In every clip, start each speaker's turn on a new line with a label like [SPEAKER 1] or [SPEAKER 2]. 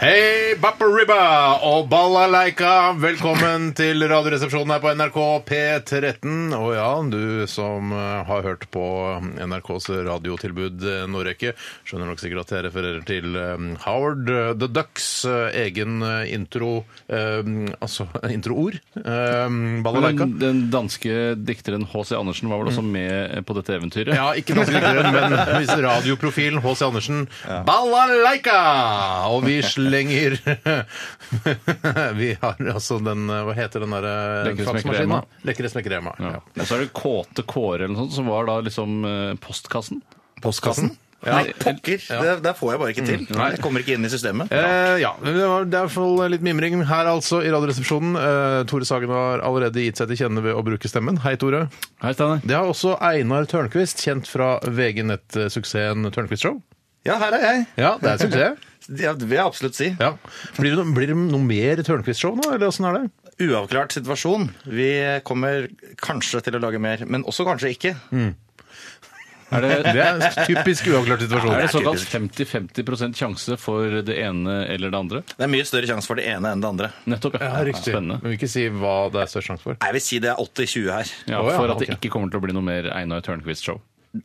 [SPEAKER 1] Hei, Bapparibba og balalaika! Velkommen til Radioresepsjonen her på NRK P13. Og ja, du som eh, har hørt på NRKs radiotilbud eh, Nordrekke, skjønner nok sikkert at jeg refererer til eh, Howard eh, The Ducks eh, egen eh, intro eh, Altså introord. eh, Balalaika.
[SPEAKER 2] Den, den danske dikteren H.C. Andersen var vel også med på dette eventyret?
[SPEAKER 1] Ja, ikke danske dikteren, men hvis radioprofilen H.C. Andersen. Balalaika! Og vi slenger Vi har altså den Hva heter den eh, derre
[SPEAKER 2] Lekre
[SPEAKER 1] faksmaskinen?
[SPEAKER 2] smekkerema.
[SPEAKER 1] Lekre smekkerema.
[SPEAKER 2] Ja.
[SPEAKER 1] Ja.
[SPEAKER 2] Og så er det Kåte Kåre eller noe sånt, som var da liksom eh, postkassen.
[SPEAKER 1] Postkassen?
[SPEAKER 3] Nei, pokker! Det, der får jeg bare ikke til. Jeg kommer ikke inn i systemet.
[SPEAKER 1] Eh, ja, men det var det er i hvert fall litt mimring her altså i Radioresepsjonen. Eh, Tore Sagen har allerede gitt seg til kjenne ved å bruke stemmen. Hei, Tore.
[SPEAKER 2] Hei, Steinar.
[SPEAKER 1] Det har også Einar Tørnquist, kjent fra VG Nett-suksessen Tørnquist Show.
[SPEAKER 3] Ja, her er jeg.
[SPEAKER 1] Ja, det er suksess.
[SPEAKER 3] Det vil jeg absolutt si.
[SPEAKER 1] Ja. Blir, det noe, blir det noe mer Tørnquist-show nå, eller åssen er det?
[SPEAKER 3] Uavklart situasjon. Vi kommer kanskje til å lage mer, men også kanskje ikke.
[SPEAKER 1] Mm.
[SPEAKER 2] Er det,
[SPEAKER 1] Det er en typisk uavklart situasjon.
[SPEAKER 2] er det såkalt 50-50 sjanse for det ene eller det andre?
[SPEAKER 3] Det er mye større sjanse for det ene enn det andre.
[SPEAKER 2] Nettopp, ja.
[SPEAKER 1] Men
[SPEAKER 2] Spennende.
[SPEAKER 1] vi vil ikke si hva det er størst sjanse for.
[SPEAKER 3] Jeg vil si det er 80-20 her.
[SPEAKER 2] Ja,
[SPEAKER 1] Å, ja,
[SPEAKER 2] for at det
[SPEAKER 1] ok.
[SPEAKER 2] ikke kommer til å bli noe mer Einar Tørnquist-show.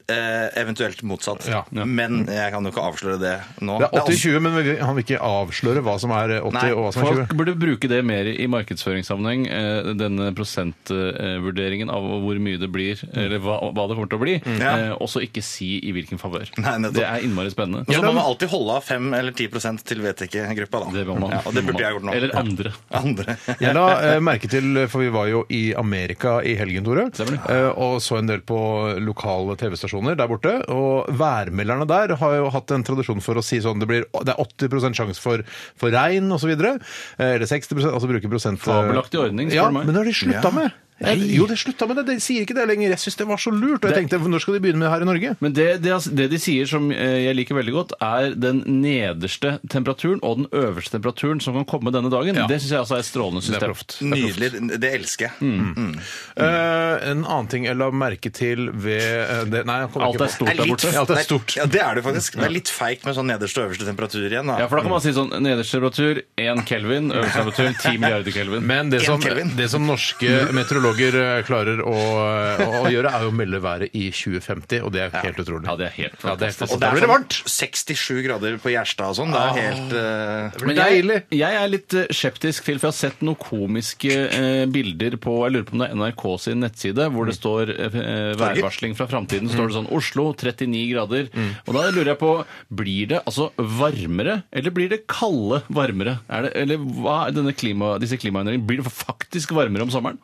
[SPEAKER 3] Eh, eventuelt motsatt.
[SPEAKER 1] Ja. Ja.
[SPEAKER 3] Men jeg kan jo ikke avsløre det nå.
[SPEAKER 1] Det er
[SPEAKER 3] også-
[SPEAKER 1] 80-20, men vi vil- han vil ikke avsløre hva som er 80
[SPEAKER 3] Nei,
[SPEAKER 1] og hva som er 20.
[SPEAKER 2] Folk burde bruke det mer i markedsføringssammenheng, eh, denne prosentvurderingen av hvor mye det blir, eller hva, hva det kommer til å bli,
[SPEAKER 3] Ja.
[SPEAKER 2] eh, og så ikke si i hvilken favør.
[SPEAKER 3] Nei, nettopp.
[SPEAKER 2] Det er innmari spennende.
[SPEAKER 3] Og så må man alltid holde av 5 eller 10 til vet ikke-gruppa, da.
[SPEAKER 2] Det må man.
[SPEAKER 3] Ja, og det burde jeg gjort nå.
[SPEAKER 2] Eller andre.
[SPEAKER 3] Andre.
[SPEAKER 1] Jeg la eh, merke til, for vi var jo i Amerika i helgen, Tore,
[SPEAKER 2] Stemmer det.
[SPEAKER 1] eh, og så en del på lokale TV-stasjoner der borte. Og værmelderne der har jo hatt en tradisjon for å si sånn det, blir, det er 80 sjanse for, for regn osv. Eller 60 altså bruke prosent
[SPEAKER 2] Fabelaktig ordning, spør
[SPEAKER 1] ja,
[SPEAKER 2] du meg.
[SPEAKER 1] Men det har de slutta
[SPEAKER 3] Ja.
[SPEAKER 1] med. Jeg, jo, de slutta med det. De sier ikke det lenger. Jeg syns det var så lurt. Og jeg tenkte, når skal de begynne med det her i Norge?
[SPEAKER 2] Men det, det, det de sier som eh, jeg liker veldig godt, er den nederste temperaturen og den øverste temperaturen som kan komme denne dagen. Det syns jeg altså er et strålende
[SPEAKER 1] Det er
[SPEAKER 2] system.
[SPEAKER 1] proft.
[SPEAKER 3] Nydelig. Det elsker jeg.
[SPEAKER 1] Mm. Eh, en annen ting jeg la merke til ved eh, det, Nei, jeg kommer
[SPEAKER 2] Alt
[SPEAKER 1] ikke
[SPEAKER 2] er
[SPEAKER 1] på.
[SPEAKER 2] stort der borte.
[SPEAKER 1] Ja, alt er stort.
[SPEAKER 3] Ja, det er det faktisk. Det er litt feigt med sånn nederste og øverste temperatur igjen. da.
[SPEAKER 2] Ja, for da kan man si sånn nederste temperatur 1 kelvin, øverste temperatur 10 milliarder kelvin.
[SPEAKER 1] Men det
[SPEAKER 3] En
[SPEAKER 1] som,
[SPEAKER 3] Kelvin.
[SPEAKER 1] det som norske meteorologer eh, klarer å, å, å gjøre, er jo å melde været i 2050, og det er helt utrolig.
[SPEAKER 2] Ja, det er helt
[SPEAKER 1] Ja, det er fantastisk.
[SPEAKER 2] fantastisk.
[SPEAKER 3] det
[SPEAKER 1] Da
[SPEAKER 3] er
[SPEAKER 1] blir det
[SPEAKER 3] sånn
[SPEAKER 1] varmt. Ah.
[SPEAKER 3] 67 grader på Gjerstad og sånn. Det er helt eh,
[SPEAKER 1] Men
[SPEAKER 2] Men jeg,
[SPEAKER 1] deilig.
[SPEAKER 2] jeg er litt eh, skeptisk til, for jeg har sett noen komiske eh, bilder på jeg lurer på om det er NRK sin nettside, hvor det står eh, eh, værvarsling fra framtiden. Så står det sånn Oslo 39 grader. Og da lurer jeg på Blir det altså varmere, eller blir det kalde varmere? Er det, eller hva er denne klima, disse klimaendringene? Blir det faktisk varmere om sommeren?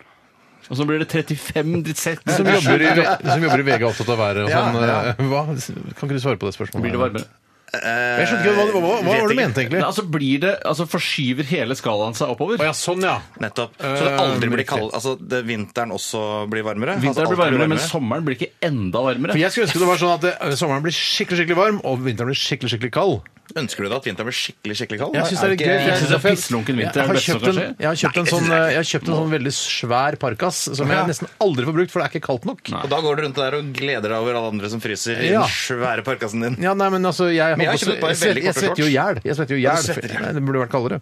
[SPEAKER 2] Og så blir det 35-36
[SPEAKER 1] Som jobber, i, som jobber i VG er opptatt av været og
[SPEAKER 3] Ja,
[SPEAKER 1] sånn. eh, Hva? Kan ikke du svare på det spørsmålet?
[SPEAKER 2] Blir det varmere?
[SPEAKER 1] Jeg skjønte ikke hva, hva, hva, hva
[SPEAKER 3] Vet
[SPEAKER 1] var det du
[SPEAKER 3] ikke.
[SPEAKER 1] mente,
[SPEAKER 2] Nei,
[SPEAKER 1] egentlig?
[SPEAKER 2] altså blir det, altså Forskyver hele skalaen seg oppover?
[SPEAKER 1] Å ja, sånn, ja.
[SPEAKER 3] Nettopp. Så det aldri
[SPEAKER 1] Eh,
[SPEAKER 3] blir kald Altså det, vinteren også blir varmere? altså,
[SPEAKER 2] Vinteren
[SPEAKER 3] alt
[SPEAKER 2] blir varmere, men sommeren blir ikke enda varmere.
[SPEAKER 1] For jeg skulle ønske det var sånn at eh, sommeren blir skikkelig skikkelig varm, og vinteren blir skikkelig skikkelig kald.
[SPEAKER 3] Ønsker du da at vinteren blir skikkelig skikkelig kald?
[SPEAKER 1] Jeg synes det er litt
[SPEAKER 3] ikke-
[SPEAKER 1] gøy.
[SPEAKER 2] Jeg synes det er pisslunken
[SPEAKER 1] Jeg
[SPEAKER 2] vinter er
[SPEAKER 1] har
[SPEAKER 2] det beste
[SPEAKER 1] kjøpt
[SPEAKER 2] som kan
[SPEAKER 1] en,
[SPEAKER 2] skje.
[SPEAKER 1] jeg har kjøpt en, sånn, eh, jeg har kjøpt en sånn veldig svær parkas som jeg nesten aldri får brukt, for det er ikke kaldt nok.
[SPEAKER 3] Og da går du rundt der og gleder deg over alle andre som fryser i
[SPEAKER 1] Ja.
[SPEAKER 3] den svære parkasen din.
[SPEAKER 1] Ja, nei, men altså, jeg,
[SPEAKER 3] Men jeg har
[SPEAKER 1] håper-
[SPEAKER 3] kjøpt bare
[SPEAKER 1] jeg svet-
[SPEAKER 3] veldig
[SPEAKER 1] jeg
[SPEAKER 3] korte
[SPEAKER 1] svetter jo i hjel. Jeg svetter jo i hjel.
[SPEAKER 3] svetter i hjel.
[SPEAKER 1] Nei, Det burde vært kaldere.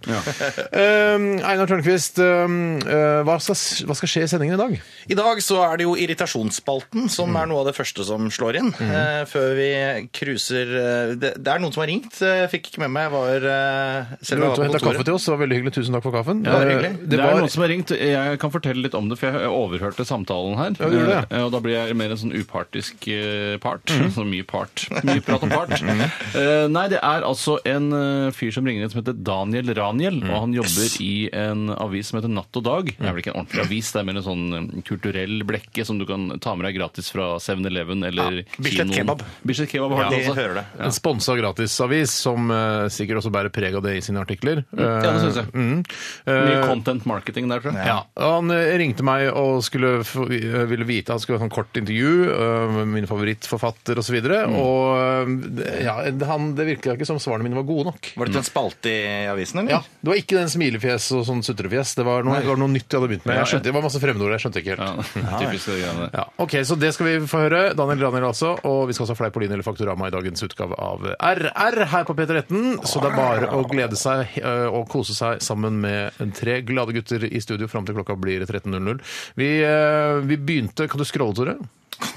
[SPEAKER 1] Um, Einar Tørnquist, um, uh, hva, skal, s- hva skal skje i sendingen i dag?
[SPEAKER 3] I dag så er det jo irritasjonsspalten som er noe av det første som slår inn. Eh, før vi cruiser eh, det, det er noen som har ringt. eh, fikk ikke med meg. Jeg var eh,
[SPEAKER 1] Du
[SPEAKER 3] selv
[SPEAKER 1] var
[SPEAKER 3] om
[SPEAKER 1] ute og
[SPEAKER 3] jeg
[SPEAKER 1] henta
[SPEAKER 3] var på
[SPEAKER 1] kaffe
[SPEAKER 3] kontoret.
[SPEAKER 1] til oss. Det var veldig hyggelig. Tusen takk for kaffen.
[SPEAKER 2] Ja, det
[SPEAKER 3] Eh,
[SPEAKER 2] er
[SPEAKER 1] Uh,
[SPEAKER 2] hyggelig. Det,
[SPEAKER 1] det
[SPEAKER 2] er
[SPEAKER 1] var-
[SPEAKER 2] noen som har ringt. Jeg kan fortelle litt om det, for jeg overhørte samtalen her.
[SPEAKER 1] du gjorde det,
[SPEAKER 2] Eh, Og da blir jeg mer en sånn upartisk eh, part.
[SPEAKER 3] Mhm.
[SPEAKER 2] Så mye part. Mye prat om part. Eh, Nei, det er altså en eh, fyr som ringer inn som heter Daniel Raniel, og
[SPEAKER 3] Mhm.
[SPEAKER 2] han jobber i en avis som heter Natt og Dag. Det er vel ikke en ordentlig avis, det er mer en sånn eh, kulturell blekke som du kan ta med deg gratis fra 7-Eleven eller
[SPEAKER 3] Bislett
[SPEAKER 2] kinoen.
[SPEAKER 3] Kebab.
[SPEAKER 2] Bislett Kebab har
[SPEAKER 3] Ja,
[SPEAKER 2] det
[SPEAKER 3] de
[SPEAKER 2] altså.
[SPEAKER 3] hører det.
[SPEAKER 1] En sponsa gratisavis som eh, sikkert også bærer preg av det i sine artikler.
[SPEAKER 2] ja, det synes jeg.
[SPEAKER 1] Mm.
[SPEAKER 2] Mye
[SPEAKER 1] Eh,
[SPEAKER 2] content marketing der, tror jeg.
[SPEAKER 1] Ja. Han eh, ringte meg og skulle, f- eh, ville vite Han skulle ha et sånt kort intervju eh, med min favorittforfatter osv. videre
[SPEAKER 3] Mm.
[SPEAKER 1] Og eh, ja, han, det virka ikke som svarene mine var gode nok.
[SPEAKER 3] Var det til en spalte i avisen, eller?
[SPEAKER 1] Ja, Det var ikke den smilefjes og sånn sutrefjes. Det var noe, det var noe nytt jeg hadde begynt med. Jeg skjønte, det var masse fremmedord jeg skjønte ikke helt.
[SPEAKER 2] Typisk det greiene.
[SPEAKER 1] Ja, ok, så Det skal vi få høre. Daniel Daniel altså. Og vi skal også ha Fleipolini eller Faktorama i dagens utgave av RR her på P13. Så det er bare å glede seg eh, og kose seg sammen med tre glade gutter i studio fram til klokka blir 13.00. Vi, eh, vi begynte Kan du scrolle, Tore?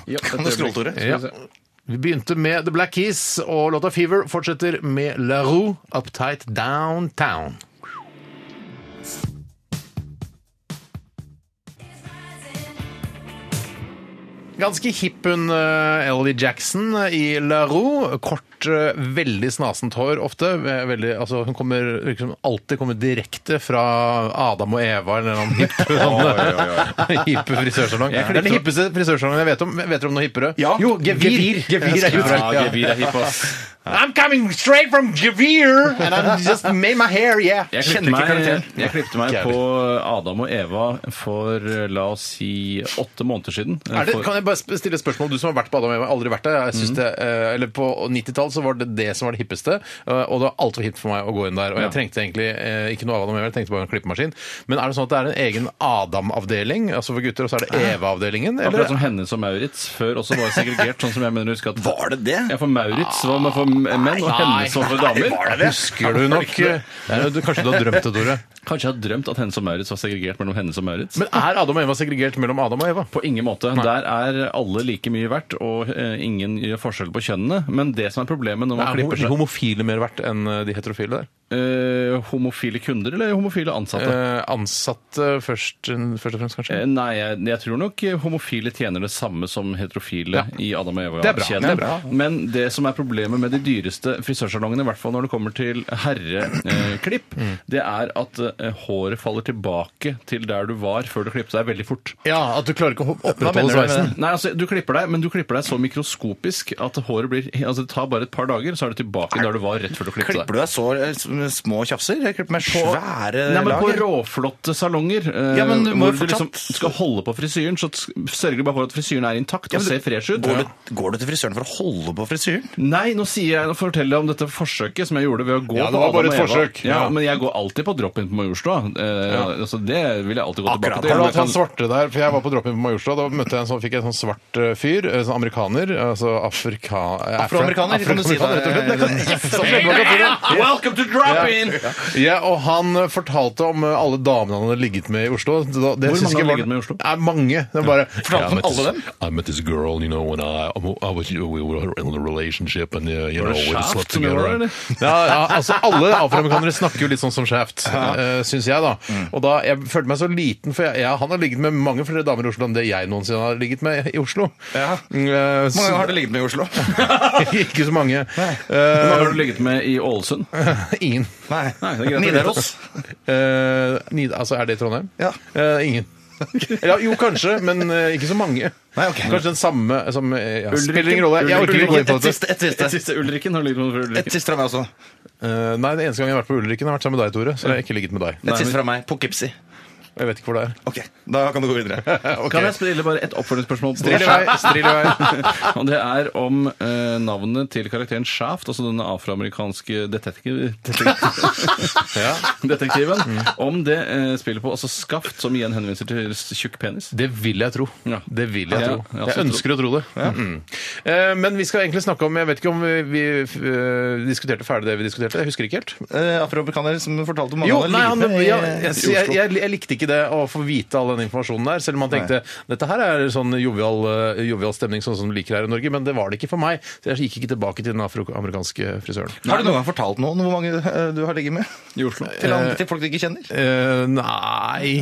[SPEAKER 3] Kan du scrolle, Tore?
[SPEAKER 1] Ja. Vi begynte med The Black Keys, og låta Fever fortsetter med La Roux, Uptight Downtown. Ganske hipp hun eh, Ellie Jackson eh, i La Roux. Kort, eh, veldig snasent hår ofte. Eh, Veldig, altså, hun kommer virker som alltid kommer direkte fra Adam og Eva eller en eller annen hipp hipp frisørsalong. Det
[SPEAKER 2] Jeg
[SPEAKER 1] er den hippeste frisørsalongen jeg vet om. Vet dere om noe hippere?
[SPEAKER 3] Ja.
[SPEAKER 1] Jo, Gevir. Gevir er hippere.
[SPEAKER 2] Ja, gevir er hipp, ass.
[SPEAKER 1] I'm coming straight from Gevir, and I just made my hair, yeah.
[SPEAKER 2] Jeg
[SPEAKER 3] Kjenner
[SPEAKER 2] klippte
[SPEAKER 3] ikke
[SPEAKER 2] meg,
[SPEAKER 3] karakteren.
[SPEAKER 2] jeg klippte meg
[SPEAKER 1] Ikke jeg
[SPEAKER 2] på Adam og Eva for eh, la oss si åtte måneder siden.
[SPEAKER 1] Er det,
[SPEAKER 2] For-
[SPEAKER 1] kan jeg bare sp- stille et spørsmål? Du som har vært på Adam og Eva, aldri vært der. Jeg synes det, eh, eller På 90-tallet så var det det som var det hippeste, eh, og det var altfor hipt for meg å gå inn der. Og jeg
[SPEAKER 2] Ja.
[SPEAKER 1] trengte egentlig eh, ikke noe av Adam og Eva, jeg trengte bare en klippemaskin. Men er det sånn at det er en egen Adam-avdeling altså for gutter, og så er det Eva-avdelingen?
[SPEAKER 2] Akkurat
[SPEAKER 1] Eller?
[SPEAKER 2] som Hennes og Maurits før også var segregert, sånn som jeg mener å huske at
[SPEAKER 3] Var det det?
[SPEAKER 2] Ja, for Maurits var med for menn, og Hennes var for damer.
[SPEAKER 1] Husker du nok eh, ja, du, Kanskje du har drømt det, Tore?
[SPEAKER 2] Kanskje jeg har drømt at Hennes og Maurits var segregert mellom Hennes og Maurits?
[SPEAKER 1] Men er Adam og Eva segregert mellom Adam og Eva?
[SPEAKER 2] På ingen måte. Der er alle like mye verdt, og eh, ingen gjør forskjell på kjønnene. Men det som er problemet når man
[SPEAKER 1] Er
[SPEAKER 2] klipper
[SPEAKER 1] de
[SPEAKER 2] seg
[SPEAKER 1] homofile mer verdt enn eh, de heterofile der?
[SPEAKER 2] eh, Homofile kunder eller homofile ansatte?
[SPEAKER 1] Eh, ansatte først, først og fremst, kanskje?
[SPEAKER 2] Eh, Nei, jeg, jeg tror nok homofile tjener det samme som heterofile i Adam og
[SPEAKER 1] Det er bra,
[SPEAKER 2] Eva-kjeden.
[SPEAKER 1] det er bra.
[SPEAKER 2] Men det som er problemet med de dyreste frisørsalongene, i hvert fall når det kommer til herreklipp,
[SPEAKER 1] Mm.
[SPEAKER 2] det er at eh, håret faller tilbake til der du var før du klippet deg veldig fort.
[SPEAKER 1] Ja, At du klarer ikke å
[SPEAKER 3] mener
[SPEAKER 1] opprettholde
[SPEAKER 3] du med det?
[SPEAKER 1] sveisen?
[SPEAKER 2] Nei, altså, Du klipper deg, men du klipper deg så mikroskopisk at håret blir Altså, Det tar bare et par dager, så er du tilbake der du var rett før du klippet deg.
[SPEAKER 3] Klipper du deg så eh, s- små tjafser? Jeg klipper meg svære
[SPEAKER 2] Nei, men På
[SPEAKER 3] Eh, lager.
[SPEAKER 2] råflotte salonger eh,
[SPEAKER 3] Ja, men du må
[SPEAKER 2] hvor du
[SPEAKER 3] fortsatt-
[SPEAKER 2] liksom skal holde på frisyren, så s- sørger du bare for at frisyren er intakt og
[SPEAKER 3] men du-
[SPEAKER 2] ser fresh ut.
[SPEAKER 3] Går du, går du til frisøren for å holde på frisyren?
[SPEAKER 2] Nei, nå sier jeg, nå forteller jeg om dette forsøket som jeg gjorde ved å gå
[SPEAKER 1] Ja, det
[SPEAKER 2] på
[SPEAKER 1] var
[SPEAKER 2] Adam
[SPEAKER 1] bare et
[SPEAKER 2] og Eva.
[SPEAKER 1] forsøk.
[SPEAKER 2] Ja,
[SPEAKER 1] Ja.
[SPEAKER 2] Men jeg går alltid på drop-in på Majorstua. Eh, altså, det vil jeg alltid gå
[SPEAKER 3] Akkurat.
[SPEAKER 2] tilbake
[SPEAKER 1] Har
[SPEAKER 2] til.
[SPEAKER 1] du
[SPEAKER 2] Men
[SPEAKER 1] hatt han
[SPEAKER 2] jeg kan-
[SPEAKER 1] svarte der? For jeg var på drop-in på Majorstua. Da møtte jeg en sånn, fikk jeg en sånn svart eh, fyr, eh, sånn amerikaner. Altså afrika... eh, afro-
[SPEAKER 3] Afroamerikaner, kan du si det?
[SPEAKER 1] afroamerikaner, rett og slett. Yes, så skjønner man at det er-
[SPEAKER 2] Ja, Welcome to drop-in!
[SPEAKER 1] Ja, og han eh, fortalte om eh, alle damene han hadde ligget med i Oslo. Det, det
[SPEAKER 2] Hvor
[SPEAKER 1] synes
[SPEAKER 2] mange
[SPEAKER 1] jeg
[SPEAKER 2] har
[SPEAKER 1] var-
[SPEAKER 2] ligget med i Oslo?
[SPEAKER 1] Nei, mange. Det er bare,
[SPEAKER 3] Fortalte han
[SPEAKER 1] I met
[SPEAKER 3] alle
[SPEAKER 1] this-
[SPEAKER 3] dem?
[SPEAKER 1] I met this girl, you know, when I, um, I was, we were in a relationship and, uh, you
[SPEAKER 2] Var
[SPEAKER 1] know,
[SPEAKER 2] det
[SPEAKER 1] we
[SPEAKER 2] Shaft
[SPEAKER 1] slept
[SPEAKER 2] som gjorde
[SPEAKER 1] together.
[SPEAKER 2] det, eller?
[SPEAKER 1] Ja, ja, altså alle afroamerikanere snakker jo litt sånn som Shaft, ja. syns jeg da.
[SPEAKER 2] Mm.
[SPEAKER 1] Og da, jeg følte meg så liten, for jeg, ja, han har ligget med mange flere damer i Oslo enn det jeg noensinne har ligget med i Oslo.
[SPEAKER 3] Ja.
[SPEAKER 1] Mm, eh,
[SPEAKER 3] Hvor mange
[SPEAKER 1] så-
[SPEAKER 3] har du ligget med i Oslo?
[SPEAKER 1] Ikke så mange.
[SPEAKER 2] Hva
[SPEAKER 1] Eh,
[SPEAKER 2] har du ligget med i Ålesund?
[SPEAKER 1] ingen.
[SPEAKER 3] Nei,
[SPEAKER 2] det er greit.
[SPEAKER 3] Nidaros.
[SPEAKER 1] Eh, Nid altså, er det Trondheim?
[SPEAKER 3] Ja.
[SPEAKER 1] Eh, ingen. Ja, jo, kanskje, men eh, ikke så mange.
[SPEAKER 3] Nei, ok.
[SPEAKER 1] Kanskje den samme som eh, ja,
[SPEAKER 2] Ulriken.
[SPEAKER 1] Spiller ingen rolle. Jeg orker ikke å gå inn på
[SPEAKER 3] Et
[SPEAKER 1] dette.
[SPEAKER 3] siste. Et siste.
[SPEAKER 2] Et siste Ulrikken har du ligget med for
[SPEAKER 3] Et
[SPEAKER 2] Ulrikken.
[SPEAKER 3] siste fra meg også.
[SPEAKER 1] Eh, nei, den eneste gangen jeg har vært på Ulriken, har vært sammen med deg, Tore. Så jeg har ikke ligget med deg.
[SPEAKER 3] Et siste fra meg. Poughkeepsie.
[SPEAKER 1] Jeg vet ikke hvor det er.
[SPEAKER 3] Ok, da kan du gå videre.
[SPEAKER 2] Kan jeg stille bare et oppfølgingsspørsmål? på
[SPEAKER 1] Strill i vei. Strill i vei.
[SPEAKER 2] Og det er om eh, navnet til karakteren Shaft, altså denne afroamerikanske detektiv,
[SPEAKER 1] Ja.
[SPEAKER 2] detektiven,
[SPEAKER 3] Mm.
[SPEAKER 2] om det eh, spiller på altså skaft, som igjen henviser til tjukk penis.
[SPEAKER 1] Det vil jeg tro.
[SPEAKER 2] Ja.
[SPEAKER 1] Det vil jeg
[SPEAKER 2] Ja,
[SPEAKER 1] tro.
[SPEAKER 2] ja,
[SPEAKER 1] jeg
[SPEAKER 2] så
[SPEAKER 1] ønsker å tro det. Mm. Eh, Men vi skal egentlig snakke om Jeg vet ikke om vi, vi eh, diskuterte ferdig det vi diskuterte. Jeg husker ikke helt.
[SPEAKER 3] Eh, Afroamerikaner som fortalte om mange
[SPEAKER 1] Jo,
[SPEAKER 3] han
[SPEAKER 1] nei,
[SPEAKER 3] har
[SPEAKER 1] han,
[SPEAKER 3] ligget med i-
[SPEAKER 1] ja,
[SPEAKER 3] i
[SPEAKER 1] jeg,
[SPEAKER 3] Oslo.
[SPEAKER 1] jeg, jeg, jeg likte ikke det å få vite all den informasjonen der, selv om man tenkte dette her er sånn jovial, eh, jovial stemning, sånn som du liker her i Norge, men det var det ikke for meg. Så jeg gikk ikke tilbake til den afroamerikanske frisøren.
[SPEAKER 3] Har du noen gang fortalt noen hvor mange eh, du har ligget med?
[SPEAKER 2] I Oslo.
[SPEAKER 3] Til, han, til folk du ikke kjenner?
[SPEAKER 1] Eh, nei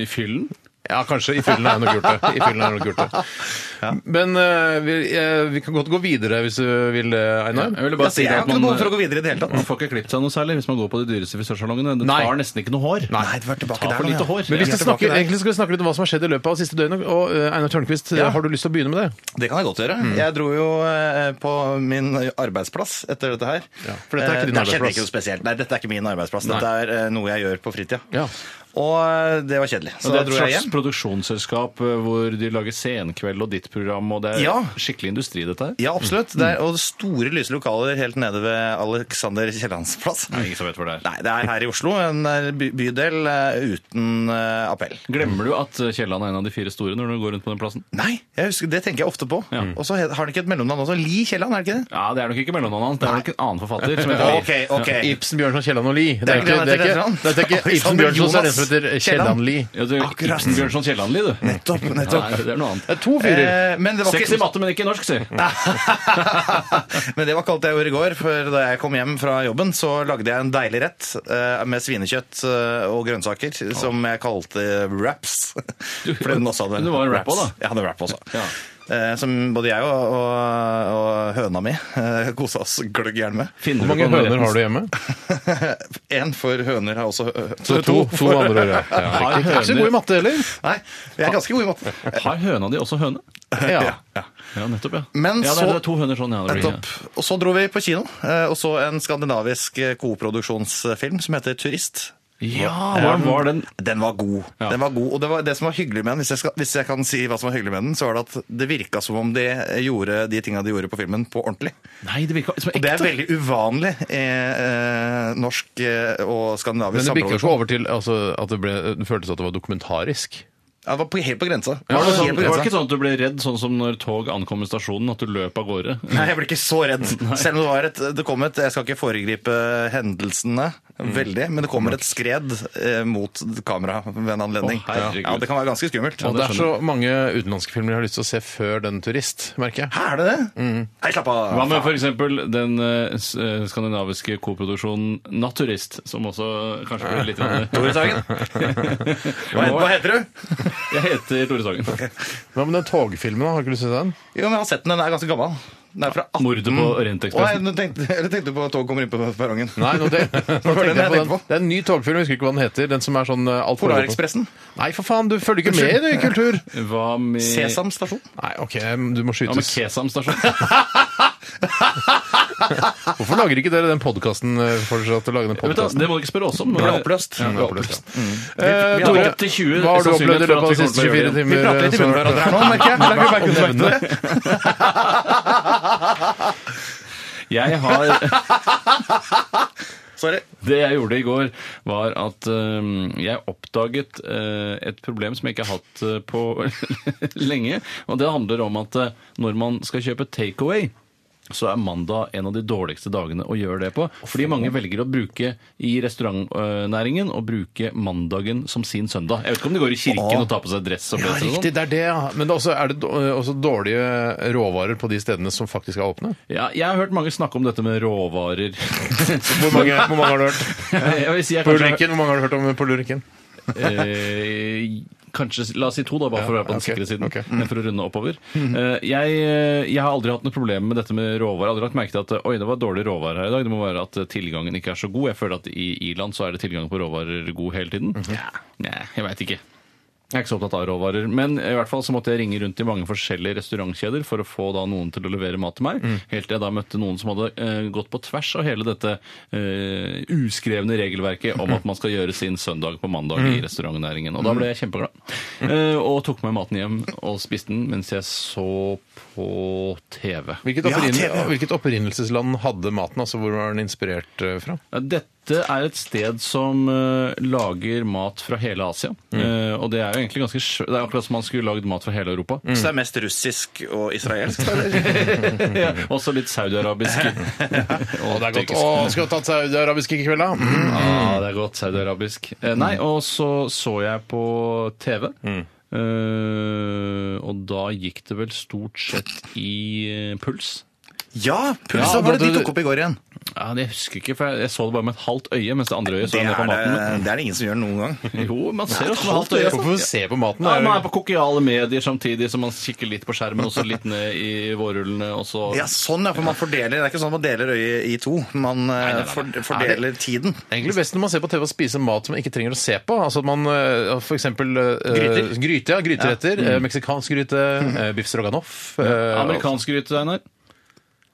[SPEAKER 2] I fyllen.
[SPEAKER 1] Ja, kanskje. I fyllen har jeg nok gjort det. I fyllen har jeg nok gjort det. Men eh, vi, eh, vi kan godt gå videre hvis du vil, eh, Einar.
[SPEAKER 2] Jeg ville bare si
[SPEAKER 3] Altså, jeg
[SPEAKER 2] det at
[SPEAKER 3] har ikke noe
[SPEAKER 2] man,
[SPEAKER 3] behov for å gå videre i det hele tatt.
[SPEAKER 2] man får ikke klippet seg noe særlig hvis man går på de dyreste frisørsalongene. Det
[SPEAKER 1] Nei.
[SPEAKER 2] tar nesten ikke noe hår.
[SPEAKER 3] Nei, det var tilbake
[SPEAKER 2] Ta
[SPEAKER 3] der
[SPEAKER 2] for
[SPEAKER 3] nå,
[SPEAKER 2] lite
[SPEAKER 3] ja.
[SPEAKER 2] hår.
[SPEAKER 1] Men vi skal
[SPEAKER 3] Jeg er tilbake
[SPEAKER 1] snakke,
[SPEAKER 3] der.
[SPEAKER 1] egentlig skal vi snakke litt om hva som har skjedd i løpet av siste døgnet. Og eh, Einar Tørnquist, eh, har du lyst til å begynne med det?
[SPEAKER 3] Det kan jeg godt gjøre.
[SPEAKER 1] Mm.
[SPEAKER 3] Jeg dro jo eh, på min arbeidsplass etter dette her.
[SPEAKER 1] Ja, for dette er ikke
[SPEAKER 3] Eh,
[SPEAKER 1] din
[SPEAKER 3] der skjedde
[SPEAKER 1] arbeidsplass.
[SPEAKER 3] Ikke noe spesielt. Nei, dette er ikke min arbeidsplass. Dette er eh, noe jeg gjør på fritida.
[SPEAKER 1] Ja.
[SPEAKER 3] Og eh, det var kjedelig. Så
[SPEAKER 2] det
[SPEAKER 3] da
[SPEAKER 2] er et
[SPEAKER 3] dro jeg
[SPEAKER 2] slags
[SPEAKER 3] hjem.
[SPEAKER 2] produksjonsselskap eh, hvor de lager Senkveld og ditt program, og det er
[SPEAKER 3] Ja.
[SPEAKER 2] skikkelig industri, dette her.
[SPEAKER 3] Ja, absolutt.
[SPEAKER 1] Mm.
[SPEAKER 3] Det er, og store, lyse lokaler helt nede ved Alexander Kiellands plass.
[SPEAKER 2] Det er ingen som vet hvor det er.
[SPEAKER 3] Nei, det er her i Oslo, en eh, by bydel eh, uten eh, appell.
[SPEAKER 2] Glemmer du at eh, Kielland er en av de fire store når du går rundt på den plassen?
[SPEAKER 3] Nei, jeg husker, det tenker jeg ofte på.
[SPEAKER 2] Ja.
[SPEAKER 3] Og så he- har han ikke et mellomnavn også. Li Kielland, er det ikke det?
[SPEAKER 2] Ja, Det er nok ikke mellomnavnet hans, det er nok en annen forfatter. som heter
[SPEAKER 3] Ok, ok.
[SPEAKER 1] Ibsen, Bjørnson, Kielland og Lie. Det
[SPEAKER 3] er
[SPEAKER 1] er ikke,
[SPEAKER 3] ikke
[SPEAKER 1] det er
[SPEAKER 3] det han
[SPEAKER 1] ikke,
[SPEAKER 3] heter,
[SPEAKER 1] det er ikke Ibsen,
[SPEAKER 3] Alexander
[SPEAKER 1] Bjørnson, så er det en
[SPEAKER 3] Jonas
[SPEAKER 1] som heter Kielland
[SPEAKER 3] Kielland.
[SPEAKER 1] Lie.
[SPEAKER 2] Ja, det er
[SPEAKER 3] Akkurat.
[SPEAKER 2] Ibsen Bjørnson Kiellandli, du.
[SPEAKER 3] Nettopp, nettopp.
[SPEAKER 2] Nei, det er noe annet.
[SPEAKER 1] Det er to fyrer.
[SPEAKER 3] Eh, men det var
[SPEAKER 2] Seks i
[SPEAKER 3] ikke...
[SPEAKER 2] matte, men ikke i norsk, si.
[SPEAKER 3] Men det var kaldt jeg gjorde i går, for da jeg kom hjem fra jobben, så lagde jeg en deilig rett eh, med svinekjøtt eh, og grønnsaker, som jeg kalte wraps. For den også hadde
[SPEAKER 2] Du var en wrap også, da.
[SPEAKER 3] Jeg hadde wrap også.
[SPEAKER 2] Ja.
[SPEAKER 3] Eh, Som både jeg og, og, og høna mi eh, kosa oss gløgg gjerne med.
[SPEAKER 2] Finner
[SPEAKER 1] Hvor mange
[SPEAKER 2] du på noe
[SPEAKER 1] høner har
[SPEAKER 2] rettens-
[SPEAKER 1] du hjemme?
[SPEAKER 3] Én for høner har også eh, hø-
[SPEAKER 1] Så to. To andre hører. Ja,
[SPEAKER 2] Har
[SPEAKER 1] ikke så god i
[SPEAKER 2] høner-
[SPEAKER 1] matte heller.
[SPEAKER 3] Nei, jeg er ganske god i matte.
[SPEAKER 2] Har høna di også høne?
[SPEAKER 1] Ja.
[SPEAKER 2] Ja, nettopp, ja.
[SPEAKER 3] Men
[SPEAKER 2] ja, det
[SPEAKER 3] så-
[SPEAKER 2] er, det er to høner sånn, ja. Det blir,
[SPEAKER 3] Nettopp. Og så dro vi på kino eh, og så en skandinavisk eh, koproduksjonsfilm som heter Turist.
[SPEAKER 2] ja. ja hvordan var den?
[SPEAKER 3] Den var god.
[SPEAKER 2] Ja.
[SPEAKER 3] Den var god. Og det, var det som var hyggelig med den, hvis jeg, skal, hvis jeg kan si hva som var hyggelig med den, så var det at det virka som om de gjorde de tinga de gjorde på filmen, på ordentlig.
[SPEAKER 2] Nei, det virka som
[SPEAKER 3] Og det er
[SPEAKER 2] ekte.
[SPEAKER 3] veldig uvanlig i eh, norsk eh, og skandinavisk
[SPEAKER 1] Men det bikka ikke
[SPEAKER 3] samproduksjon.
[SPEAKER 1] over til altså, at det, ble, det føltes at det var dokumentarisk.
[SPEAKER 3] Ja, det var på, helt på grensa.
[SPEAKER 2] Var det, sånn,
[SPEAKER 3] Helt
[SPEAKER 2] var
[SPEAKER 3] på
[SPEAKER 2] det
[SPEAKER 3] grensa.
[SPEAKER 2] ikke sånn at du ble redd, sånn som når tog ankommer stasjonen, at du løp av gårde?
[SPEAKER 3] Nei, jeg ble ikke så redd. Selv om det, var et, det kom et Jeg skal ikke foregripe hendelsene
[SPEAKER 2] Mm.
[SPEAKER 3] veldig, men det kommer et skred eh, mot kamera ved en anledning.
[SPEAKER 2] Å, herregud.
[SPEAKER 3] ja, det kan være ganske skummelt.
[SPEAKER 1] Og det er så mange utenlandske filmer jeg har lyst til å se før den turist, merker jeg.
[SPEAKER 3] Hæ, er det det? Nei, slapp av.
[SPEAKER 2] Mm. Hva med f.eks. den eh, s- eh, skandinaviske koproduksjonen Naturist, som også kanskje blir litt grann-
[SPEAKER 3] Tore Sagen? Hva, heter- hva heter du?
[SPEAKER 2] Jeg heter Tore Sagen.
[SPEAKER 1] Hva med den togfilmen? da? Har du ikke lyst til å se den?
[SPEAKER 3] Jo, men jeg har sett den. Den er ganske gammel. Den er fra 18...
[SPEAKER 2] Mordet på
[SPEAKER 3] Å, nei,
[SPEAKER 2] Orientekspressen.
[SPEAKER 3] nå tenkte, eller tenkte du på at tog kommer inn på perrongen?
[SPEAKER 1] Nei, nå te- nå tenkte jeg på
[SPEAKER 3] jeg
[SPEAKER 1] den.
[SPEAKER 3] tenkte på.
[SPEAKER 1] Det er en ny togfilm, jeg husker ikke hva den heter. Den som er sånn eh, alt for-
[SPEAKER 3] Polarekspressen?
[SPEAKER 1] Nei, for faen, du følger ikke med i kultur!
[SPEAKER 2] Hva med
[SPEAKER 3] Sesam stasjon?
[SPEAKER 1] Nei, OK, du må
[SPEAKER 2] Hva med
[SPEAKER 1] skytes.
[SPEAKER 2] Kesam stasjon?
[SPEAKER 1] Hvorfor lager ikke dere den podkasten? Fortsatt å lage den
[SPEAKER 2] Vet du,
[SPEAKER 1] podcasten?
[SPEAKER 2] det må du ikke spørre oss om.
[SPEAKER 3] Den ble oppløst.
[SPEAKER 1] Ja, det er oppløst, ja.
[SPEAKER 2] vi
[SPEAKER 1] Eh,
[SPEAKER 2] har
[SPEAKER 1] Tore,
[SPEAKER 2] opp til
[SPEAKER 1] hva
[SPEAKER 2] 20
[SPEAKER 1] Mm. har du opplevd i
[SPEAKER 2] sannsynlighet for
[SPEAKER 1] løpet av de
[SPEAKER 2] at vi
[SPEAKER 1] siste
[SPEAKER 2] kommer til å
[SPEAKER 1] fire
[SPEAKER 2] gjøre det.
[SPEAKER 1] timer?
[SPEAKER 3] Vi prater litt i
[SPEAKER 1] eh,
[SPEAKER 3] munnen på
[SPEAKER 1] så-
[SPEAKER 3] hverandre her nå, merker jeg. Legger vi merke til det?
[SPEAKER 2] Jeg har
[SPEAKER 3] Sorry.
[SPEAKER 2] Det jeg gjorde i går, var at øhm, jeg oppdaget øh, et problem som jeg ikke har hatt øh, på lenge. Og det handler om at øh, når man skal kjøpe takeaway så er mandag en av de dårligste dagene å gjøre det på. Fordi mange velger å bruke i restaurantnæringen å bruke mandagen som sin søndag. Jeg vet ikke om de går i kirken og tar på seg dress
[SPEAKER 1] Ja,
[SPEAKER 2] og bløt og
[SPEAKER 1] riktig,
[SPEAKER 2] sånn.
[SPEAKER 1] det er det, ja. Men det er også, er det do- eh, også dårlige eh, råvarer på de stedene som faktisk er åpne?
[SPEAKER 2] Ja, jeg har hørt mange snakke om dette med råvarer.
[SPEAKER 1] Hvor mange, hvor mange har du hørt?
[SPEAKER 2] Jeg vil si jeg
[SPEAKER 1] På
[SPEAKER 2] kanskje-
[SPEAKER 1] Ulrikken, hvor mange har du hørt om på Ulrikken?
[SPEAKER 2] Eh, Kanskje, La oss si to, da, bare for å være på den
[SPEAKER 1] ok,
[SPEAKER 2] sikre siden.
[SPEAKER 1] ok. Mhm.
[SPEAKER 2] men For å runde oppover. Eh, jeg, jeg har aldri hatt noe problem med dette med råvarer. Aldri lagt merke til at oi, det var dårlig råvarer her i dag. Det må være at eh, tilgangen ikke er så god. Jeg føler at i Irland så er det tilgang på råvarer god hele tiden.
[SPEAKER 1] Mhm.
[SPEAKER 2] Nei, jeg veit ikke. Jeg er ikke så opptatt av råvarer, men i hvert fall så måtte jeg ringe rundt til mange forskjellige restaurantkjeder for å få da noen til å levere mat til meg. Helt til jeg da møtte noen som hadde eh, gått på tvers av hele dette eh, uskrevne regelverket om at man skal gjøre sin søndag på mandag i restaurantnæringen. Og da ble jeg kjempeglad. Eh, og tok med maten hjem og spiste den mens jeg så på TV.
[SPEAKER 1] Hvilket, opprinn, hvilket opprinnelsesland hadde maten? altså Hvor var den inspirert eh, fra?
[SPEAKER 2] Ja, Dette er et sted som eh, lager mat fra hele Asia. Eh, og det er jo egentlig ganske sj- Det er akkurat som man skulle lagd mat fra hele Europa.
[SPEAKER 3] Så det er mest russisk og israelsk? eller?
[SPEAKER 2] ja. Også litt saudiarabisk. og
[SPEAKER 1] Det er godt.
[SPEAKER 2] tyrkisk.
[SPEAKER 1] Å, skal vi ta saudi-arabisk i kveld, da? Mm.
[SPEAKER 2] Ja, det er godt saudiarabisk. Eh, nei, og så så jeg på TV. Eh, og da gikk det vel stort sett i eh, puls.
[SPEAKER 3] Ja, pulsa
[SPEAKER 2] Ja,
[SPEAKER 3] var det
[SPEAKER 2] da-
[SPEAKER 3] de
[SPEAKER 2] da-
[SPEAKER 3] tok opp i går igjen.
[SPEAKER 2] Ja, det husker jeg ikke, for jeg- jeg så det bare med et halvt øye, mens det andre øyet så
[SPEAKER 3] Det
[SPEAKER 2] jeg ned på
[SPEAKER 3] er, eh,
[SPEAKER 2] maten.
[SPEAKER 3] det, det er det ingen som gjør noen gang.
[SPEAKER 2] Jo, man ser også med
[SPEAKER 1] Halvt øye. Hvorfor se på maten?
[SPEAKER 2] Ja,
[SPEAKER 1] Det er
[SPEAKER 2] man
[SPEAKER 1] jo-
[SPEAKER 2] er på kokiale medier samtidig som man kikker litt på skjermen, og så litt ned i vårrullene, og så
[SPEAKER 3] Ja, sånn ja, for man fordeler, Det er ikke sånn at man deler øyet i to, man eh,
[SPEAKER 2] nei, nei.
[SPEAKER 3] for- fordeler tiden.
[SPEAKER 1] Det er egentlig best når man ser på TV og spiser mat som man ikke trenger å se på. Altså at man eh, for eksempel eh,
[SPEAKER 3] Gryter.
[SPEAKER 1] Gryte, ja, gryteretter. eh, Meksikansk gryte. eh, Biff stroganoff. eh,
[SPEAKER 2] Amerikansk gryte, Einar.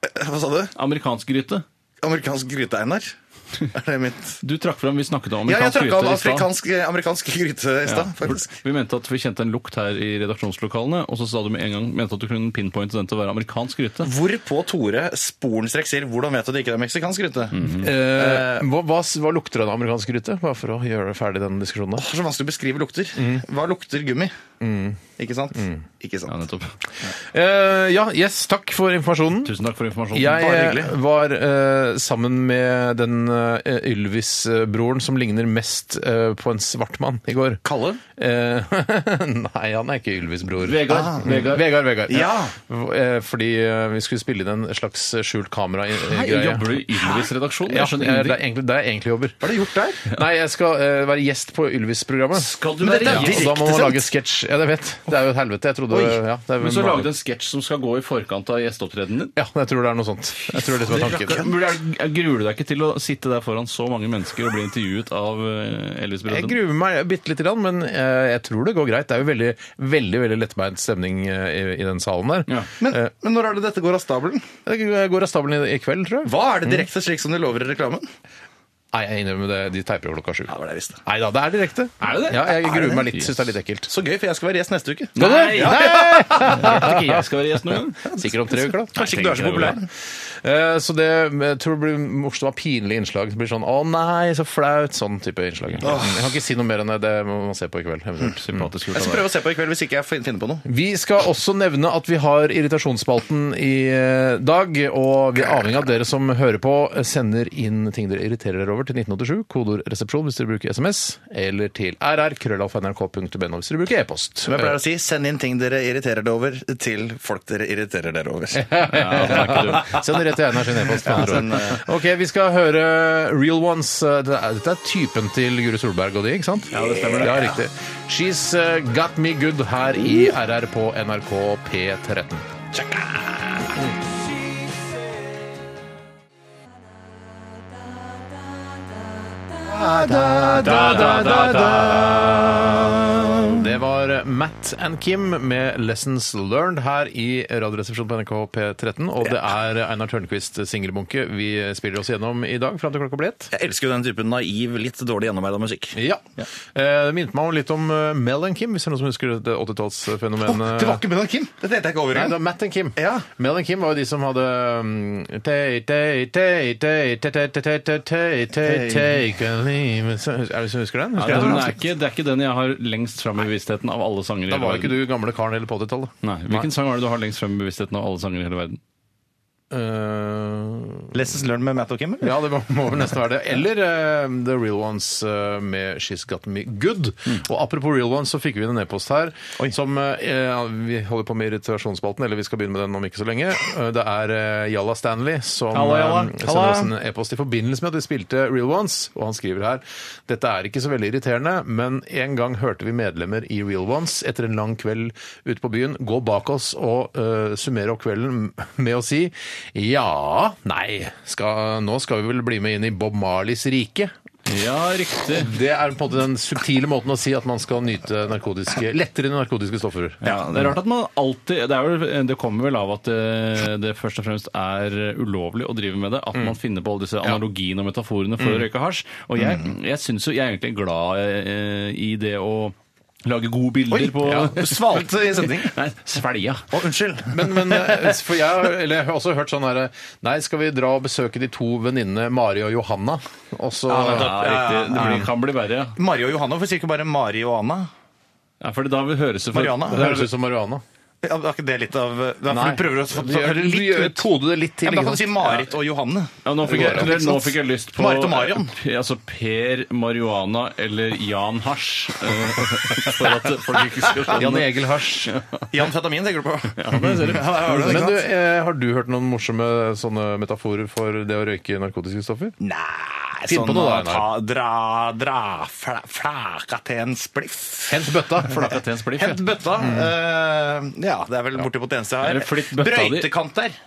[SPEAKER 3] Hva sa du?
[SPEAKER 2] Amerikansk gryte.
[SPEAKER 3] Amerikansk gryte, Einar? Er det mitt
[SPEAKER 2] Du trakk fram, vi snakket om
[SPEAKER 3] Ja, jeg
[SPEAKER 2] amerikansk
[SPEAKER 3] trakk av
[SPEAKER 2] gryte i stad.
[SPEAKER 3] afrikansk, eh, amerikansk gryte i stad, faktisk.
[SPEAKER 2] Vi mente at vi kjente en lukt her i redaksjonslokalene, og så sa du med en gang mente at du kunne pinpointe den til å være amerikansk gryte.
[SPEAKER 3] Hvorpå Tore sporenstreks sier 'Hvordan vet du det ikke er meksikansk gryte?'
[SPEAKER 2] Mhm.
[SPEAKER 1] Eh, hva, hva, hva lukter en amerikansk gryte? Bare for å gjøre ferdig den diskusjonen.
[SPEAKER 3] Det er så vanskelig å beskrive lukter. Hva lukter gummi? Ikke sant?
[SPEAKER 2] Mhm.
[SPEAKER 3] Ikke
[SPEAKER 2] Ja,
[SPEAKER 3] sant.
[SPEAKER 2] nettopp.
[SPEAKER 1] Eh, ja, yes, takk for informasjonen.
[SPEAKER 2] Tusen takk for informasjonen.
[SPEAKER 1] Jeg
[SPEAKER 3] Bare
[SPEAKER 1] eh,
[SPEAKER 3] hyggelig.
[SPEAKER 1] var eh, sammen med den eh, Ylvis-broren som ligner mest eh, på en svart mann i går.
[SPEAKER 3] Kalle?
[SPEAKER 1] Eh, nei, han er ikke Ylvis-bror.
[SPEAKER 2] Vegard. Vegard.
[SPEAKER 1] Vegard, Vegard.
[SPEAKER 3] Ja.
[SPEAKER 1] Eh, Fordi eh, vi skulle spille inn en slags skjult
[SPEAKER 2] Hei,
[SPEAKER 1] kamera-greie.
[SPEAKER 2] jobber du i Ylvis-redaksjonen?
[SPEAKER 1] Ja,
[SPEAKER 2] Jeg
[SPEAKER 1] det
[SPEAKER 2] skjønner
[SPEAKER 1] er
[SPEAKER 2] ingenting.
[SPEAKER 1] egentlig der jeg egentlig jobber.
[SPEAKER 3] Hva har du gjort der?
[SPEAKER 1] Nei, jeg skal eh, være gjest på Ylvis-programmet.
[SPEAKER 2] Skal du
[SPEAKER 1] Men
[SPEAKER 2] være
[SPEAKER 1] dette er Og
[SPEAKER 2] gjest?
[SPEAKER 1] Da må man
[SPEAKER 3] Direktesendt?
[SPEAKER 1] lage sketsj. Ja, jeg vet. Det er jo et helvete. Jeg trodde
[SPEAKER 3] Oi.
[SPEAKER 1] ja, det er,
[SPEAKER 2] Men så lagde du en sketsj som skal gå i forkant av gjesteopptredenen din.
[SPEAKER 1] Ja, jeg tror det er noe sånt. Jeg tror det liksom er tanken.
[SPEAKER 2] Burde jeg- Gruer du deg ikke til å sitte der foran så mange mennesker og bli intervjuet av eh,
[SPEAKER 1] Jeg
[SPEAKER 2] Elvis-brødrene?
[SPEAKER 1] gruer meg bitte lite grann, men eh, jeg tror det går greit. Det er jo veldig veldig, veldig lettbeint stemning eh, i, i den salen der.
[SPEAKER 2] Ja.
[SPEAKER 3] Men, men når er det dette går av stabelen?
[SPEAKER 1] Det går av stabelen i, i kveld, tror jeg.
[SPEAKER 3] Hva er det
[SPEAKER 2] Mhm.
[SPEAKER 3] direkte slik som de lover i reklamen?
[SPEAKER 1] Nei, jeg innrømmer det. De teiper jo klokka sju.
[SPEAKER 3] Ja, det var det jeg visste.
[SPEAKER 1] Nei da, det er direkte.
[SPEAKER 2] Er det det?
[SPEAKER 1] Ja, jeg
[SPEAKER 3] Er det
[SPEAKER 1] gruer
[SPEAKER 3] det?
[SPEAKER 1] meg litt. Syns det er litt ekkelt.
[SPEAKER 3] Så gøy, for jeg skal være gjest neste uke.
[SPEAKER 2] Nei,
[SPEAKER 1] Nei!
[SPEAKER 2] jeg
[SPEAKER 1] Nei!
[SPEAKER 2] vet ikke jeg skal være gjest noen gang.
[SPEAKER 1] Sikkert om tre uker, da.
[SPEAKER 2] Kanskje ikke du er så populær.
[SPEAKER 1] Eh, Så det jeg tror jeg blir morsomt å ha pinlige innslag. Det blir sånn 'Å nei, så flaut'. Sånn type innslag. Jeg kan ikke si noe mer enn det. Det må man se på i kveld.
[SPEAKER 2] Mm.
[SPEAKER 1] eventuelt.
[SPEAKER 2] Sympatisk gjort
[SPEAKER 3] Jeg
[SPEAKER 2] av
[SPEAKER 3] skal
[SPEAKER 2] deg.
[SPEAKER 3] prøve å se på i kveld hvis ikke jeg fin- finner på noe.
[SPEAKER 1] Vi skal også nevne at vi har irritasjonsspalten i eh, dag, og vi er avhengig av at dere som hører på, eh, sender inn ting dere irriterer dere over til 1987, kodeord 'resepsjon' hvis dere bruker SMS, eller til rr.krøllalfa.nrk.no hvis dere bruker e-post.
[SPEAKER 3] Som jeg pleier å si, send inn ting dere irriterer dere over, til folk dere irriterer dere over.
[SPEAKER 2] Ja, det er ikke du.
[SPEAKER 1] Send det rett til Einar sin e-post. med andre
[SPEAKER 3] send,
[SPEAKER 1] ord. Ok, vi skal høre Real Ones. Dette er, dette er typen til Guri Solberg og de, ikke sant? Ja, det stemmer det. Ja, riktig. She's uh, Got Me Good her i RR på NRK P13. Det var Matt and Kim med 'Lessons Learned' her i Radioresepsjonen på NRK P13. Og det er Einar Tørnquist singelbunke vi spiller oss gjennom i dag fram til klokka blir ett.
[SPEAKER 3] Jeg elsker jo den typen naiv, litt dårlig gjennomarbeida musikk.
[SPEAKER 1] Ja. Eh, Det minnet meg om litt om eh, Mel and Kim, hvis det er noen som husker det 80-tallsfenomenet.
[SPEAKER 3] ikke Benal Kim! Det tenkte jeg ikke over
[SPEAKER 1] Nei, det var Matt and Kim.
[SPEAKER 3] Ja.
[SPEAKER 1] Mel and Kim var jo de som hadde um, tay, tay, tay, tay, tay, tay, tay, tay, tay, tay, tay, Take a leave Er det noen som husker den?
[SPEAKER 2] Ja,
[SPEAKER 1] Husker
[SPEAKER 2] den
[SPEAKER 1] den?
[SPEAKER 2] er ikke, det er ikke den jeg har lengst fram i bevisstheten av alle sanger i
[SPEAKER 1] Da
[SPEAKER 2] hele
[SPEAKER 1] var jo ikke
[SPEAKER 2] verden.
[SPEAKER 1] du gamle karen heller på 80-tallet.
[SPEAKER 2] Nei, Hvilken sang er det du har lengst fram i bevisstheten av alle sanger i hele verden?
[SPEAKER 1] Eh,
[SPEAKER 3] Lessons learned med Matt og Kim, eller?
[SPEAKER 1] ja, det må må vel nesten være det. Eller eh, The Real Ones eh, med She's Got Me Good.
[SPEAKER 2] Mm.
[SPEAKER 1] Og apropos Real Ones, så fikk vi inn en e-post her som eh, ja, Vi holder på med irritasjonsspalten, eller vi skal begynne med den om ikke så lenge. Eh, Det er eh, Jalla Stanley som
[SPEAKER 2] Halla, Jalla.
[SPEAKER 1] eh, sender
[SPEAKER 2] Halla.
[SPEAKER 1] oss en e-post i forbindelse med at vi spilte Real Ones, og han skriver her Dette er ikke så veldig irriterende, men en gang hørte vi medlemmer i Real Ones etter en lang kveld ute på byen gå bak oss og øh, summere opp kvelden med å si Ja, nei, skal, nå skal vi vel bli med inn i Bob Marleys rike.
[SPEAKER 2] Ja, riktig.
[SPEAKER 1] Det er på en måte den subtile måten å si at man skal nyte narkotiske, lettere narkotiske stoffer.
[SPEAKER 2] Ja, det er rart at man alltid Det, er vel, det kommer vel av at eh, det, det først og fremst er ulovlig å drive med det. At man finner på alle disse analogiene og metaforene for å røyke hasj. Og jeg, jeg syns jo jeg er egentlig glad eh, i det å lage gode bilder på
[SPEAKER 1] ja.
[SPEAKER 3] Du svalte i setning.
[SPEAKER 2] Nei, svelga.
[SPEAKER 3] Å, unnskyld.
[SPEAKER 1] Men, men eh, for jeg, har- eller jeg har også hørt sånn her Nei, skal vi dra og besøke de to venninnene Mari og Johanna? Og så
[SPEAKER 2] Ja, riktig. Det blir, kan bli verre. ja.
[SPEAKER 3] Mari og Johanna, hvorfor sier ikke bare Mari og Anna?
[SPEAKER 2] Ja, for da vil høres det for
[SPEAKER 3] Mariana.
[SPEAKER 1] Det høres ut som marihuana.
[SPEAKER 3] Ja, men er ikke det litt av Nei, for
[SPEAKER 2] Nei.
[SPEAKER 3] Du prøver å få
[SPEAKER 1] Du gjør- du gjør- koder det litt til.
[SPEAKER 3] Ja, men da
[SPEAKER 1] ikke
[SPEAKER 3] kan du si
[SPEAKER 1] sant?
[SPEAKER 3] Marit og Johanne.
[SPEAKER 2] Ja, nå, fikk jeg,
[SPEAKER 3] Det går an, ikke
[SPEAKER 2] nå
[SPEAKER 3] sant?
[SPEAKER 2] fikk jeg lyst på
[SPEAKER 3] Marit og Marion.
[SPEAKER 2] eh, Altså Per Marihuana eller Jan Hasj. eh, For at folk ikke skal skjønne
[SPEAKER 1] Jan E- Egil Hasj.
[SPEAKER 3] Jan Fetamin tenker du på? Ja,
[SPEAKER 2] det ser du.
[SPEAKER 3] der har du det,
[SPEAKER 1] Men
[SPEAKER 3] ikke
[SPEAKER 1] du,
[SPEAKER 3] sant?
[SPEAKER 1] eh, har du hørt noen morsomme sånne metaforer for det å røyke narkotiske stoffer?
[SPEAKER 3] Nei,
[SPEAKER 1] Finn på
[SPEAKER 3] sånn
[SPEAKER 1] noe da,
[SPEAKER 3] ta, dra, dra fla, flaka til en spliff.
[SPEAKER 1] Hent bøtta.
[SPEAKER 2] Flakka til en spliff. ja.
[SPEAKER 3] Hent bøtta. eh, ja, det er vel bortimot det eneste
[SPEAKER 2] Eller
[SPEAKER 3] jeg
[SPEAKER 2] flitt
[SPEAKER 3] har.
[SPEAKER 2] bøtta di.
[SPEAKER 3] Brøytekant der.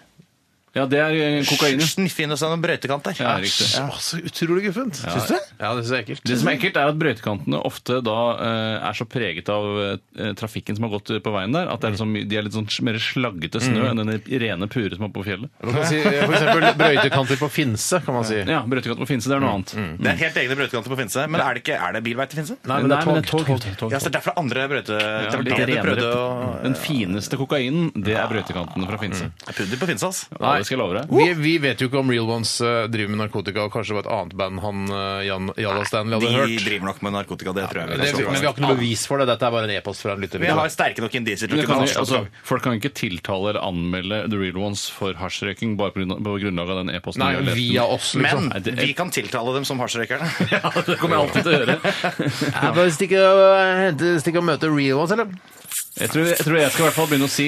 [SPEAKER 2] Ja, det er eh, kokain. ja.
[SPEAKER 3] Sniffe inn hos deg noen brøytekant der.
[SPEAKER 2] Ja, riktig.
[SPEAKER 3] Ja.
[SPEAKER 1] Å, så utrolig guffent. Ja.
[SPEAKER 3] Syns du?
[SPEAKER 1] Ja, det syns jeg er ekkelt.
[SPEAKER 2] Det som er ekkelt, er at brøytekantene ofte da eh, er så preget av eh, trafikken som har gått på veien der, at det er liksom, de er litt sånn mer slaggete snø enn den rene pure som er på fjellet.
[SPEAKER 1] Man kan si, eh, for eksempel brøytekanter på Finse, kan man si.
[SPEAKER 2] Ja, brøytekant på Finse, det er noe annet.
[SPEAKER 3] Mm. Det er helt egne brøytekanter på Finse. Men er det, ikke, er det bilvei til Finse?
[SPEAKER 1] Nei, men det er tog.
[SPEAKER 2] tog, tog, tog.
[SPEAKER 3] Ja, så derfor er det andre
[SPEAKER 2] Ja, litt
[SPEAKER 3] brøytekanter. Ja, prøvde å
[SPEAKER 2] renere. Mm. Den fineste kokainen, det er brøytekantene fra Finse.
[SPEAKER 3] Pudder på Finse, altså.
[SPEAKER 2] Ja, det skal jeg love deg.
[SPEAKER 1] Vi, vi vet jo ikke om Real Ones eh, driver med narkotika, og kanskje det var et annet band han eh, Jan, Jalla Stanley hadde
[SPEAKER 3] De
[SPEAKER 1] hørt.
[SPEAKER 3] driver nok med narkotika, det tror jeg.
[SPEAKER 1] Men det,
[SPEAKER 3] vel også.
[SPEAKER 1] men vi har ikke noe bevis for det. Dette er bare en e-post fra en lytter.
[SPEAKER 3] Vi har sterke nok indisier til
[SPEAKER 2] Men
[SPEAKER 3] å
[SPEAKER 2] det kan,
[SPEAKER 3] kunne
[SPEAKER 2] jo-
[SPEAKER 3] avslå
[SPEAKER 2] altså, folk kan ikke tiltale eller anmelde The Real Ones for hasjrøyking bare på grunn av- på grunnlag av den e-posten.
[SPEAKER 1] Nei,
[SPEAKER 2] vi har lest.
[SPEAKER 1] via oss, liksom.
[SPEAKER 3] Men
[SPEAKER 2] Nei, det-
[SPEAKER 3] vi kan tiltale dem som hasjrøykerne.
[SPEAKER 2] Ja, det kommer jeg alltid til å gjøre.
[SPEAKER 1] Ja, bare stikke og, eh, stikk og møte Real Ones, eller?
[SPEAKER 2] Jeg tror, jeg tror jeg skal i hvert fall begynne å si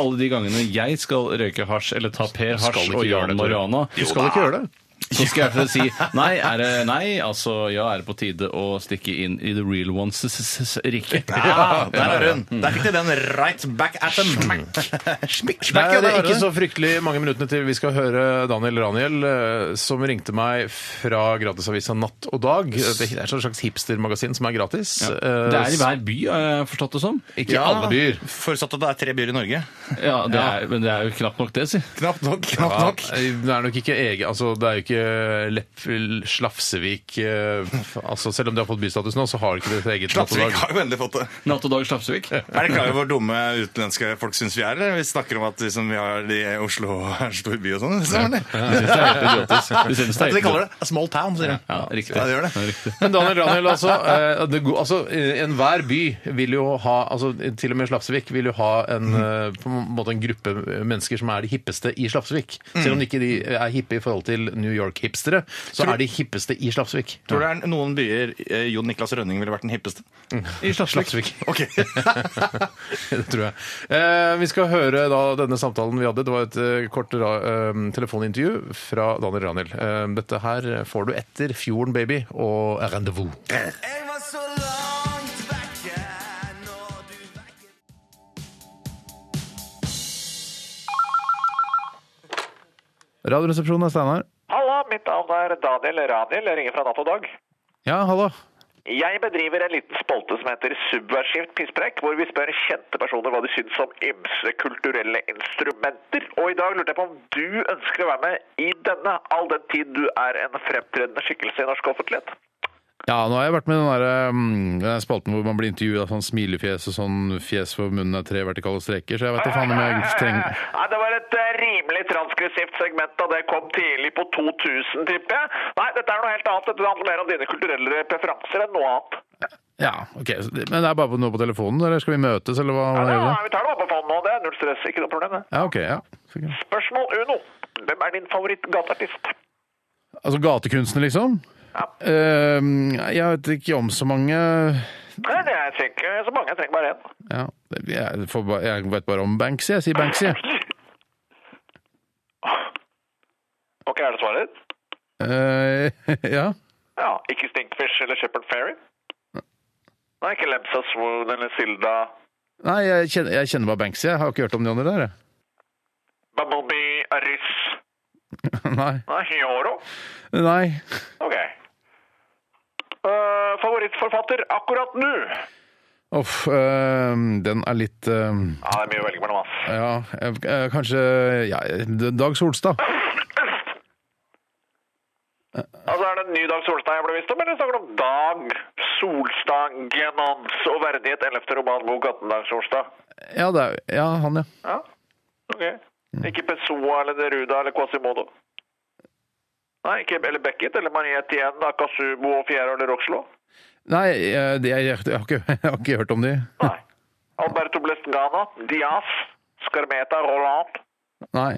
[SPEAKER 2] alle de gangene jeg skal røyke hasj, eller ta Per
[SPEAKER 1] Skal
[SPEAKER 2] hasj
[SPEAKER 1] ikke
[SPEAKER 2] og
[SPEAKER 1] gjøre
[SPEAKER 2] Jan
[SPEAKER 1] det, Tore.
[SPEAKER 2] Mariana,
[SPEAKER 1] Du skal ikke gjøre det.
[SPEAKER 2] så skal jeg i hvert fall si nei, er det nei, altså ja, er det på tide å stikke inn i The Real Ones' s- s- rike.
[SPEAKER 3] Ja, der er hun. Der fikk de den right back at them. Smikk,
[SPEAKER 1] Det
[SPEAKER 3] smekk, ja,
[SPEAKER 1] er, det
[SPEAKER 3] der
[SPEAKER 1] er
[SPEAKER 3] har
[SPEAKER 1] ikke
[SPEAKER 3] du
[SPEAKER 1] så
[SPEAKER 3] den.
[SPEAKER 1] fryktelig mange minuttene til vi skal høre Daniel Raniel, eh, som ringte meg fra gratisavisa Natt og Dag. Det er et slags hipstermagasin som er gratis. Eh,
[SPEAKER 2] Det er i hver by, har jeg forstått det som.
[SPEAKER 1] Ikke
[SPEAKER 3] Ja.
[SPEAKER 1] alle byer.
[SPEAKER 3] Forutsatt at det er tre byer i Norge.
[SPEAKER 2] Ja, det er, Men det er jo knapt nok det, si.
[SPEAKER 3] Knapt nok. knapt
[SPEAKER 1] Ja,
[SPEAKER 3] nok.
[SPEAKER 1] det er nok ikke egen altså, Det er jo ikke Lepp, Slafsevik eh, altså, Selv om de har fått bystatus nå, så har de ikke det eget Natt og
[SPEAKER 3] Slapsvik
[SPEAKER 1] Dag.
[SPEAKER 3] har jo endelig fått det.
[SPEAKER 2] Natt og dag Slapsvik.
[SPEAKER 3] Er det klar over hvor dumme utenlandske folk syns vi er? Eller? Vi snakker om at liksom, vi har de i Oslo er en stor by og sånn. så er det-
[SPEAKER 2] De synes det er helt idiotisk. De synes det
[SPEAKER 3] At
[SPEAKER 2] er
[SPEAKER 3] de
[SPEAKER 2] helt
[SPEAKER 3] kaller
[SPEAKER 2] idiotisk.
[SPEAKER 3] det a small town, sier de.
[SPEAKER 2] Ja, riktig.
[SPEAKER 3] Ja, det gjør det.
[SPEAKER 2] riktig.
[SPEAKER 1] Men Daniel Raniel, altså, eh, det go- altså eh, Enhver by vil jo ha altså, Til og med Slapsvik vil jo ha en, eh, på en måte en gruppe mennesker som er de hippeste i Slapsvik. Selv om de ikke de er hippe i forhold til New York-hipstere, så er de hippeste i Slapsvik.
[SPEAKER 3] Tror du det er noen byer eh, Jon Niklas Rønning ville vært den hippeste?
[SPEAKER 2] I Slapsvik.
[SPEAKER 1] Slapsvik.
[SPEAKER 3] Ok.
[SPEAKER 1] det tror jeg. Eh, vi skal høre da denne samtalen vi hadde. Det var et eh, kort ra eh, telefonintervju fra Daniel Raniel. Eh, dette her får du etter Fjorden Baby og Rendezvous.
[SPEAKER 4] Jeg var så langt vekke når du vekket
[SPEAKER 1] Radioresepsjonen er Steinar.
[SPEAKER 5] Halla, mitt navn er Daniel Raniel. Jeg ringer fra Natt og Dag.
[SPEAKER 1] Ja, hallo.
[SPEAKER 5] Jeg bedriver en liten spolte som heter Subversivt pisspreik, hvor vi spør kjente personer hva de syns om ymse kulturelle instrumenter. Og i dag lurte jeg på om du ønsker å være med i denne, all den tid du er en fremtredende skikkelse i norsk offentlighet.
[SPEAKER 1] Ja, nå har jeg vært med i den der, um, den der spalten hvor man blir intervjuet av sånn smilefjes og sånn fjes hvor munnen er tre vertikale streker, så jeg vet da faen om jeg trenger
[SPEAKER 5] Nei, det var et eh, rimelig transgressivt segment da det kom tidlig på 2000, tipper jeg. Nei, dette er noe helt annet. Dette handler mer om dine kulturelle preferanser enn noe annet.
[SPEAKER 1] Ja, ok. så det- Men det er bare på- noe på telefonen, eller skal vi møtes, eller hva? hva
[SPEAKER 5] Nei,
[SPEAKER 1] gjør vi?
[SPEAKER 5] nei, vi tar det bare på fanen nå. Det er null stress. Ikke noe problem, det.
[SPEAKER 1] Ja, ok, ja. Sikkert.
[SPEAKER 5] Spørsmål uno. Hvem er din favoritt-gateartist?
[SPEAKER 1] Altså gatekunstner, liksom?
[SPEAKER 5] Ja.
[SPEAKER 1] Ehm, jeg vet ikke om så mange
[SPEAKER 5] Nei, det er jeg ikke så mange. Jeg trenger bare én.
[SPEAKER 1] ja, jeg, får ba, jeg vet bare om Banksy. Jeg sier Banksy.
[SPEAKER 5] OK, er det svaret ditt?
[SPEAKER 1] Eh, ja.
[SPEAKER 5] Ja. Ikke Stinkfish eller Shepherd Fairy? Nei, ikke Lemsa Swoon eller Silda
[SPEAKER 1] Nei, jeg kjenner, jeg kjenner bare Banksy. Jeg har ikke hørt om de andre der. jeg.
[SPEAKER 5] Bumblebee Aris
[SPEAKER 1] Nei.
[SPEAKER 5] Nei, Yoro?
[SPEAKER 1] Nei.
[SPEAKER 5] OK. Eh, favorittforfatter akkurat nå?
[SPEAKER 1] Uff, ehm, den er litt ehm,
[SPEAKER 5] Ja, det er mye å velge mellom, ass.
[SPEAKER 1] Ja, eh, eh, kanskje ja, Dag Solstad.
[SPEAKER 5] Altså, Er det en ny Dag Solstad jeg ble visst om, eller snakker du om Dag Solstad, genans og verdighet, 11. romanbok 18 Dag Solstad?
[SPEAKER 1] Ja, det er, ja, han, ja.
[SPEAKER 5] Ja, ok. Ikke Pessoa eller Neruda eller Quasimodo? Nei, ikke, eller Beckett eller Marie Etienne, Akasubo og Fierro eller Roxlo?
[SPEAKER 1] Nei, eh, det, jeg, jeg, har ikke, jeg har ikke hørt om de.
[SPEAKER 5] Nei. Alberto Blestengana, Diaz, Scarmeta, Roland,
[SPEAKER 6] Nei.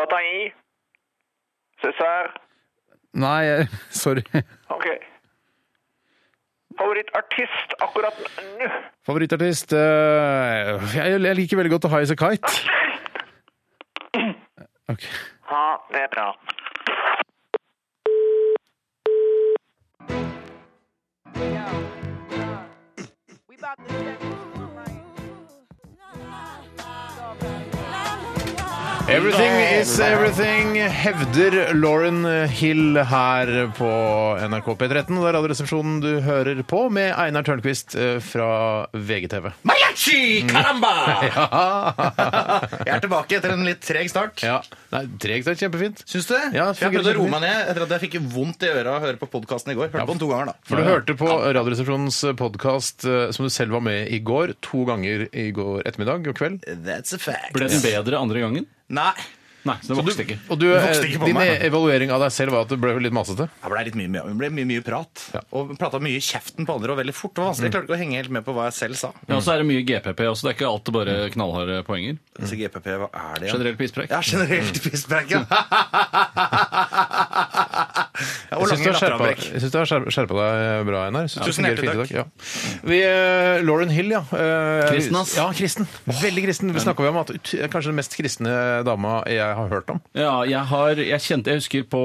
[SPEAKER 5] Bataille, César.
[SPEAKER 6] Nei, jeg- sorry.
[SPEAKER 5] Ok. Favorittartist akkurat nå?
[SPEAKER 6] Favorittartist eh, jeg, jeg liker veldig godt High As A Kite. Ok.
[SPEAKER 5] Ha det bra.
[SPEAKER 1] Everything is everything, hevder Lauren Hill her på NRK P13. Og det er Radioresepsjonen du hører på, med Einar Tørnquist eh, fra VGTV.
[SPEAKER 3] Mayachi! Caramba!
[SPEAKER 1] Ja.
[SPEAKER 3] Jeg er tilbake etter en litt treg start.
[SPEAKER 1] ja. Nei, tregt er kjempefint.
[SPEAKER 3] Syns du det?
[SPEAKER 1] Ja, det
[SPEAKER 3] jeg
[SPEAKER 1] fungerer
[SPEAKER 3] prøvde å roe
[SPEAKER 1] kjempefint.
[SPEAKER 3] meg ned etter at jeg fikk vondt i øra av å høre på podkasten i går. Hørte på den to ganger, da.
[SPEAKER 1] For du hørte på Radioresepsjonens podkast som du selv var med i går, to ganger i går ettermiddag og kveld.
[SPEAKER 3] That's a fact.
[SPEAKER 2] Ble den bedre andre gangen?
[SPEAKER 3] Nei.
[SPEAKER 2] Nei, så den vokste ikke.
[SPEAKER 1] Og du, eh,
[SPEAKER 3] vokste ikke på
[SPEAKER 1] din e-
[SPEAKER 3] meg.
[SPEAKER 1] evaluering av deg selv var at det ble litt masete.
[SPEAKER 3] Det ble litt mye, mye- det ble mye, mye prat. Og prata mye i kjeften på andre og veldig fort. Det var vanskelig. Jeg klarte ikke å henge helt med på hva jeg selv sa.
[SPEAKER 2] Ja, og så er det mye GPP også. Det er ikke alltid bare
[SPEAKER 1] Mm.
[SPEAKER 2] knallharde poenger.
[SPEAKER 3] Så GPP, hva er det? igjen?
[SPEAKER 2] Generell pisspreik.
[SPEAKER 3] Ja, generelt pisspreik, ja. Ja, og
[SPEAKER 1] Jeg syns du
[SPEAKER 3] lange
[SPEAKER 1] har skjerpa,
[SPEAKER 3] latteravbrekk.
[SPEAKER 1] jeg synes du har skjerpa- skjerpa deg eh, bra, Einar. Jeg synes det
[SPEAKER 3] Tusen
[SPEAKER 1] fungerer
[SPEAKER 3] hjertelig
[SPEAKER 1] fint i dag. Ja. Vi, eh, Lauren Hill, ja. Eh,
[SPEAKER 2] Kristen, ass.
[SPEAKER 1] Ja, kristen. Veldig kristen. Vi snakka om at ut- eh, kanskje den mest kristne dama jeg har hørt om.
[SPEAKER 2] Ja, jeg har, jeg kjente, jeg husker på,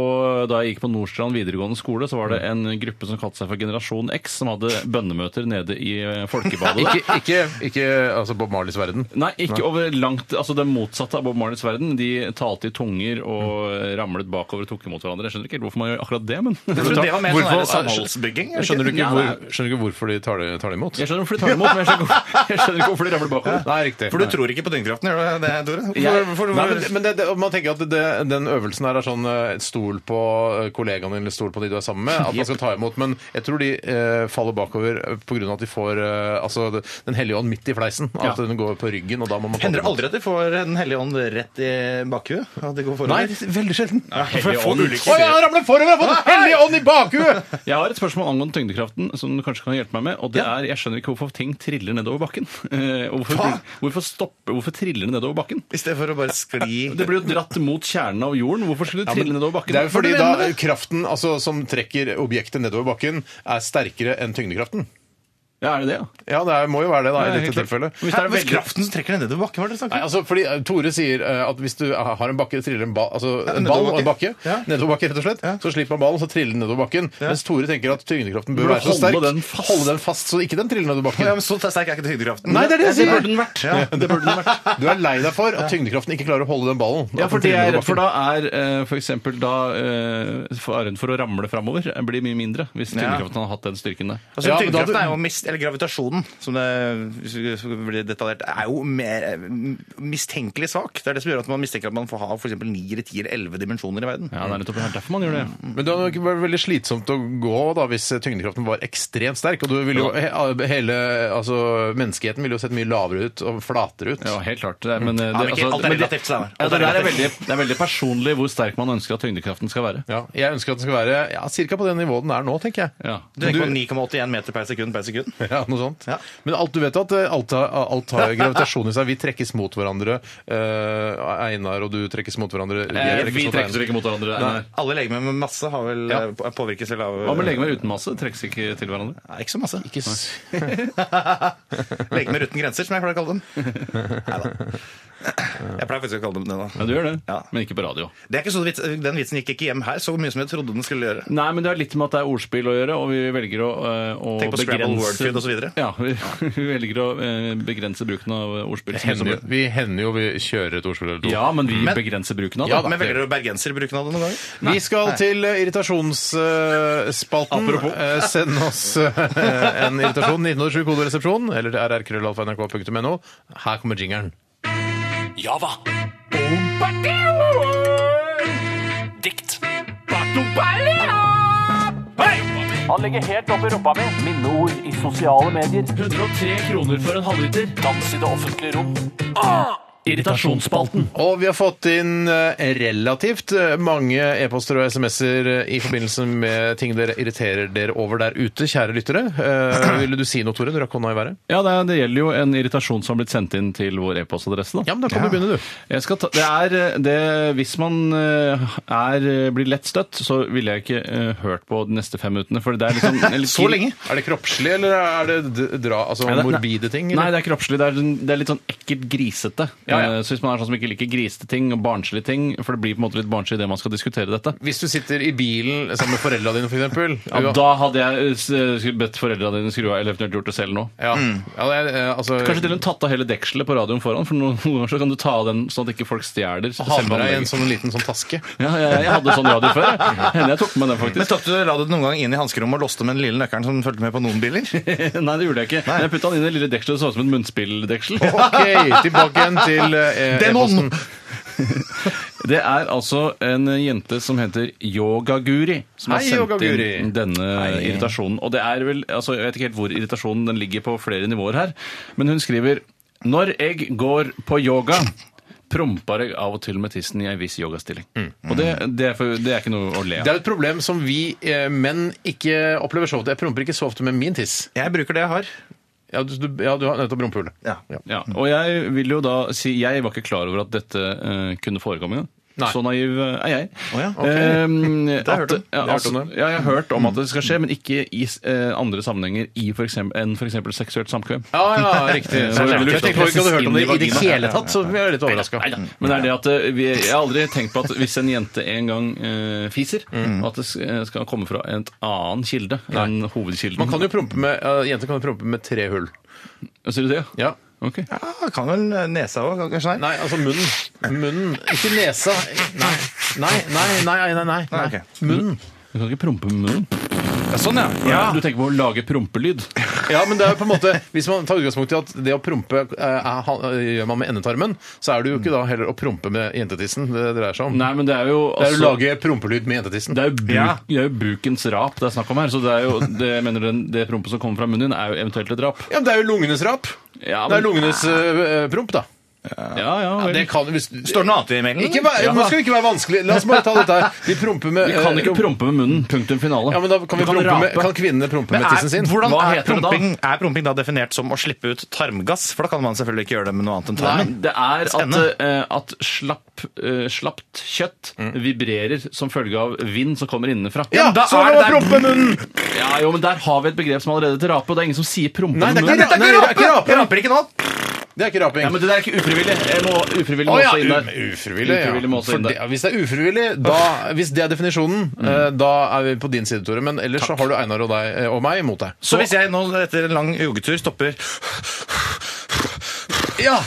[SPEAKER 2] da jeg gikk på Nordstrand videregående skole, så var det
[SPEAKER 1] Mm.
[SPEAKER 2] en gruppe som kalte seg for Generasjon X, som hadde bønnemøter nede i eh, folkebadet. der.
[SPEAKER 1] Ikke, ikke, ikke altså Bob Marleys verden.
[SPEAKER 2] Nei, ikke over langt, altså det motsatte av Bob Marleys verden. De talte i tunger og ramlet bakover og tok imot hverandre. Jeg skjønner ikke helt hvorfor man gjør akkurat det, men
[SPEAKER 3] Jeg tror det var mer sånn
[SPEAKER 1] Hvorfor-
[SPEAKER 3] der samholdsbygging. er det
[SPEAKER 1] Skjønner du ikke,
[SPEAKER 2] Ja,
[SPEAKER 1] hvor,
[SPEAKER 2] det
[SPEAKER 1] skjønner du ikke hvorfor de tar det, tar det imot?
[SPEAKER 2] Jeg skjønner hvorfor de tar imot, men jeg skjønner, jeg skjønner ikke hvorfor de ramler bakover.
[SPEAKER 1] Nei, riktig.
[SPEAKER 3] ikke? For du tror ikke på tyngdekraften, gjør du det, Tore?
[SPEAKER 2] Jeg-
[SPEAKER 3] Hvorfor-
[SPEAKER 1] Nei,
[SPEAKER 3] hvorfor-
[SPEAKER 1] men, men det, det, man tenker at det, den øvelsen her er sånn eh, stol på eh, kollegaen din eller stol på de du er sammen med, at man skal ta imot. Men jeg tror de eh, faller bakover pga. at de får eh, altså, det- Den hellige ånd midt i fleisen. At
[SPEAKER 2] Ja.
[SPEAKER 1] den går på ryggen, og da må man ta
[SPEAKER 3] Hender
[SPEAKER 1] den
[SPEAKER 3] det aldri at de får Den hellige ånd rett i bakhuet? At de går forover?
[SPEAKER 1] Nei, det er veldig sjelden. Å
[SPEAKER 3] Hellige Ånd.
[SPEAKER 1] ja, han ramler forover! Jeg har fått Den hellige ånd i bakhuet!
[SPEAKER 2] Jeg har et spørsmål angående tyngdekraften som du kanskje kan hjelpe meg med. Og det er, jeg skjønner ikke hvorfor ting triller nedover bakken. Eh, og hvorfor, hvorfor stopper, hvorfor triller det nedover bakken?
[SPEAKER 3] I stedet for å bare skli
[SPEAKER 2] Det blir jo dratt mot kjernen av jorden. Hvorfor skulle det trille nedover bakken?
[SPEAKER 1] Det er jo fordi da kraften altså, som trekker objektet nedover bakken, er sterkere enn tyngdekraften.
[SPEAKER 2] Ja, er det det, ja?
[SPEAKER 1] Ja, det er, må jo være det da,
[SPEAKER 2] Nei,
[SPEAKER 1] i dette
[SPEAKER 2] helt klart.
[SPEAKER 1] tilfellet.
[SPEAKER 2] Hvis det
[SPEAKER 3] Hæ,
[SPEAKER 2] er
[SPEAKER 3] men
[SPEAKER 2] veldig-
[SPEAKER 3] kraften som trekker deg nedover bakken, hva er det du snakker
[SPEAKER 1] Nei, altså, fordi eh, Tore sier eh, at hvis du har har en bakke, det triller en, ba, altså, en ball og en bakke,
[SPEAKER 3] nedoverbakke. Ja.
[SPEAKER 1] nedoverbakke rett og slett, så slipper man ballen, så triller den nedover bakken. Mens Tore tenker at tyngdekraften bør
[SPEAKER 2] Burde
[SPEAKER 1] være så
[SPEAKER 2] holde
[SPEAKER 1] sterk,
[SPEAKER 2] den fast.
[SPEAKER 1] holde den fast så ikke den triller nedover
[SPEAKER 3] om? Ja,
[SPEAKER 1] bakken.
[SPEAKER 3] men Så sterk er ikke tyngdekraften.
[SPEAKER 1] Nei, det er det jeg
[SPEAKER 2] Det
[SPEAKER 1] sier!
[SPEAKER 2] burde den vært.
[SPEAKER 1] Det burde den vært. Du er lei deg for at tyngdekraften ikke klarer å holde den ballen.
[SPEAKER 2] Ja,
[SPEAKER 1] At
[SPEAKER 2] for
[SPEAKER 1] den
[SPEAKER 2] det jeg
[SPEAKER 1] triller
[SPEAKER 2] er
[SPEAKER 1] nedover bakken.
[SPEAKER 2] redd for da, er eh, for eksempel da eh, faren for å ramle framover eh, blir mye mindre hvis tyngdekraften hadde hatt den styrken der.
[SPEAKER 3] Altså,
[SPEAKER 1] Ja, men da
[SPEAKER 3] tyngdekraften
[SPEAKER 1] du-
[SPEAKER 3] er jo mist, eller gravitasjonen, som det hvis vi skal bli detaljert, er jo mer eh, mistenkelig svak. Det er det som gjør at man mistenker at man får ha for eksempel 9, 10 eller 11 dimensjoner i verden.
[SPEAKER 2] Ja, det er nettopp det er derfor man gjør det.
[SPEAKER 1] Men det hadde ikke vært veldig slitsomt å gå da, hvis tyngdekraften var ekstremt sterk, og du ville jo, he- ah, hele, altså, menneskeheten ville jo sett mye lavere ut og flatere ut.
[SPEAKER 2] Ja, helt klart. Det, er- men, eh, det,
[SPEAKER 3] men ikke- alt er
[SPEAKER 2] men det-
[SPEAKER 3] relativt, Steinar.
[SPEAKER 2] Ja,
[SPEAKER 3] Alt er
[SPEAKER 2] det, der er
[SPEAKER 3] relativt.
[SPEAKER 2] veldig, det er veldig personlig hvor sterk man ønsker at tyngdekraften skal være.
[SPEAKER 1] Ja, jeg ønsker at den skal være ja, cirka på det nivået den er nå, tenker jeg.
[SPEAKER 2] Ja.
[SPEAKER 3] Du tenker på 9,81 meter per sekund per sekund.
[SPEAKER 1] Ja, noe sånt.
[SPEAKER 3] Ja.
[SPEAKER 1] Men alt, du vet at eh, alt har, alt har gravitasjon i seg. Vi trekkes mot hverandre. Eh, Einar og du trekkes mot hverandre.
[SPEAKER 2] Eh,
[SPEAKER 1] Jeg
[SPEAKER 2] vi trekkes
[SPEAKER 1] Einar.
[SPEAKER 2] ikke mot hverandre. Nei.
[SPEAKER 3] Alle legemer med masse har vel
[SPEAKER 1] Ja.
[SPEAKER 3] eh, på- påvirkes vel av
[SPEAKER 2] Hva med legemer uten masse? Trekkes ikke til hverandre?
[SPEAKER 3] Nei, ikke så masse.
[SPEAKER 1] Ikke s-
[SPEAKER 3] Legemer uten grenser, som jeg pleier å kalle dem. Neida. Jeg pleier faktisk å kalle dem det,
[SPEAKER 2] Ja,
[SPEAKER 3] da.
[SPEAKER 2] du gjør det,
[SPEAKER 3] Ja.
[SPEAKER 2] men ikke på radio.
[SPEAKER 3] Det er ikke så vits, den vitsen gikk ikke hjem her så mye som jeg trodde den skulle gjøre.
[SPEAKER 2] Nei, men det har litt med at det er ordspill å gjøre, og vi velger å, eh, å
[SPEAKER 3] Tenk på Scrabble, Wordfeud
[SPEAKER 2] begrense
[SPEAKER 3] osv.
[SPEAKER 2] ja, vi, vi velger å eh, begrense bruken av ordspill. så mye som
[SPEAKER 1] hender, jo-
[SPEAKER 2] mulig.
[SPEAKER 1] vi hender jo vi kjører et ordspill eller to.
[SPEAKER 2] Ja, men vi
[SPEAKER 3] Men-
[SPEAKER 2] begrenser bruken av det.
[SPEAKER 1] Ja,
[SPEAKER 2] da.
[SPEAKER 3] Men velger dere bergenserbruken av det noen ganger?
[SPEAKER 1] Vi skal til eh, irritasjonsspalten.
[SPEAKER 2] Apropos.
[SPEAKER 1] Eh, Send oss eh, en irritasjon. 1907 koderesepsjon eller til rrkrøllalfa.nrk.no. Her kommer jingeren.
[SPEAKER 7] Java. Dikt. Han ligger helt oppi rumpa mi. Minneord i sosiale medier. 103 kroner for en halvliter. Dans i det offentlige rom.
[SPEAKER 2] Irritasjonsspalten.
[SPEAKER 1] Og vi har fått inn eh, relativt eh, mange e-poster og SMS-er eh, i forbindelse med ting dere irriterer dere over der ute, kjære lyttere. Eh, ville du si noe, Tore? Du rakk hånda i været.
[SPEAKER 2] Ja, det, er- det gjelder jo en irritasjon som har blitt sendt inn til vår e-postadresse. da.
[SPEAKER 1] Ja, men da kan du begynne, du.
[SPEAKER 2] Jeg skal ta, det er eh, det, Hvis man eh, er, blir lett støtt, så ville jeg ikke eh, hørt på de neste fem minuttene. For det er liksom en litt-
[SPEAKER 1] Så lenge? Er det kroppslig, eller er det d- dra, altså,
[SPEAKER 2] Nei, det-
[SPEAKER 1] morbide ting?
[SPEAKER 2] Nei,
[SPEAKER 1] Eller?
[SPEAKER 2] det er kroppslig. Det er, det er litt sånn ekkelt grisete.
[SPEAKER 1] Ja, ja.
[SPEAKER 2] Eh, Så hvis man er sånn som ikke liker grisete ting og barnslige ting, for det blir på en måte litt barnslig det man skal diskutere dette
[SPEAKER 1] Hvis du sitter i bilen sammen med foreldra dine, for eksempel.
[SPEAKER 2] ja, Da hadde jeg eh, s- eh, bedt foreldrene dine skru av, eller eventuelt gjort det selv nå.
[SPEAKER 1] Ja. Ja, det er, eh, altså,
[SPEAKER 2] Mm. Kanskje til og med tatt av hele dekselet på radioen foran, for noen ganger så kan du ta av den sånn at ikke folk stjeler.
[SPEAKER 1] ha med deg
[SPEAKER 2] selvanlegget.
[SPEAKER 1] en sånn liten sånn taske.
[SPEAKER 2] Ja, jeg, jeg hadde sånn radio før. jeg. Hender jeg tok med den,
[SPEAKER 3] Men
[SPEAKER 2] faktisk.
[SPEAKER 3] tok du, La du den noen gang inn i hanskerommet og låste med den lille nøkkelen som fulgte med på noen biler?
[SPEAKER 2] Nei, det gjorde jeg ikke. Men jeg putta den inn i det lille dekselet, det så ut som et munnspilldeksel.
[SPEAKER 1] OK, tilbake igjen til eh, e-posten.
[SPEAKER 2] Det er altså en jente som heter Yogaguri, som har
[SPEAKER 1] Hei,
[SPEAKER 2] sendt
[SPEAKER 1] Yogaguri.
[SPEAKER 2] inn denne irritasjonen. Og det er vel altså, Jeg vet ikke helt hvor irritasjonen den ligger på flere nivåer her, men hun skriver Når jeg går på yoga promper jeg av og til med tissen i ei viss yogastilling.
[SPEAKER 1] Mm.
[SPEAKER 2] Og det, det, er for, det er ikke noe å le
[SPEAKER 1] Det
[SPEAKER 2] av.
[SPEAKER 1] er et problem som vi eh, menn ikke opplever så ofte. Jeg promper ikke så ofte med min tiss.
[SPEAKER 3] Jeg bruker det jeg har.
[SPEAKER 1] Ja, du, du, ja, du har nettopp rumpehull.
[SPEAKER 3] Ja.
[SPEAKER 2] Ja, og jeg vil jo da si Jeg var ikke klar over at dette eh, kunne forekomme engang.
[SPEAKER 1] Nei.
[SPEAKER 2] Så naiv eh, er jeg.
[SPEAKER 3] Å ja, ok.
[SPEAKER 2] Ehm,
[SPEAKER 3] har jeg hørt
[SPEAKER 2] at-
[SPEAKER 3] om. Det
[SPEAKER 2] ja,
[SPEAKER 1] har jeg hørt om
[SPEAKER 2] altså, ja, jeg har hørt om at det skal skje, men ikke i eh, andre sammenhenger i for eksempel, enn f.eks. seksuelt samkvem.
[SPEAKER 1] Ja, ja, riktig.
[SPEAKER 2] Ja,
[SPEAKER 1] Så
[SPEAKER 2] det er
[SPEAKER 1] jeg
[SPEAKER 2] lurt.
[SPEAKER 1] tenkte ikke at du hørte om det i det
[SPEAKER 2] Inn i
[SPEAKER 1] hele tatt, så vi er litt overraska.
[SPEAKER 2] Neida. Men det er det at eh, vi, jeg har aldri tenkt på at hvis en jente en gang eh, fiser, at det s- eh, skal komme fra en annen kilde enn hovedkilden.
[SPEAKER 1] Man kan jo prompe med, eh, Jenter kan jo prompe med tre hull.
[SPEAKER 2] Sier du det?
[SPEAKER 1] Ja.
[SPEAKER 2] Ok.
[SPEAKER 3] Ja, kan vel nesa òg, kanskje?
[SPEAKER 1] Nei, altså munnen. Munnen. Ikke nesa. Nei, nei, nei. nei, nei, nei,
[SPEAKER 3] Nei,
[SPEAKER 1] nei. Mm.
[SPEAKER 3] ok.
[SPEAKER 1] Munnen.
[SPEAKER 2] Du kan ikke prompe med munnen.
[SPEAKER 3] Ja, sånn, ja.
[SPEAKER 2] Du tenker på å lage prompelyd.
[SPEAKER 1] Ja, men det er jo på en måte Hvis man tar utgangspunkt i at det å prompe eh, er- ha- gjør man med endetarmen, så er det jo ikke da heller å prompe med jentetissen det dreier seg om.
[SPEAKER 2] Nei, men det er
[SPEAKER 1] Det er
[SPEAKER 2] jo
[SPEAKER 1] jo å
[SPEAKER 2] altså-
[SPEAKER 1] lage prompelyd med jentetissen.
[SPEAKER 2] Det er, jo bruk,
[SPEAKER 3] Ja.
[SPEAKER 2] det er jo brukens rap det er snakk om her. Så det er jo, det, jeg mener den, det prompet som kommer fra munnen din, er jo eventuelt et drap.
[SPEAKER 1] Ja, men det er jo lungenes rap.
[SPEAKER 2] Ja,
[SPEAKER 1] Det er
[SPEAKER 2] men-
[SPEAKER 1] lungenes eh, promp, da.
[SPEAKER 2] Ja, ja, vel.
[SPEAKER 1] Det kan, hvis,
[SPEAKER 3] Står det noe annet i mailen?
[SPEAKER 1] Ikke vær,
[SPEAKER 2] Ja.
[SPEAKER 1] nå skal vi ikke være vanskelig. La oss bare ta dette her. De promper med
[SPEAKER 2] Vi kan ikke
[SPEAKER 1] eh,
[SPEAKER 2] prompe med munnen. Punktum finale.
[SPEAKER 1] Ja, men da kan, vi
[SPEAKER 2] Du kan
[SPEAKER 1] prompe med,
[SPEAKER 2] rape.
[SPEAKER 1] kan kvinnene prompe
[SPEAKER 3] Men
[SPEAKER 1] med tissen sin?
[SPEAKER 3] er, hvordan
[SPEAKER 2] Hva
[SPEAKER 3] er
[SPEAKER 2] heter det da?
[SPEAKER 3] promping, er promping da definert som å slippe ut tarmgass? For da kan man selvfølgelig ikke gjøre det med noe annet enn
[SPEAKER 2] Nei,
[SPEAKER 3] tarmen.
[SPEAKER 2] det er at,
[SPEAKER 3] Spennende.
[SPEAKER 2] eh, at slapp, eh, slappt kjøtt vibrerer som følge av vind som kommer innenfra.
[SPEAKER 1] Mm. Ja,
[SPEAKER 3] da
[SPEAKER 1] så
[SPEAKER 3] er
[SPEAKER 1] la
[SPEAKER 3] det-
[SPEAKER 1] prompe munnen!
[SPEAKER 2] Ja, jo, men der har vi et begrep som allerede heter rape, og det er ingen som sier prompe
[SPEAKER 1] Nei,
[SPEAKER 2] med
[SPEAKER 1] det er
[SPEAKER 2] munnen.
[SPEAKER 1] ikke
[SPEAKER 3] Nei,
[SPEAKER 1] det er ikke raping.
[SPEAKER 3] Jeg raper ikke nå!
[SPEAKER 1] Det er ikke raping.
[SPEAKER 2] Ja, men det der er ikke ufrivillig. Jeg må, ufrivillig må
[SPEAKER 1] Å ja,
[SPEAKER 2] også inn der.
[SPEAKER 1] u- ufrivillig. Ja.
[SPEAKER 2] Ufrivillig må også
[SPEAKER 1] For
[SPEAKER 2] inn
[SPEAKER 1] det,
[SPEAKER 2] der.
[SPEAKER 1] ja, hvis det er ufrivillig, da, hvis det er definisjonen, eh, da er vi på din side, Tore. Men ellers så har du Einar og, deg, eh, og meg mot deg.
[SPEAKER 3] Så hvis jeg nå etter en lang joggetur stopper
[SPEAKER 1] Ja!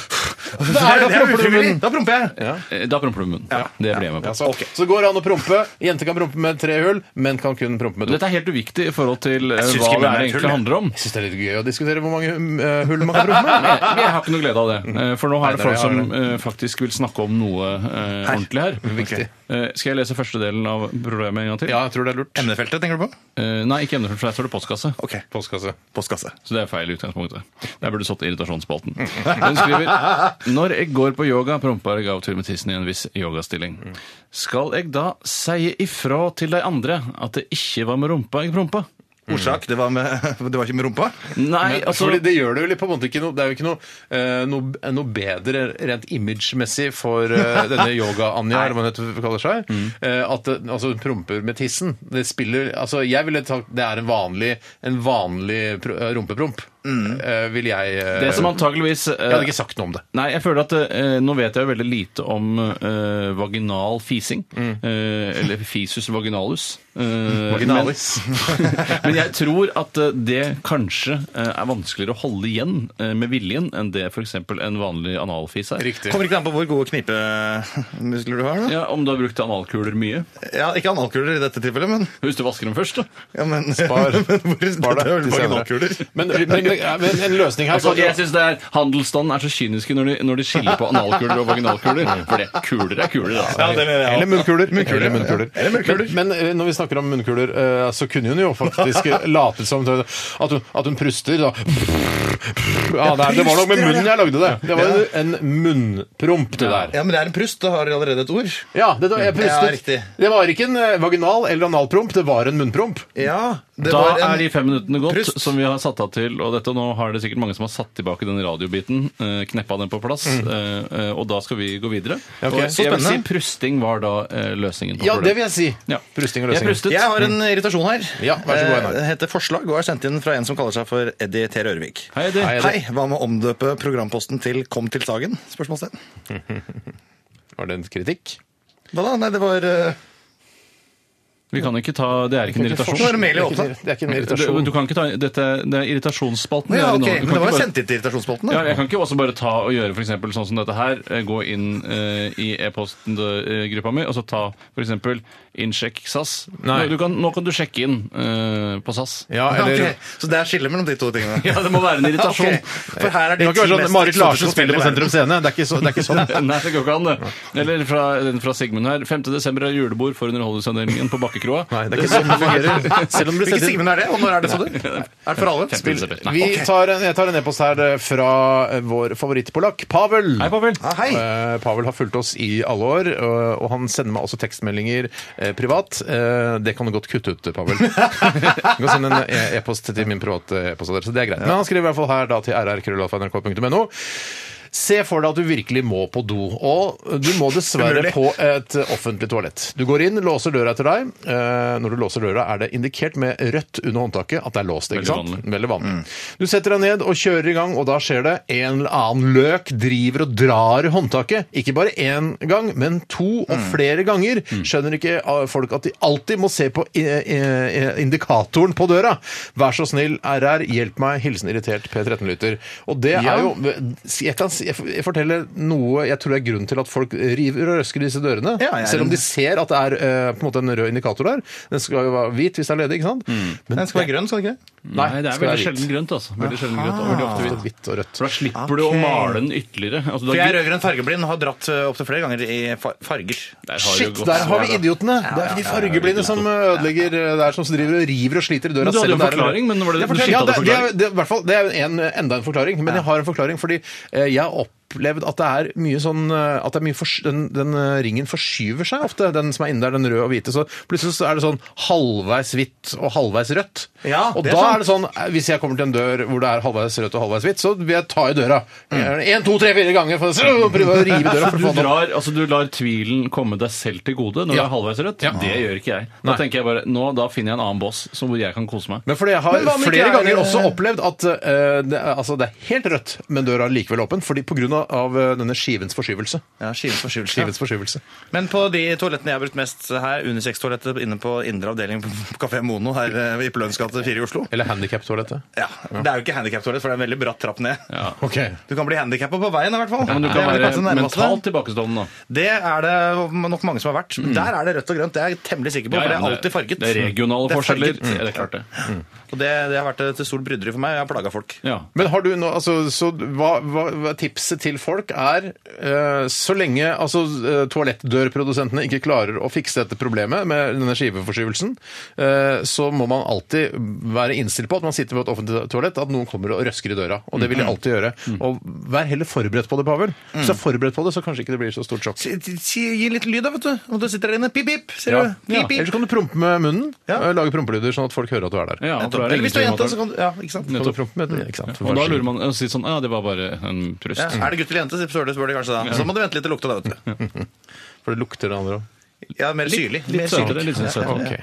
[SPEAKER 1] Det er da
[SPEAKER 3] Det er
[SPEAKER 1] promper du
[SPEAKER 3] ufrivillig.
[SPEAKER 1] munnen.
[SPEAKER 3] Da promper jeg.
[SPEAKER 2] Eh, Da promper du med munnen. Det blir jeg med på.
[SPEAKER 1] Ja, så, så går det an å prompe. Jenter kan prompe med tre hull, menn kan kun prompe med to.
[SPEAKER 2] Dette er helt uviktig i forhold til eh,
[SPEAKER 3] syns
[SPEAKER 2] hva
[SPEAKER 3] ikke
[SPEAKER 2] det
[SPEAKER 3] menn
[SPEAKER 2] er det
[SPEAKER 3] er tull,
[SPEAKER 2] egentlig
[SPEAKER 3] jeg.
[SPEAKER 2] handler om.
[SPEAKER 1] Jeg syns det er litt gøy å diskutere hvor mange eh, hull man kan prompe med.
[SPEAKER 2] Men jeg har ikke noe glede av det. Eh, For nå
[SPEAKER 1] Nei,
[SPEAKER 2] er det
[SPEAKER 1] nei,
[SPEAKER 2] folk
[SPEAKER 1] jeg
[SPEAKER 2] som
[SPEAKER 1] har
[SPEAKER 2] eh, faktisk vil snakke om noe eh, ordentlig her.
[SPEAKER 1] Viktig.
[SPEAKER 2] Eh, Skal jeg lese første delen av problemet en gang til?
[SPEAKER 1] Ja, jeg tror det er lurt.
[SPEAKER 3] Emnefeltet, tenker du på?
[SPEAKER 2] Eh, Nei, ikke emnefullt, for der står det postkasse.
[SPEAKER 3] Ok.
[SPEAKER 1] Postkasse.
[SPEAKER 3] Postkasse.
[SPEAKER 2] Så det er feil i utgangspunktet. Der burde det stått irritasjonsspalten. Hun skriver Når jeg går på yoga, promper jeg av og til med tissen i en viss yogastilling. Skal jeg da si ifra til de andre at det ikke var med rumpa jeg prompa?
[SPEAKER 3] Ordsak, det var, med, det var ikke med rumpa?
[SPEAKER 2] Nei,
[SPEAKER 1] Men,
[SPEAKER 2] altså
[SPEAKER 1] fordi det gjør det jo litt på en måte ikke noe Det er jo ikke noe, eh, noe, noe bedre rent imagemessig for eh, denne yoga-Anja, eller hva hun heter- kaller seg,
[SPEAKER 2] Mm.
[SPEAKER 1] eh, at det, altså, hun promper med tissen. Det spiller Altså, jeg ville sagt det er en vanlig, en vanlig pr rumpepromp. eh, vil jeg eh,
[SPEAKER 2] Mm. Det som antageligvis
[SPEAKER 1] Jeg hadde ikke sagt noe om det.
[SPEAKER 2] Nei, jeg føler at eh, Nå vet jeg jo veldig lite om eh, vaginal fising.
[SPEAKER 1] Mm.
[SPEAKER 2] Eh, eller fisus vaginalus. Eh,
[SPEAKER 1] Vaginalis.
[SPEAKER 2] Men, men jeg tror at eh, det kanskje eh, er vanskeligere å holde igjen eh, med viljen enn det f.eks. en vanlig analfis er.
[SPEAKER 1] Riktig.
[SPEAKER 3] Kommer ikke an på hvor gode knipemuskler du har. da.
[SPEAKER 2] Ja, Om du har brukt analkuler mye.
[SPEAKER 3] Ja, Ikke analkuler i dette tilfellet, men,
[SPEAKER 2] Hvis du vasker dem først, da.
[SPEAKER 3] ja, men
[SPEAKER 1] Spar.
[SPEAKER 3] men hvor-
[SPEAKER 1] Spar det
[SPEAKER 3] det er vel
[SPEAKER 1] til
[SPEAKER 3] bare
[SPEAKER 1] senere.
[SPEAKER 3] analkuler.
[SPEAKER 1] Men, men det ja, men en løsning her
[SPEAKER 2] Altså,
[SPEAKER 1] kan
[SPEAKER 2] jeg
[SPEAKER 1] jo
[SPEAKER 2] synes det er, Handelsstanden er så kyniske når de, når de skiller på analkuler og vaginalkuler. For det, kuler er altså. kuler, da.
[SPEAKER 1] Eller munnkuler. Eller munnkuler. Men, men, eh, når vi snakker om munnkuler, eh, så kunne hun jo faktisk late som at hun, at hun pruster. Da. Ja, det, er- det var nok med munnen jeg lagde det. Det var jo en munnpromp, det der.
[SPEAKER 3] Ja, men det er en prust. Da har dere allerede et ord.
[SPEAKER 1] Mm. Ja, det, jeg
[SPEAKER 3] Ja,
[SPEAKER 1] prustet.
[SPEAKER 3] riktig.
[SPEAKER 1] det var ikke en eh, vaginal eller analpromp, det var en munnpromp.
[SPEAKER 3] Ja, det
[SPEAKER 2] Da
[SPEAKER 3] var en...
[SPEAKER 2] er de fem minuttene gått
[SPEAKER 3] Prust.
[SPEAKER 2] som vi har satt av til. Og dette, nå har det sikkert mange som har satt tilbake den radiobiten. eh, Kneppa den på plass. eh, eh, Og da skal vi gå videre.
[SPEAKER 1] ok.
[SPEAKER 2] Og
[SPEAKER 1] Så
[SPEAKER 2] jeg vil si
[SPEAKER 3] spennende.
[SPEAKER 2] prusting var da eh, løsningen på
[SPEAKER 1] Ja, det vil
[SPEAKER 2] problemet.
[SPEAKER 1] jeg si.
[SPEAKER 2] Ja.
[SPEAKER 1] Prusting og
[SPEAKER 2] Jeg
[SPEAKER 1] løsning.
[SPEAKER 2] prustet.
[SPEAKER 3] Jeg har en irritasjon her.
[SPEAKER 1] Ja, vær så god, Einar.
[SPEAKER 3] Eh, Det heter Forslag og er sendt inn fra en som kaller seg for Eddie T. Rørvik.
[SPEAKER 2] Hei, Eddie.
[SPEAKER 1] Hei, Eddie.
[SPEAKER 3] Hei, hva med å omdøpe programposten til Kom til sagen? Spørsmålstegn.
[SPEAKER 1] Var det en kritikk?
[SPEAKER 3] Hva da? Nei, det var eh,
[SPEAKER 2] Vi kan ikke ta Det er ikke en
[SPEAKER 3] Det var
[SPEAKER 2] irritasjon.
[SPEAKER 3] Amelie
[SPEAKER 1] Det
[SPEAKER 3] Oppdal.
[SPEAKER 1] er ikke en
[SPEAKER 2] Du, du
[SPEAKER 1] irritasjon.
[SPEAKER 2] kan ikke ta dette, Det er irritasjonsspalten.
[SPEAKER 3] Ja,
[SPEAKER 2] vi er i nå.
[SPEAKER 3] ok,
[SPEAKER 2] Du kan
[SPEAKER 3] Men det var
[SPEAKER 2] ikke
[SPEAKER 3] jo
[SPEAKER 2] bare-
[SPEAKER 3] sendt inn til irritasjonsspalten.
[SPEAKER 2] Ja,
[SPEAKER 3] da.
[SPEAKER 2] jeg kan ikke også bare ta og gjøre for eksempel, sånn som dette her. eh, Gå inn eh, i e-postgruppa mi og så ta f.eks. innsjekk SAS.
[SPEAKER 1] Nei.
[SPEAKER 2] Nå, du kan, nå kan du sjekke inn eh, på SAS.
[SPEAKER 1] Ja,
[SPEAKER 3] Ja,
[SPEAKER 1] eller...
[SPEAKER 3] ok. Så det er skillet mellom de to tingene?
[SPEAKER 2] Ja, det må være en irritasjon.
[SPEAKER 3] Ok, For her er
[SPEAKER 1] Det
[SPEAKER 3] de
[SPEAKER 1] kan ikke være
[SPEAKER 3] ti mest
[SPEAKER 1] sånn Marit Larsen
[SPEAKER 3] eksotiske
[SPEAKER 1] spiller på
[SPEAKER 3] hotellene i
[SPEAKER 1] Sentrum Scene. Det er ikke, så, det er ikke sånn.
[SPEAKER 2] Nei, det går ikke an, det. Eller fra, den fra Sigmund her. 5. desember er julebord for Underholdningsavdelingen på Bakkekroa.
[SPEAKER 1] Nei, det er ikke sånn det fungerer. Selv om det blir
[SPEAKER 3] verden. Hvilken
[SPEAKER 1] sendt inn.
[SPEAKER 3] Sigmund er det, og når er det, sa du? Er det for alle?
[SPEAKER 2] Femte
[SPEAKER 3] Spill.
[SPEAKER 2] desember. Nei.
[SPEAKER 1] Vi tar en, jeg tar en e-post her eh, fra eh, vår favorittpolakk, Pavel.
[SPEAKER 2] Hei, Pavel.
[SPEAKER 3] Ah, hei!
[SPEAKER 1] Eh, Pavel har fulgt oss i alle år, og og han sender meg også tekstmeldinger eh, privat. Eh, Det kan du godt kutte ut, Pavel. Du kan sende en e- e-post til min private e-postadresse. Det er greit. Men han skriver i hvert fall her da til rrkrøllalfa.nrk.no. Se for deg at du virkelig må på do, og du må dessverre
[SPEAKER 3] Umulig.
[SPEAKER 1] på et offentlig toalett. Du går inn, låser døra etter deg. Eh, Når du låser døra, er det indikert med rødt under håndtaket at det er låst. ikke
[SPEAKER 2] Veldig
[SPEAKER 1] sant?
[SPEAKER 2] vanlig.
[SPEAKER 1] Veldig vanlig.
[SPEAKER 3] Mm.
[SPEAKER 1] Du setter deg ned og kjører i gang, og da skjer det en eller annen løk driver og drar i håndtaket. Ikke bare én gang, men to
[SPEAKER 3] Mm.
[SPEAKER 1] og flere ganger. Skjønner ikke ah, folk at de alltid må se på i- i- i- indikatoren på døra? Vær så snill, RR, hjelp meg. Hilsen irritert P13-lytter. Og det er jo Jeg kan si- jeg forteller noe jeg tror er grunnen til at folk river og røsker i disse dørene.
[SPEAKER 3] Ja, jeg er
[SPEAKER 1] selv om
[SPEAKER 3] en-
[SPEAKER 1] de ser at det er eh, på en måte en rød indikator der. Den skal jo være hvit hvis det er ledig, ikke sant? Men
[SPEAKER 3] Den skal være grønn, skal den ikke det?
[SPEAKER 2] Nei, det
[SPEAKER 1] skal Ah.
[SPEAKER 2] er veldig
[SPEAKER 1] være hvitt.
[SPEAKER 2] sjelden grønt, altså. Veldig sjelden grønt, og veldig ofte hvitt.
[SPEAKER 1] Hvitt og rødt.
[SPEAKER 2] For da slipper du å
[SPEAKER 3] Ok.
[SPEAKER 2] male den ytterligere. Altså, du
[SPEAKER 3] For jeg
[SPEAKER 2] har
[SPEAKER 3] er
[SPEAKER 2] gul-
[SPEAKER 3] rødgrønn fargeblind og har dratt eh, opptil flere ganger i far- farger.
[SPEAKER 2] Der har du
[SPEAKER 1] Shit,
[SPEAKER 2] godt
[SPEAKER 1] der har
[SPEAKER 2] svar,
[SPEAKER 1] vi
[SPEAKER 2] da.
[SPEAKER 1] idiotene! Det er de fargeblinde som ødelegger der, som driver og river og sliter i døra.
[SPEAKER 2] Men du hadde
[SPEAKER 1] selv om
[SPEAKER 2] jo en
[SPEAKER 1] det er-
[SPEAKER 2] forklaring, men var det-
[SPEAKER 1] Jeg
[SPEAKER 2] du
[SPEAKER 1] forteller-
[SPEAKER 2] skiftet
[SPEAKER 1] ja, det,
[SPEAKER 2] til
[SPEAKER 1] det, er,
[SPEAKER 2] forklaring.
[SPEAKER 1] det, er, i hvert fall, det er en, enda en forklaring, men jeg har en forklaring fordi eh, jeg har opplevd at det er mye sånn eh, at det er mye fors- den, den eh, ringen forskyver seg ofte, den som er inne der, den røde og hvite. Så plutselig så er det sånn halvveis hvitt og halvveis rødt.
[SPEAKER 3] Ja,
[SPEAKER 1] og
[SPEAKER 3] det er
[SPEAKER 1] da
[SPEAKER 3] sant.
[SPEAKER 1] er det sånn eh, Hvis jeg kommer til en dør hvor det er halvveis rødt og halvveis hvitt, så vil jeg ta i døra.
[SPEAKER 3] Mm.
[SPEAKER 1] Én, to, tre, fire ganger for å prøve å rive døra. for å
[SPEAKER 2] Du,
[SPEAKER 1] få den opp.
[SPEAKER 2] drar, altså du lar tvilen komme deg selv til gode når
[SPEAKER 1] Ja.
[SPEAKER 2] det er halvveis rødt. Det gjør ikke jeg. Da tenker jeg bare, nå da finner jeg en annen boss som hvor jeg kan kose meg.
[SPEAKER 1] Men fordi jeg
[SPEAKER 3] Men hva
[SPEAKER 1] har
[SPEAKER 3] om ikke
[SPEAKER 1] flere
[SPEAKER 3] jeg-
[SPEAKER 1] ganger også opplevd at eh, det, er- altså, det er helt rødt, men døra er likevel åpen fordi på grunn av, av eh, denne skivens forskyvelse.
[SPEAKER 3] Ja, skivens forskyvelse.
[SPEAKER 1] Skivens forskyvelse.
[SPEAKER 3] Men på de toalettene jeg har brukt mest her, Unisex-toalettet inne på indre avdeling på Kafé Mono her eh, i Pløns gate 4 i Oslo
[SPEAKER 1] Eller handikaptoalettet.
[SPEAKER 3] ja, Det er jo ikke handikaptoalett, for det er en veldig bratt trapp ned.
[SPEAKER 1] Ok.
[SPEAKER 3] Du kan bli handikappa på veien, i hvert fall.
[SPEAKER 2] Men du
[SPEAKER 3] Det
[SPEAKER 2] kan
[SPEAKER 3] er vel
[SPEAKER 2] være
[SPEAKER 3] kanskje det nærmeste.
[SPEAKER 2] mentalt tilbakestående, da.
[SPEAKER 3] Det er det nok mange som har vært. Der er det rødt og grønt. Det er jeg temmelig sikker på,
[SPEAKER 2] Ja, ja,
[SPEAKER 3] for det
[SPEAKER 2] men
[SPEAKER 3] er alltid farget.
[SPEAKER 2] Det er regionale
[SPEAKER 3] Det er
[SPEAKER 2] forskjeller.
[SPEAKER 3] farget.
[SPEAKER 2] Ja, det er klart det.
[SPEAKER 3] Og det, det har vært et stort bryderi for meg, og jeg har plaga folk.
[SPEAKER 2] Ja.
[SPEAKER 1] Men har du nå, altså, så hva, hva, hva tipset til folk er eh, så lenge altså, eh, toalettdørprodusentene ikke klarer å fikse dette problemet med denne skiveforskyvelsen, eh, så må man alltid være innstilt på at man sitter ved et offentlig toalett, at noen kommer og røsker i døra. Og det
[SPEAKER 2] Mm.
[SPEAKER 1] vil de alltid gjøre. Og vær heller forberedt på det, Pavel. Hvis du er forberedt på det, så kanskje ikke det blir så stort sjokk.
[SPEAKER 3] Si, si, gi litt lyd, da, vet du. Om du sitter der inne. Pip, pip. Ser
[SPEAKER 2] Ja.
[SPEAKER 3] du? Pip,
[SPEAKER 2] Ja.
[SPEAKER 3] pip.
[SPEAKER 1] Ellers kan du prompe med munnen.
[SPEAKER 3] Ja.
[SPEAKER 1] eh, Lage prompelyder sånn at folk hører at du er der.
[SPEAKER 2] Ja, og da er det
[SPEAKER 3] Eller hvis du er jente,
[SPEAKER 2] ingenting
[SPEAKER 3] så
[SPEAKER 2] om
[SPEAKER 3] kan du Ja, ikke sant.
[SPEAKER 2] at-
[SPEAKER 1] Kan du prompe med det? Ikke sant?
[SPEAKER 2] Og da lurer man og sier sånn Ja, det var bare en prust.
[SPEAKER 3] Ja.
[SPEAKER 1] Mm.
[SPEAKER 3] Er det gutt eller jente, så spør du spør de kanskje da. Så må du vente litt til lukta, da, vet du.
[SPEAKER 1] For det lukter det andre òg.
[SPEAKER 3] Ja, mer syrlig.
[SPEAKER 2] Litt
[SPEAKER 3] Mer
[SPEAKER 2] søtere,
[SPEAKER 3] syrlig.
[SPEAKER 2] litt sånn søtere.
[SPEAKER 1] Ok.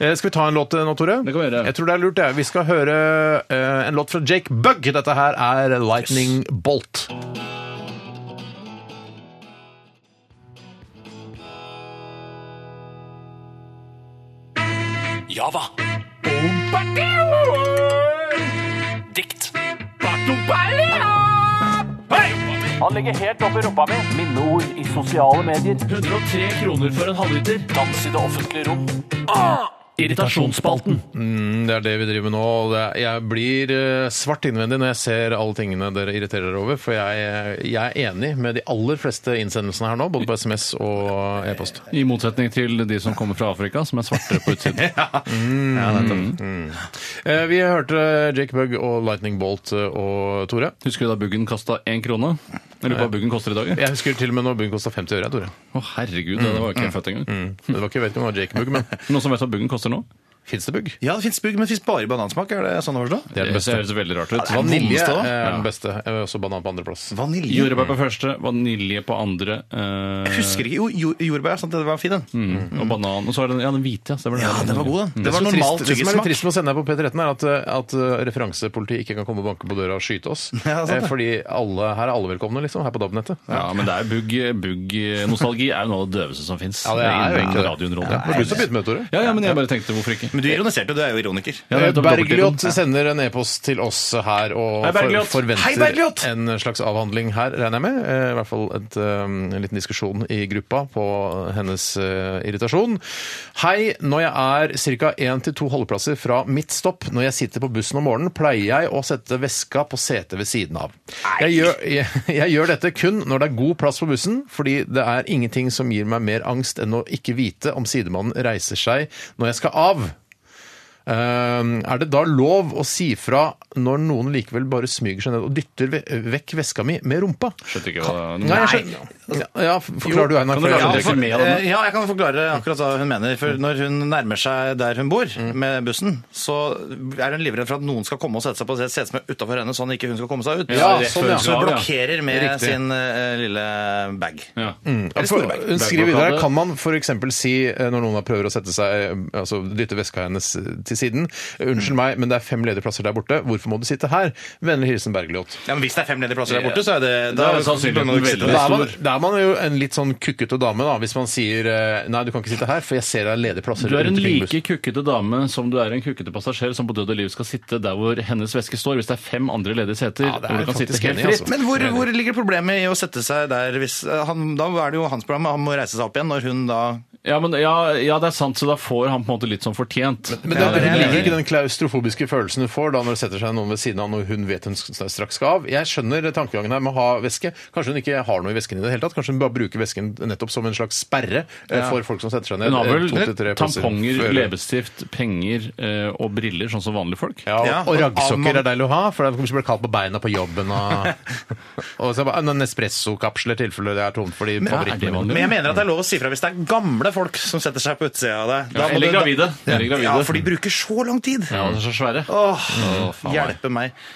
[SPEAKER 1] Eh, Skal vi ta en låt eh, nå, Tore?
[SPEAKER 2] Det kan vi gjøre.
[SPEAKER 1] Jeg tror det er lurt, det. Vi skal høre eh, en låt fra Jake Bugg. Dette her er Lightning Bolt.
[SPEAKER 7] Java. Dikt. Han legger helt opp i rumpa mi. Minneord i sosiale medier. 103 kroner for en halvliter. Dans i det offentlige rom.
[SPEAKER 2] Irritasjonsspalten.
[SPEAKER 1] Mm, Det er det vi driver med nå. og det er- Jeg blir eh, svart innvendig når jeg ser alle tingene dere irriterer dere over, for jeg, jeg er enig med de aller fleste innsendelsene her nå, både på SMS og e-post.
[SPEAKER 2] I motsetning til de som kommer fra Afrika, som er svartere på utsiden.
[SPEAKER 1] Eh, Vi hørte Jake Bug og Lightning Bolt eh, og Tore.
[SPEAKER 2] Husker du da Buggen kasta én krone? Jeg lurer på hva Buggen koster i dag? jeg.
[SPEAKER 1] Jeg husker til og med når Buggen kosta 50 øre, jeg, Tore.
[SPEAKER 2] Å, herregud, det var jo
[SPEAKER 3] Mm.
[SPEAKER 2] ikke jeg født engang.
[SPEAKER 1] Men Det var ikke, jeg vet ikke om det var Jake Bug, men
[SPEAKER 2] Noen som vet hva Buggen koster nå?
[SPEAKER 1] fins det Bugg?
[SPEAKER 3] Ja, det fins bugg, men det fins bare i banansmak. Er det sånn å forstå?
[SPEAKER 1] Det er den
[SPEAKER 2] Det
[SPEAKER 1] beste.
[SPEAKER 2] høres veldig rart ut.
[SPEAKER 1] Vanilje
[SPEAKER 3] vondeste, da?
[SPEAKER 1] er den beste. Eh, Også banan på andreplass.
[SPEAKER 3] Vanilje.
[SPEAKER 2] Jordbær på første, vanilje på andre. eh,
[SPEAKER 3] Jeg Husker ikke. Jo, jo, jordbær. Sant? Det var fin, den.
[SPEAKER 2] Mm. Og banan. Og så er den, ja, den hvite. Ja, stemmer det.
[SPEAKER 3] Ja, den var god, den. Det
[SPEAKER 1] Det,
[SPEAKER 3] var
[SPEAKER 1] som er
[SPEAKER 3] normal
[SPEAKER 1] Mm. trist, det som er litt
[SPEAKER 3] tyggissmak.
[SPEAKER 1] trist med å sende deg på P13, er at, at eh, referansepolitiet ikke kan komme og banke på døra og skyte oss.
[SPEAKER 3] Ja, sant
[SPEAKER 1] Eh,
[SPEAKER 3] det.
[SPEAKER 1] Fordi alle, her er alle velkomne, liksom, her på DAB-nettet.
[SPEAKER 2] Ja, men det er bugg, bugg Nostalgi er jo noe av det døveste som fins.
[SPEAKER 1] Ja, det er jo egentlig det.
[SPEAKER 2] radiounderholdning.
[SPEAKER 1] Var du som begynte med det, Tore?
[SPEAKER 2] Ja, ja, men jeg bare tenkte hvorfor ikke?
[SPEAKER 3] Men du ironiserte, du er jo ironiker.
[SPEAKER 2] Ja, det
[SPEAKER 1] Eh,
[SPEAKER 2] er
[SPEAKER 1] Bergljot
[SPEAKER 2] dobbelttittel.
[SPEAKER 1] sender en e-post til oss her og
[SPEAKER 2] Hei,
[SPEAKER 1] for,
[SPEAKER 2] Bergljot!
[SPEAKER 3] Hei,
[SPEAKER 1] forventer
[SPEAKER 3] Bergljot!
[SPEAKER 1] en slags avhandling her, regner jeg med. Eh, I hvert fall et, um, en liten diskusjon i gruppa på hennes eh, irritasjon. Hei, når jeg er ca. én til to holdeplasser fra mitt stopp når jeg sitter på bussen om morgenen, pleier jeg å sette veska på setet ved siden av. Jeg gjør, jeg, jeg gjør dette kun når det er god plass på bussen, fordi det er ingenting som gir meg mer angst enn å ikke vite om sidemannen reiser seg når jeg skal av. Ehm, Er det da lov å si fra når noen likevel bare smyger seg ned og dytter ve- vekk veska mi med rumpa?
[SPEAKER 2] Skjønte ikke hva
[SPEAKER 1] Nei, jeg skjønner. Ja, ja, forklarer du, Einar.
[SPEAKER 2] Kan du
[SPEAKER 1] for jeg skjønner
[SPEAKER 2] lage en
[SPEAKER 1] ikke.
[SPEAKER 2] reklame? med denne.
[SPEAKER 3] eh, ja, jeg kan forklare akkurat hva hun mener. For når hun nærmer seg der hun bor,
[SPEAKER 2] Mm.
[SPEAKER 3] med bussen, så er hun livredd for at noen skal komme og sette seg på et sete som er utafor henne, sånn ikke hun skal komme seg ut.
[SPEAKER 1] Ja,
[SPEAKER 3] så,
[SPEAKER 1] sånn, ja.
[SPEAKER 3] så hun blokkerer med
[SPEAKER 1] Riktig.
[SPEAKER 3] sin eh, lille bag.
[SPEAKER 2] Ja.
[SPEAKER 1] Mm, Ja, for- Hun skriver
[SPEAKER 2] Bergbakade.
[SPEAKER 1] videre kan man f.eks. si eh, når noen prøver å sette seg eh, altså dytte veska hennes eh, til siden 'Unnskyld meg, men det er fem ledige plasser der borte. Hvorfor må du sitte her?' Vennlig hilsen Bergljot.
[SPEAKER 3] Ja, men Hvis det er fem ledige plasser der borte, så er det
[SPEAKER 2] Da er sannsynligheten
[SPEAKER 3] bør man ikke sitte
[SPEAKER 2] veldig
[SPEAKER 3] der.
[SPEAKER 1] Da er, man,
[SPEAKER 2] stor.
[SPEAKER 1] da er man jo en litt sånn kukkete dame, da, hvis man sier eh, 'Nei, du kan ikke sitte her, for jeg ser det er ledige plasser'.
[SPEAKER 2] Du er en
[SPEAKER 1] rundt omkring i bussen.»
[SPEAKER 2] like kukkete dame som du er en kukkete passasjer som på død og liv skal sitte der hvor hennes veske står, hvis det er fem andre ledige seter.
[SPEAKER 1] Ja, det er
[SPEAKER 2] hvor du kan sitte
[SPEAKER 1] faktisk
[SPEAKER 2] helt
[SPEAKER 1] enig,
[SPEAKER 2] fritt.
[SPEAKER 1] altså.
[SPEAKER 3] Men hvor, hvor ligger problemet i å sette seg der hvis eh, han, Da er det jo hans program, han må reise seg opp igjen når hun da
[SPEAKER 2] Ja, men, ja, ja, det er sant, så da får han på en måte litt sånn fortjent.
[SPEAKER 1] Men da
[SPEAKER 3] Ja, det
[SPEAKER 1] ligger
[SPEAKER 3] er enig.
[SPEAKER 1] ikke den klaustrofobiske følelsen hun får da når det setter seg noen ved siden av når hun vet hun straks skal av. Jeg skjønner tankegangen her med å ha veske. Kanskje hun ikke har noe i vesken i det hele tatt. Kanskje hun bare bruker vesken nettopp som en slags sperre eh, for folk som setter seg ned.
[SPEAKER 2] Hun har
[SPEAKER 1] eh,
[SPEAKER 2] vel
[SPEAKER 1] to til tre plasser
[SPEAKER 2] tamponger,
[SPEAKER 1] før-
[SPEAKER 2] leppestift, penger eh, og briller, sånn som vanlige folk.
[SPEAKER 1] Ja, og,
[SPEAKER 3] Ja,
[SPEAKER 1] og
[SPEAKER 3] og
[SPEAKER 1] raggsokker
[SPEAKER 3] avmann-
[SPEAKER 1] er deilig å ha, for det blir kaldt på beina på jobben. Og, og så bare en Nespresso-kapsel i tilfelle det er tomt for de
[SPEAKER 2] Ja, er det
[SPEAKER 1] favorittene.
[SPEAKER 2] vanlig?
[SPEAKER 3] Men jeg mener at det er lov å si fra hvis det er gamle folk som setter seg på utsida av deg. Da
[SPEAKER 2] Ja,
[SPEAKER 3] må
[SPEAKER 2] eller
[SPEAKER 3] du- da-
[SPEAKER 2] gravide. Eller gravide.
[SPEAKER 3] Ja, for de bruker så lang tid.
[SPEAKER 2] Ja, de er så svære.
[SPEAKER 3] Åh,
[SPEAKER 2] faen meg.
[SPEAKER 3] hjelpe meg.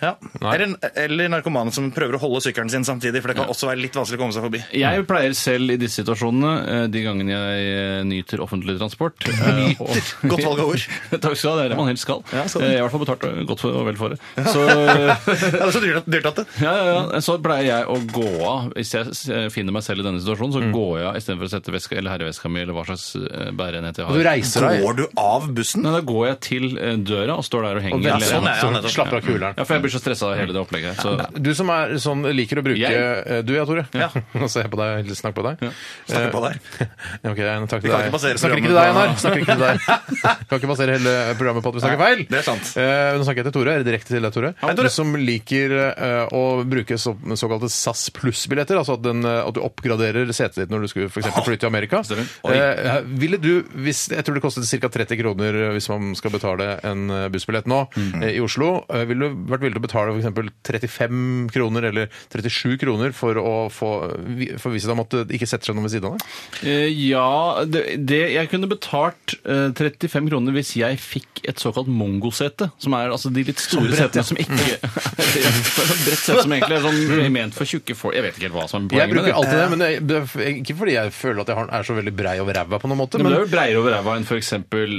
[SPEAKER 3] Ja. Eller, eller narkomane som prøver å holde sykkelen sin samtidig, for det kan også være litt vanskelig å komme seg forbi.
[SPEAKER 2] Jeg pleier selv i disse situasjonene, eh, de gangene jeg eh, nyter offentlig transport eh, og-
[SPEAKER 3] Godt valg av ord.
[SPEAKER 2] Takk skal du ha, det er det man helst skal.
[SPEAKER 3] Ja, skal du.
[SPEAKER 2] Eh, jeg har i hvert fall betalt eh, godt for, og vel for det. Så,
[SPEAKER 3] Ja, det er så dyrt, dyrt at det.
[SPEAKER 2] ja, ja, ja. så pleier jeg å gå av. Hvis jeg eh, finner meg selv i denne situasjonen,
[SPEAKER 1] Mm.
[SPEAKER 2] så går jeg av istedenfor å sette veska eller herreveska mi eller hva slags eh, bæreenhet jeg
[SPEAKER 1] Du
[SPEAKER 2] har.
[SPEAKER 1] reiser deg
[SPEAKER 3] Går du av bussen?
[SPEAKER 2] Nei, da går jeg til eh, døra og står der og
[SPEAKER 1] og
[SPEAKER 2] henger.
[SPEAKER 1] venter,
[SPEAKER 2] eller-
[SPEAKER 3] sånn, ja, ja,
[SPEAKER 1] så
[SPEAKER 3] nettopp.
[SPEAKER 1] slapper av kuleren.
[SPEAKER 2] Ja, for jeg blir så stressa av hele det opplegget her. Så.
[SPEAKER 1] Du som er sånn, liker å bruke
[SPEAKER 2] Jeg?
[SPEAKER 1] eh, Du ja, Tore.
[SPEAKER 3] Ja.
[SPEAKER 1] Nå ser jeg på deg, eller snakker på deg.
[SPEAKER 3] Snakker på deg.
[SPEAKER 1] Ja, ok, Einar, takk til
[SPEAKER 3] kan
[SPEAKER 1] deg.
[SPEAKER 3] ikke basere
[SPEAKER 1] snakker ikke til deg,
[SPEAKER 3] programmet
[SPEAKER 1] Einar. Snakker ikke til deg. kan ikke basere hele programmet på at vi snakker feil.
[SPEAKER 3] det er sant.
[SPEAKER 1] Eh, nå snakker jeg til Tore, eller direkte til deg, Tore.
[SPEAKER 3] Hei, Tore.
[SPEAKER 1] Du som liker eh, å bruke så, såkalte SAS pluss-billetter, altså at, den, eh, at du oppgraderer setet ditt når du skulle for eksempel flytte til Amerika.
[SPEAKER 2] Oi.
[SPEAKER 1] Eh, ville du, hvis, jeg tror det kostet ca. 30 kroner eh, hvis man skal betale en eh, bussbillett nå
[SPEAKER 3] Mhm.
[SPEAKER 1] eh, i Oslo. Eh, ville du vært villig til å betale for eksempel 35 kroner eller 37 kroner for å få eh, vi- forvisse deg om at det ikke setter seg noen ved siden av deg?
[SPEAKER 2] Eh, ja, det, det, jeg kunne betalt eh, 35 kroner hvis jeg fikk et såkalt mongosete, som er altså de litt store setene som ikke Det er et Bredt sete som egentlig er sånn ment for tjukke folk. Jeg vet ikke helt hva som er
[SPEAKER 1] Mm. Jeg
[SPEAKER 2] poenget med
[SPEAKER 1] bruker
[SPEAKER 2] det. Eh.
[SPEAKER 1] alltid det, men det er ikke fordi jeg føler at jeg har- er så veldig brei over ræva på noen måte.
[SPEAKER 2] Men, det
[SPEAKER 1] Men,
[SPEAKER 2] er jo breiere over ræva enn f.eks.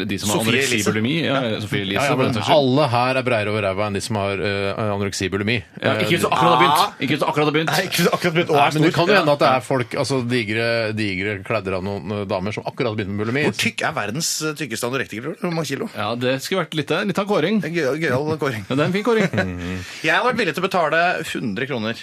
[SPEAKER 2] de som har
[SPEAKER 3] Sofie
[SPEAKER 2] anoreksi
[SPEAKER 3] Elise.
[SPEAKER 2] bulimi. Ja, Sofie Elise.
[SPEAKER 1] ja, ja,
[SPEAKER 2] for
[SPEAKER 1] men
[SPEAKER 2] den saks skyld.
[SPEAKER 1] alle her er breiere over ræva enn de som har eh, anoreksi bulimi.
[SPEAKER 2] ja, ikke hvis du akkurat har begynt. Ikke hvis du akkurat har begynt.
[SPEAKER 3] Akkurat begynt å
[SPEAKER 1] Nei,
[SPEAKER 3] være
[SPEAKER 1] men Det
[SPEAKER 3] stor.
[SPEAKER 1] kan jo hende at det er folk, altså digre, digre kledder av noen eh, damer som akkurat har begynt med bulimi.
[SPEAKER 3] Hvor tykk er verdens eh, tykkeste anorektiker? tror du? Hvor mange kilo?
[SPEAKER 2] Ja, det skulle vært litt, litt av kåring.
[SPEAKER 3] Det er gøy- Gøyal kåring.
[SPEAKER 2] Ja, det er en fin kåring.
[SPEAKER 3] Jeg har vært villig til å betale 100 kroner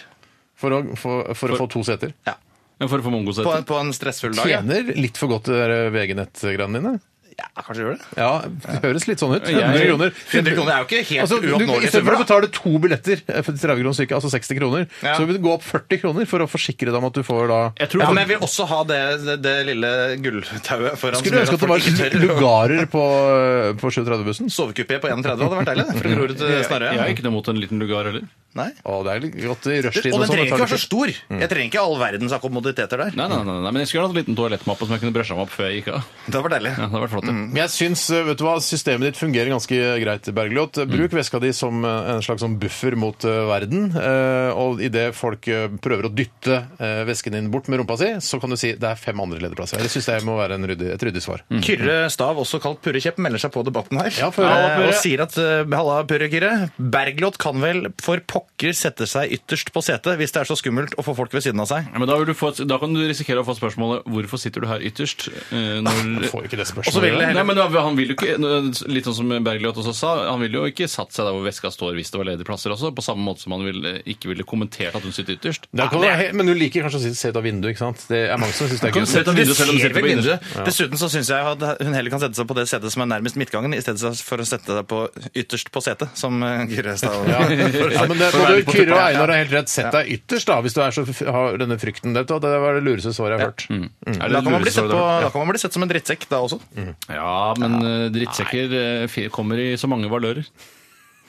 [SPEAKER 1] For å, for, for å få to seter.
[SPEAKER 3] ja.
[SPEAKER 2] Men For å få
[SPEAKER 3] på,
[SPEAKER 2] mongosete.
[SPEAKER 3] på en stressfull dag. ja.
[SPEAKER 1] Tjener litt for godt de der eh, VG-nett-greiene dine.
[SPEAKER 3] Ja, kanskje gjør det.
[SPEAKER 1] Ja, det høres litt sånn ut. 100 kroner.
[SPEAKER 3] 100 kroner er jo ikke helt
[SPEAKER 1] Altså, du, I
[SPEAKER 3] uoppnåelig.
[SPEAKER 1] stedet for å betale to billetter eh, for 30 kroner stykket, altså 60 kroner,
[SPEAKER 3] Ja.
[SPEAKER 1] så vil du gå opp 40 kroner for å forsikre deg om at du får da
[SPEAKER 2] Jeg tror
[SPEAKER 3] Ja,
[SPEAKER 2] folk-
[SPEAKER 3] men jeg vil også ha det, det, det lille gulltauet foran.
[SPEAKER 1] Skulle du ønske at det var lugarer på, eh, på 730-bussen?
[SPEAKER 3] Sovekupé på 31 hadde vært deilig. det, eh, Fra Grorud til Snarøy.
[SPEAKER 2] Jeg har ikke noe mot en liten lugar heller.
[SPEAKER 3] Nei.
[SPEAKER 1] Å, det er litt godt i
[SPEAKER 3] Og
[SPEAKER 1] rushtiden.
[SPEAKER 3] den
[SPEAKER 1] og sånn,
[SPEAKER 3] trenger ikke
[SPEAKER 1] tar
[SPEAKER 3] Mm. være så
[SPEAKER 1] litt-
[SPEAKER 3] stor. Jeg trenger ikke all verdens akkommoditeter der.
[SPEAKER 2] Nei, nei, nei, nei, men jeg skulle hatt en liten toalettmappe som jeg kunne brøsja meg opp før jeg gikk av.
[SPEAKER 3] Det hadde vært deilig.
[SPEAKER 2] Ja, det hadde vært flott. det.
[SPEAKER 1] Men jeg syns eh, vet du hva, systemet ditt fungerer ganske greit, Bergljot. Bruk veska di som eh, en slags sånn buffer mot eh, verden. eh, Og idet folk eh, prøver å dytte eh, vesken din bort med rumpa si, så kan du si det er fem andre lederplasser. Det syns jeg må være en ryddig, et ryddig svar.
[SPEAKER 3] Kyrre Stav, også kalt Purre Kjepp, melder seg på debatten her.
[SPEAKER 1] Ja, for- Halla,
[SPEAKER 3] Eh,
[SPEAKER 1] Purre.
[SPEAKER 3] og sier at eh, Halla, Purre Kyrre. Bergljot kan vel for pokker sette seg ytterst på setet hvis det er så skummelt å få folk ved siden av seg.
[SPEAKER 2] Ja, men da, vil du få, et- da kan du risikere å få spørsmålet 'Hvorfor sitter du her ytterst?' eh,
[SPEAKER 1] Jeg
[SPEAKER 2] når
[SPEAKER 1] får jo ikke det
[SPEAKER 3] Og så vil
[SPEAKER 1] spørsmålet.
[SPEAKER 3] jeg
[SPEAKER 2] Nei,
[SPEAKER 3] heller
[SPEAKER 2] men da, han vil jo ikke, Litt sånn som Bergljot også sa, han ville jo ikke satt seg der hvor veska står hvis det var ledige plasser også, på samme måte som han ville, ikke ville kommentert at hun sitter ytterst.
[SPEAKER 1] Da kan du, he- men du liker kanskje å si se ut av vinduet, ikke sant? Det er mange som syns det er
[SPEAKER 2] Kan
[SPEAKER 1] gøy.
[SPEAKER 2] du se ut av
[SPEAKER 3] Det
[SPEAKER 2] vinduet selv om du
[SPEAKER 3] ser
[SPEAKER 2] sitter
[SPEAKER 3] vel
[SPEAKER 2] på
[SPEAKER 3] mindre.
[SPEAKER 2] vinduet?
[SPEAKER 3] Dessuten så syns jeg at hun heller kan sette seg på det setet som er nærmest midtgangen, i stedet for å sette seg på ytterst på setet, som eh, Kyrre Stav.
[SPEAKER 1] Ja. ja, men det,
[SPEAKER 3] For å være
[SPEAKER 1] både
[SPEAKER 3] litt på
[SPEAKER 1] Kyrre og
[SPEAKER 3] tuppa.
[SPEAKER 1] Einar har helt rett. Sett deg ytterst, da, hvis du er så, f- har denne frykten. Det, det var det lureste svaret jeg har hørt.
[SPEAKER 2] Er det
[SPEAKER 3] Da kan, man bli sett
[SPEAKER 2] luresår
[SPEAKER 3] på,
[SPEAKER 2] der?
[SPEAKER 3] da kan man bli sett som en drittsekk da også.
[SPEAKER 2] Mm. Ja, men eh, drittsekker eh, fi- kommer i så mange valører.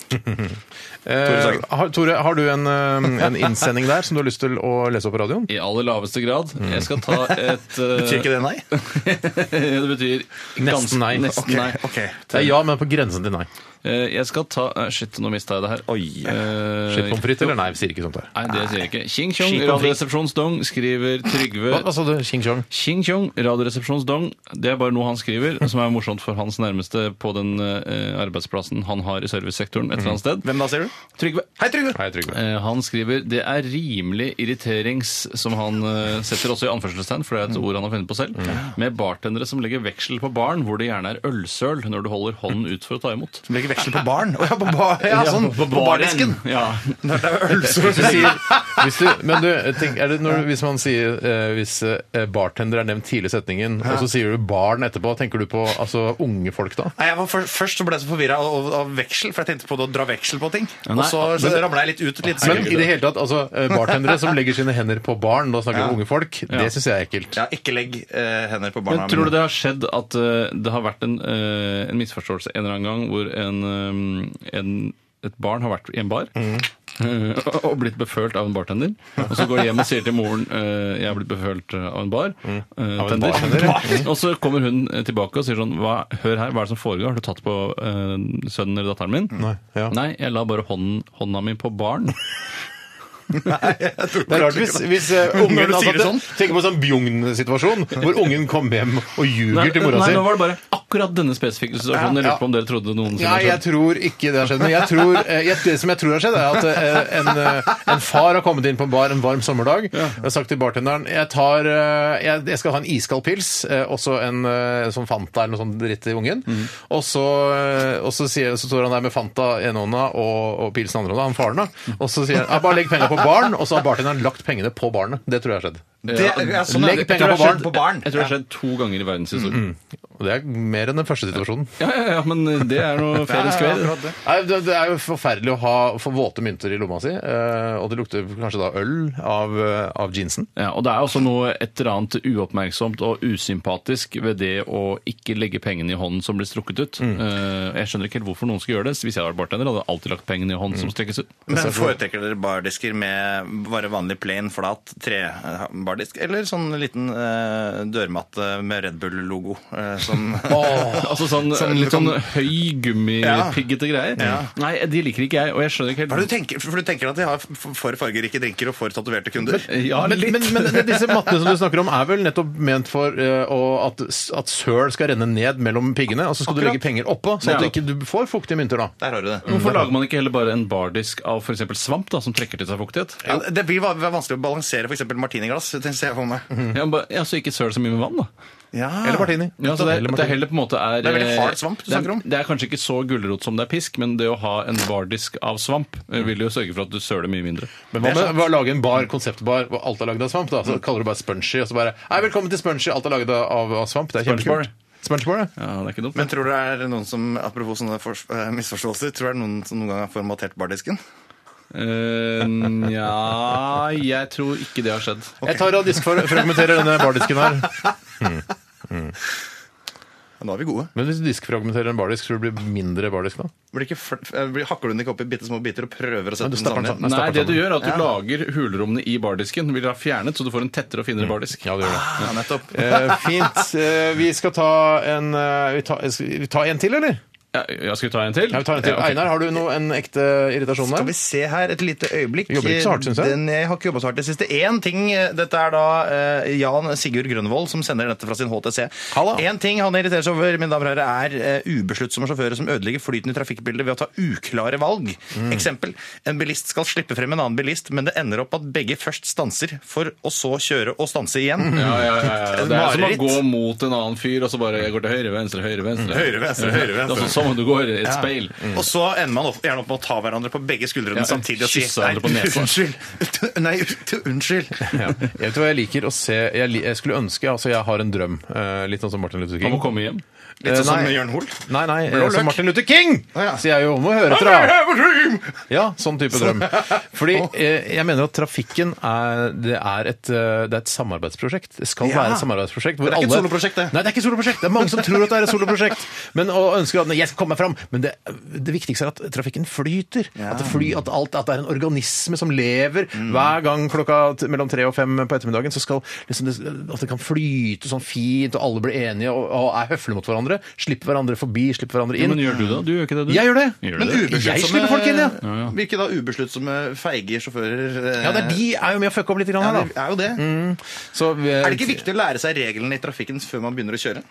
[SPEAKER 1] Eh,
[SPEAKER 3] Sagen.
[SPEAKER 1] har, Tore, har du en, eh, en innsending der som du har lyst til å lese opp på radioen?
[SPEAKER 2] I aller laveste grad. Jeg skal ta et eh,
[SPEAKER 3] Betyr ikke Mm. det nei?
[SPEAKER 2] det betyr
[SPEAKER 1] Nesten nei.
[SPEAKER 2] Nesten
[SPEAKER 3] Ok,
[SPEAKER 2] nei.
[SPEAKER 3] ok.
[SPEAKER 1] Det er Eh, ja, men på grensen til nei.
[SPEAKER 2] Eh, Jeg skal ta eh, Shit, nå mista jeg det her.
[SPEAKER 3] Oi.
[SPEAKER 2] Eh,
[SPEAKER 1] Shit pommes frites eller nei? Sier ikke sånt der.
[SPEAKER 2] Nei, det sier jeg ikke. Ching Chong,
[SPEAKER 3] Ski pommes frites.
[SPEAKER 2] Radioresepsjonsdong, skriver
[SPEAKER 1] Hva, hva
[SPEAKER 2] Trygve.
[SPEAKER 1] sa du? Ching chong?
[SPEAKER 2] Ching Chong, Radioresepsjonsdong. Det er bare noe han skriver, som er morsomt for hans nærmeste på den eh, arbeidsplassen han har i servicesektoren et eller annet sted.
[SPEAKER 3] Mm. Hvem da, sier du?
[SPEAKER 2] Trygve.
[SPEAKER 3] Hei, Trygve!
[SPEAKER 1] Nei, Trygve.
[SPEAKER 2] Eh, Han skriver det er rimelig irriterings, som han eh, setter også i anførselstegn, for det er et ord han har funnet på
[SPEAKER 3] Mm.
[SPEAKER 2] selv, med bartendere som legger veksel på baren hvor det gjerne er ølsøl når du holder hånden ut for å ta imot.
[SPEAKER 3] Som legger veksel på baren. Å ja, på, bar, ja, sånn, på, bardisken.
[SPEAKER 2] Ja.
[SPEAKER 3] Der det er ølsol.
[SPEAKER 1] Hvis du sier, hvis du, men du, eh, tenk, er det når, hvis man sier eh, Hvis eh, bartender er nevnt tidlig i setningen, og så sier du barn etterpå, tenker du på altså, unge folk da?
[SPEAKER 3] Nei, jeg var først, først så ble jeg så forvirra av, av- av veksel, for jeg tenkte på det å dra veksel på ting.
[SPEAKER 2] nei.
[SPEAKER 3] Og så, så ramla jeg litt ut. Litt
[SPEAKER 1] Men i
[SPEAKER 3] skummelt.
[SPEAKER 1] det hele tatt, altså, eh, bartendere som legger sine hender på barn, da snakker vi
[SPEAKER 3] Ja.
[SPEAKER 1] om unge folk, det syns jeg er ekkelt.
[SPEAKER 3] ja, ikke legg eh, hender på barna
[SPEAKER 2] Men tror du
[SPEAKER 3] mine.
[SPEAKER 2] det har skjedd at eh, det har vært en, eh, en misforståelse en eller annen gang hvor en, eh, en, et barn har vært i en bar?
[SPEAKER 1] Mm.
[SPEAKER 2] eh, Og blitt befølt av en bartender. Og så går de hjem og sier til moren eh, 'jeg er blitt befølt av en bar'. eh,
[SPEAKER 1] Mm. Av en
[SPEAKER 2] tender.
[SPEAKER 1] bartender,
[SPEAKER 2] Mm. Og så kommer hun eh, tilbake og sier sånn hva, 'Hør her, hva er det som foregår? Har du tatt på eh, sønnen eller datteren min?' Nei,
[SPEAKER 1] ja.
[SPEAKER 2] jeg la bare hånden, hånda mi på baren.
[SPEAKER 1] Det er rart hvis, hvis eh, ungen
[SPEAKER 3] Når du
[SPEAKER 1] altså,
[SPEAKER 3] sier det
[SPEAKER 1] at- Tenk på en sånn Bjugn-situasjon, hvor ungen kom hjem og ljuger til mora
[SPEAKER 2] nei,
[SPEAKER 1] si.
[SPEAKER 2] nå var det bare akkurat denne spesifikke situasjonen.
[SPEAKER 1] Ja,
[SPEAKER 2] Jeg
[SPEAKER 1] ja.
[SPEAKER 2] lurte på om dere trodde noensinne
[SPEAKER 1] Nei, jeg tror ikke det har skjedd. Men jeg tror, eh, jeg, det som jeg tror har skjedd, er at eh, en, eh, en far har kommet inn på en bar en varm sommerdag og har sagt til bartenderen jeg, tar, eh, jeg, jeg skal ha en iskald pils, eh, også en eh, sånn Fanta eller noe sånt dritt til ungen.
[SPEAKER 2] Mhm.
[SPEAKER 1] Og, så, eh, og så, sier, så står han der med Fanta i ene hånda og, og pilsen i andre hånda, han faren da.
[SPEAKER 2] Mhm.
[SPEAKER 1] Og så sier han «Ja, bare legg pengene på baren, og så har bartenderen lagt pengene på barnet. Det tror jeg har skjedd.
[SPEAKER 3] Det, ja, sånn,
[SPEAKER 1] Legg
[SPEAKER 3] legg
[SPEAKER 1] penger
[SPEAKER 3] penger
[SPEAKER 1] på barn.
[SPEAKER 3] på barn.
[SPEAKER 2] Jeg tror det har skjedd to ganger i
[SPEAKER 1] Mm.
[SPEAKER 2] verdenshistorien.
[SPEAKER 1] Og det er mer enn den første situasjonen.
[SPEAKER 2] Ja, ja, ja, men det er noe fair and square.
[SPEAKER 1] Nei, det, det er jo forferdelig å ha få våte mynter i lomma si, eh, og det lukter kanskje da øl av, eh, av jeansen.
[SPEAKER 2] Ja, og det er også noe et eller annet uoppmerksomt og usympatisk ved det å ikke legge pengene i hånden som blir strukket ut. Eh, Jeg skjønner ikke helt hvorfor noen skulle gjøre det. Hvis jeg hadde vært bartender, hadde jeg alltid lagt pengene i hånden som strekkes ut.
[SPEAKER 3] Men foretrekker dere bardisker med bare vanlig plain, flat trebardisk? Eller sånn liten eh, dørmatte med Red Bull-logo? Eh, som
[SPEAKER 2] Altså sånn
[SPEAKER 3] Som
[SPEAKER 2] litt
[SPEAKER 3] du kan-
[SPEAKER 2] sånn høy gummipiggete greier.
[SPEAKER 3] Ja.
[SPEAKER 2] Nei, de liker ikke jeg, og jeg skjønner ikke
[SPEAKER 3] Hva er det du
[SPEAKER 2] helt
[SPEAKER 3] tenker? For du tenker at de har f- for fargerike drinker og for tatoverte kunder?
[SPEAKER 2] ja,
[SPEAKER 1] Men,
[SPEAKER 2] litt.
[SPEAKER 1] men, men disse mattene som du snakker om, er vel nettopp ment for eh, å- at, at søl skal renne ned mellom piggene, og så skal du legge penger oppå, sånn at du
[SPEAKER 2] Ja.
[SPEAKER 1] ikke du får fuktige mynter da.
[SPEAKER 3] Der har du det.
[SPEAKER 2] Hvorfor lager man ikke heller bare en bardisk av f.eks. svamp, da, som trekker til seg fuktighet?
[SPEAKER 3] Ja, det blir va- være vanskelig å balansere f.eks. martiniglass. det ser jeg for meg.
[SPEAKER 2] Ja, men bare- ja, så ikke søl så mye med vann, da.
[SPEAKER 3] Ja.
[SPEAKER 1] Eller martini.
[SPEAKER 2] Ah. Ja, så det, er- det er heller på en måte er
[SPEAKER 3] Det er veldig
[SPEAKER 2] eh,
[SPEAKER 3] hard svamp
[SPEAKER 2] det
[SPEAKER 3] du
[SPEAKER 2] er-
[SPEAKER 3] snakker om.
[SPEAKER 2] Det er kanskje ikke så gulrot som det er pisk, men det å ha en bardisk av svamp
[SPEAKER 1] Mm.
[SPEAKER 2] eh, vil jo sørge for at du søler mye mindre.
[SPEAKER 1] Men hva med å lage en bar, konseptbar, hvor alt er laget av svamp, da? Så kaller du bare spongy, og så bare Nei, velkommen til spongy, alt er laget av, av svamp. Det er
[SPEAKER 2] Spongebar.
[SPEAKER 1] kjempekult. Smørtebål, ja.
[SPEAKER 2] Ja, det er ikke dumt.
[SPEAKER 3] Men tror du det er noen som apropos sånne for, eh, misforståelser, tror du det er noen som noen gang har formatert bardisken?
[SPEAKER 2] Eh, Nja, jeg tror ikke det har skjedd.
[SPEAKER 1] Jeg tar og diskfragmenterer denne bardisken her.
[SPEAKER 3] Ja, Da er vi gode.
[SPEAKER 1] Men hvis du diskfragmenterer en bardisk, tror du det blir mindre bardisk da?
[SPEAKER 3] Blir ikke fl eh, blir, hakker du den ikke opp i bitte små biter og prøver å sette
[SPEAKER 1] du
[SPEAKER 3] den
[SPEAKER 1] stapper den
[SPEAKER 3] sammen?
[SPEAKER 1] sammen.
[SPEAKER 2] Nei, det du gjør er at du
[SPEAKER 3] Ja.
[SPEAKER 2] lager hulrommene i bardisken. Vil ha fjernet, så du får en tettere og finere bardisk.
[SPEAKER 1] Mm. Ja, det gjør det.
[SPEAKER 3] Ja, Ah, nettopp.
[SPEAKER 1] Eh, fint. Eh, vi skal ta en eh, vi tar- skal vi ta en til, eller?
[SPEAKER 2] Ja, ja, skal vi ta en til?
[SPEAKER 1] Ja, vi tar en til.
[SPEAKER 2] ok.
[SPEAKER 1] Einar, har du noe, en ekte irritasjon
[SPEAKER 3] Skal
[SPEAKER 1] der?
[SPEAKER 3] vi se her et lite øyeblikk.
[SPEAKER 1] Jobber ikke så hardt, synes jeg.
[SPEAKER 3] Den, jeg har ikke jobba så hardt det siste. Én ting eh, Dette er da eh, Jan Sigurd Grønvold som sender dette fra sin HTC.
[SPEAKER 1] Halla.
[SPEAKER 3] Én ting han irriterer seg over, mine damer og herrer, er eh, ubesluttsomme sjåfører som ødelegger flyten i trafikkbildet ved å ta uklare valg.
[SPEAKER 1] Mm.
[SPEAKER 3] Eksempel. En bilist skal slippe frem en annen bilist, men det ender opp at begge først stanser, for å så kjøre og stanse igjen.
[SPEAKER 1] Mm.
[SPEAKER 2] Ja, ja, ja, ja. Det er som å
[SPEAKER 3] Mareritt.
[SPEAKER 2] gå mot en annen fyr, og så bare jeg går til høyre, venstre, høyre, venstre.
[SPEAKER 3] Høyre, venstre, høyre, venstre. Mm.
[SPEAKER 2] Altså, som om du går i et speil.
[SPEAKER 3] Og så ender man opp, gjerne opp med å ta hverandre på begge skuldrene
[SPEAKER 2] Mm. Ja,
[SPEAKER 3] samtidig og si
[SPEAKER 2] kysse hverandre på nesa.
[SPEAKER 3] unnskyld. Nei, unnskyld.
[SPEAKER 1] Ja. Jeg vet hva jeg liker å se Jeg, li- jeg skulle ønske Altså, jeg har en drøm. Eh, litt sånn som Martin Luther
[SPEAKER 2] Han
[SPEAKER 1] King.
[SPEAKER 2] må komme hjem.
[SPEAKER 3] Litt
[SPEAKER 1] Eh,
[SPEAKER 3] sånn som
[SPEAKER 1] nei.
[SPEAKER 3] Jørn Hoel.
[SPEAKER 1] Nei, nei, eh,
[SPEAKER 3] Blå løk.
[SPEAKER 1] som Martin Luther King!
[SPEAKER 3] Å, ja.
[SPEAKER 1] Sier jeg jo. Må høre etter, da. Ja, sånn type drøm. Fordi eh, jeg mener at trafikken er, det er, et, eh, det er et samarbeidsprosjekt. Det skal
[SPEAKER 3] Ja.
[SPEAKER 1] være et samarbeidsprosjekt. hvor
[SPEAKER 3] Det er ikke et
[SPEAKER 1] alle-
[SPEAKER 3] soloprosjekt, det.
[SPEAKER 1] Nei, det er ikke et soloprosjekt. Det er mange som tror at det er et soloprosjekt. Men, og ønsker at jeg skal komme meg fram. Men det, det viktigste er at trafikken flyter. At, det fly, at, alt, at det er en organisme som lever.
[SPEAKER 3] Mm.
[SPEAKER 1] Hver gang klokka t- mellom tre og fem på ettermiddagen, så skal liksom det, at det kan flyte sånn fint, og alle blir enige og, og er høflige mot hverandre. Slipper hverandre forbi, slipper hverandre inn.
[SPEAKER 2] Men gjør du det? Du gjør ikke det, du?
[SPEAKER 1] Jeg gjør det.
[SPEAKER 2] Gjør du
[SPEAKER 3] Men
[SPEAKER 2] det?
[SPEAKER 1] Jeg
[SPEAKER 3] ubesluttsomme
[SPEAKER 1] slipper folk inn, ja.
[SPEAKER 3] Virker da ubesluttsomme, feige sjåfører. eh,
[SPEAKER 1] Ja, det er, de er jo med å fucke opp litt grann
[SPEAKER 3] ja,
[SPEAKER 1] her,
[SPEAKER 3] det
[SPEAKER 1] da. Mm.
[SPEAKER 3] er jo det.
[SPEAKER 1] Så, eh,
[SPEAKER 3] Er det ikke viktig å lære seg reglene i trafikken før man begynner å kjøre?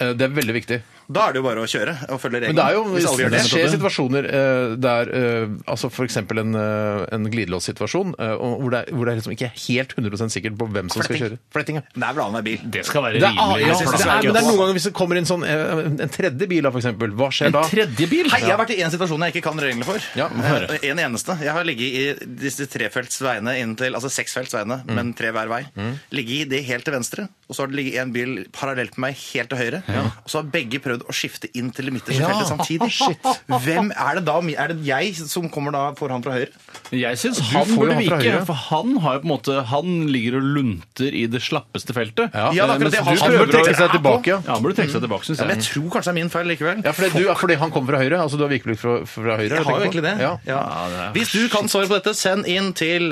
[SPEAKER 1] eh, Det er veldig viktig.
[SPEAKER 3] Da er det jo bare å kjøre og følge reglene.
[SPEAKER 1] Men det er jo
[SPEAKER 3] hvis alle gjør
[SPEAKER 1] det
[SPEAKER 3] det.
[SPEAKER 1] skjer situasjoner eh, der eh, altså for eksempel en, eh, en glidelåssituasjon eh, og hvor det, er, hvor det er liksom ikke er helt 100 sikkert på hvem som skal
[SPEAKER 3] Fletting.
[SPEAKER 1] kjøre. Fletting, ja.
[SPEAKER 3] Det er vel annenhver bil.
[SPEAKER 2] Det skal være
[SPEAKER 1] Det er, ja,
[SPEAKER 2] rimelig.
[SPEAKER 1] det
[SPEAKER 3] jeg synes
[SPEAKER 1] er,
[SPEAKER 3] det er
[SPEAKER 1] men det er
[SPEAKER 3] gøy.
[SPEAKER 1] noen ganger hvis det kommer inn sånn, eh, en tredje bil, da, for eksempel. Hva skjer da?
[SPEAKER 2] Tredje bil?
[SPEAKER 3] Hei, jeg har vært i en situasjon jeg ikke kan reglene for.
[SPEAKER 1] Ja, få høre.
[SPEAKER 3] Eh, en eneste. Jeg har ligget i disse trefelts veiene inntil, altså seksfelts veiene,
[SPEAKER 1] Mm.
[SPEAKER 3] men tre hver vei. Ligget i det helt til venstre, og så har det ligget en bil parallelt med meg helt til høyre. Og så har begge prøvd å skifte inn til det midterste
[SPEAKER 1] Ja.
[SPEAKER 3] feltet samtidig. Hvem er det da? Er det jeg som kommer da foran fra høyre?
[SPEAKER 2] Jeg syns
[SPEAKER 1] Du
[SPEAKER 2] han
[SPEAKER 1] får jo
[SPEAKER 2] burde
[SPEAKER 1] han fra
[SPEAKER 2] vike,
[SPEAKER 1] høyre.
[SPEAKER 2] for han har jo på en måte Han ligger og lunter i det slappeste feltet. Eh,
[SPEAKER 1] Ja.
[SPEAKER 3] Ja, det er akkurat
[SPEAKER 2] Mens
[SPEAKER 3] det han
[SPEAKER 2] du
[SPEAKER 3] som
[SPEAKER 2] prøver
[SPEAKER 3] burde trekke
[SPEAKER 2] å-
[SPEAKER 1] seg tilbake, ja.
[SPEAKER 2] Ja, han burde trekke seg tilbake, syns
[SPEAKER 3] Men
[SPEAKER 2] jeg.
[SPEAKER 3] jeg tror kanskje det er min feil likevel.
[SPEAKER 1] Ja, fordi, du, fordi han kommer fra høyre? Altså du har vikeplikt fra, fra høyre?
[SPEAKER 3] Jeg har jo
[SPEAKER 1] tenker på.
[SPEAKER 3] egentlig det.
[SPEAKER 1] Ja.
[SPEAKER 3] Ja. Hvis du kan svare på dette, send inn til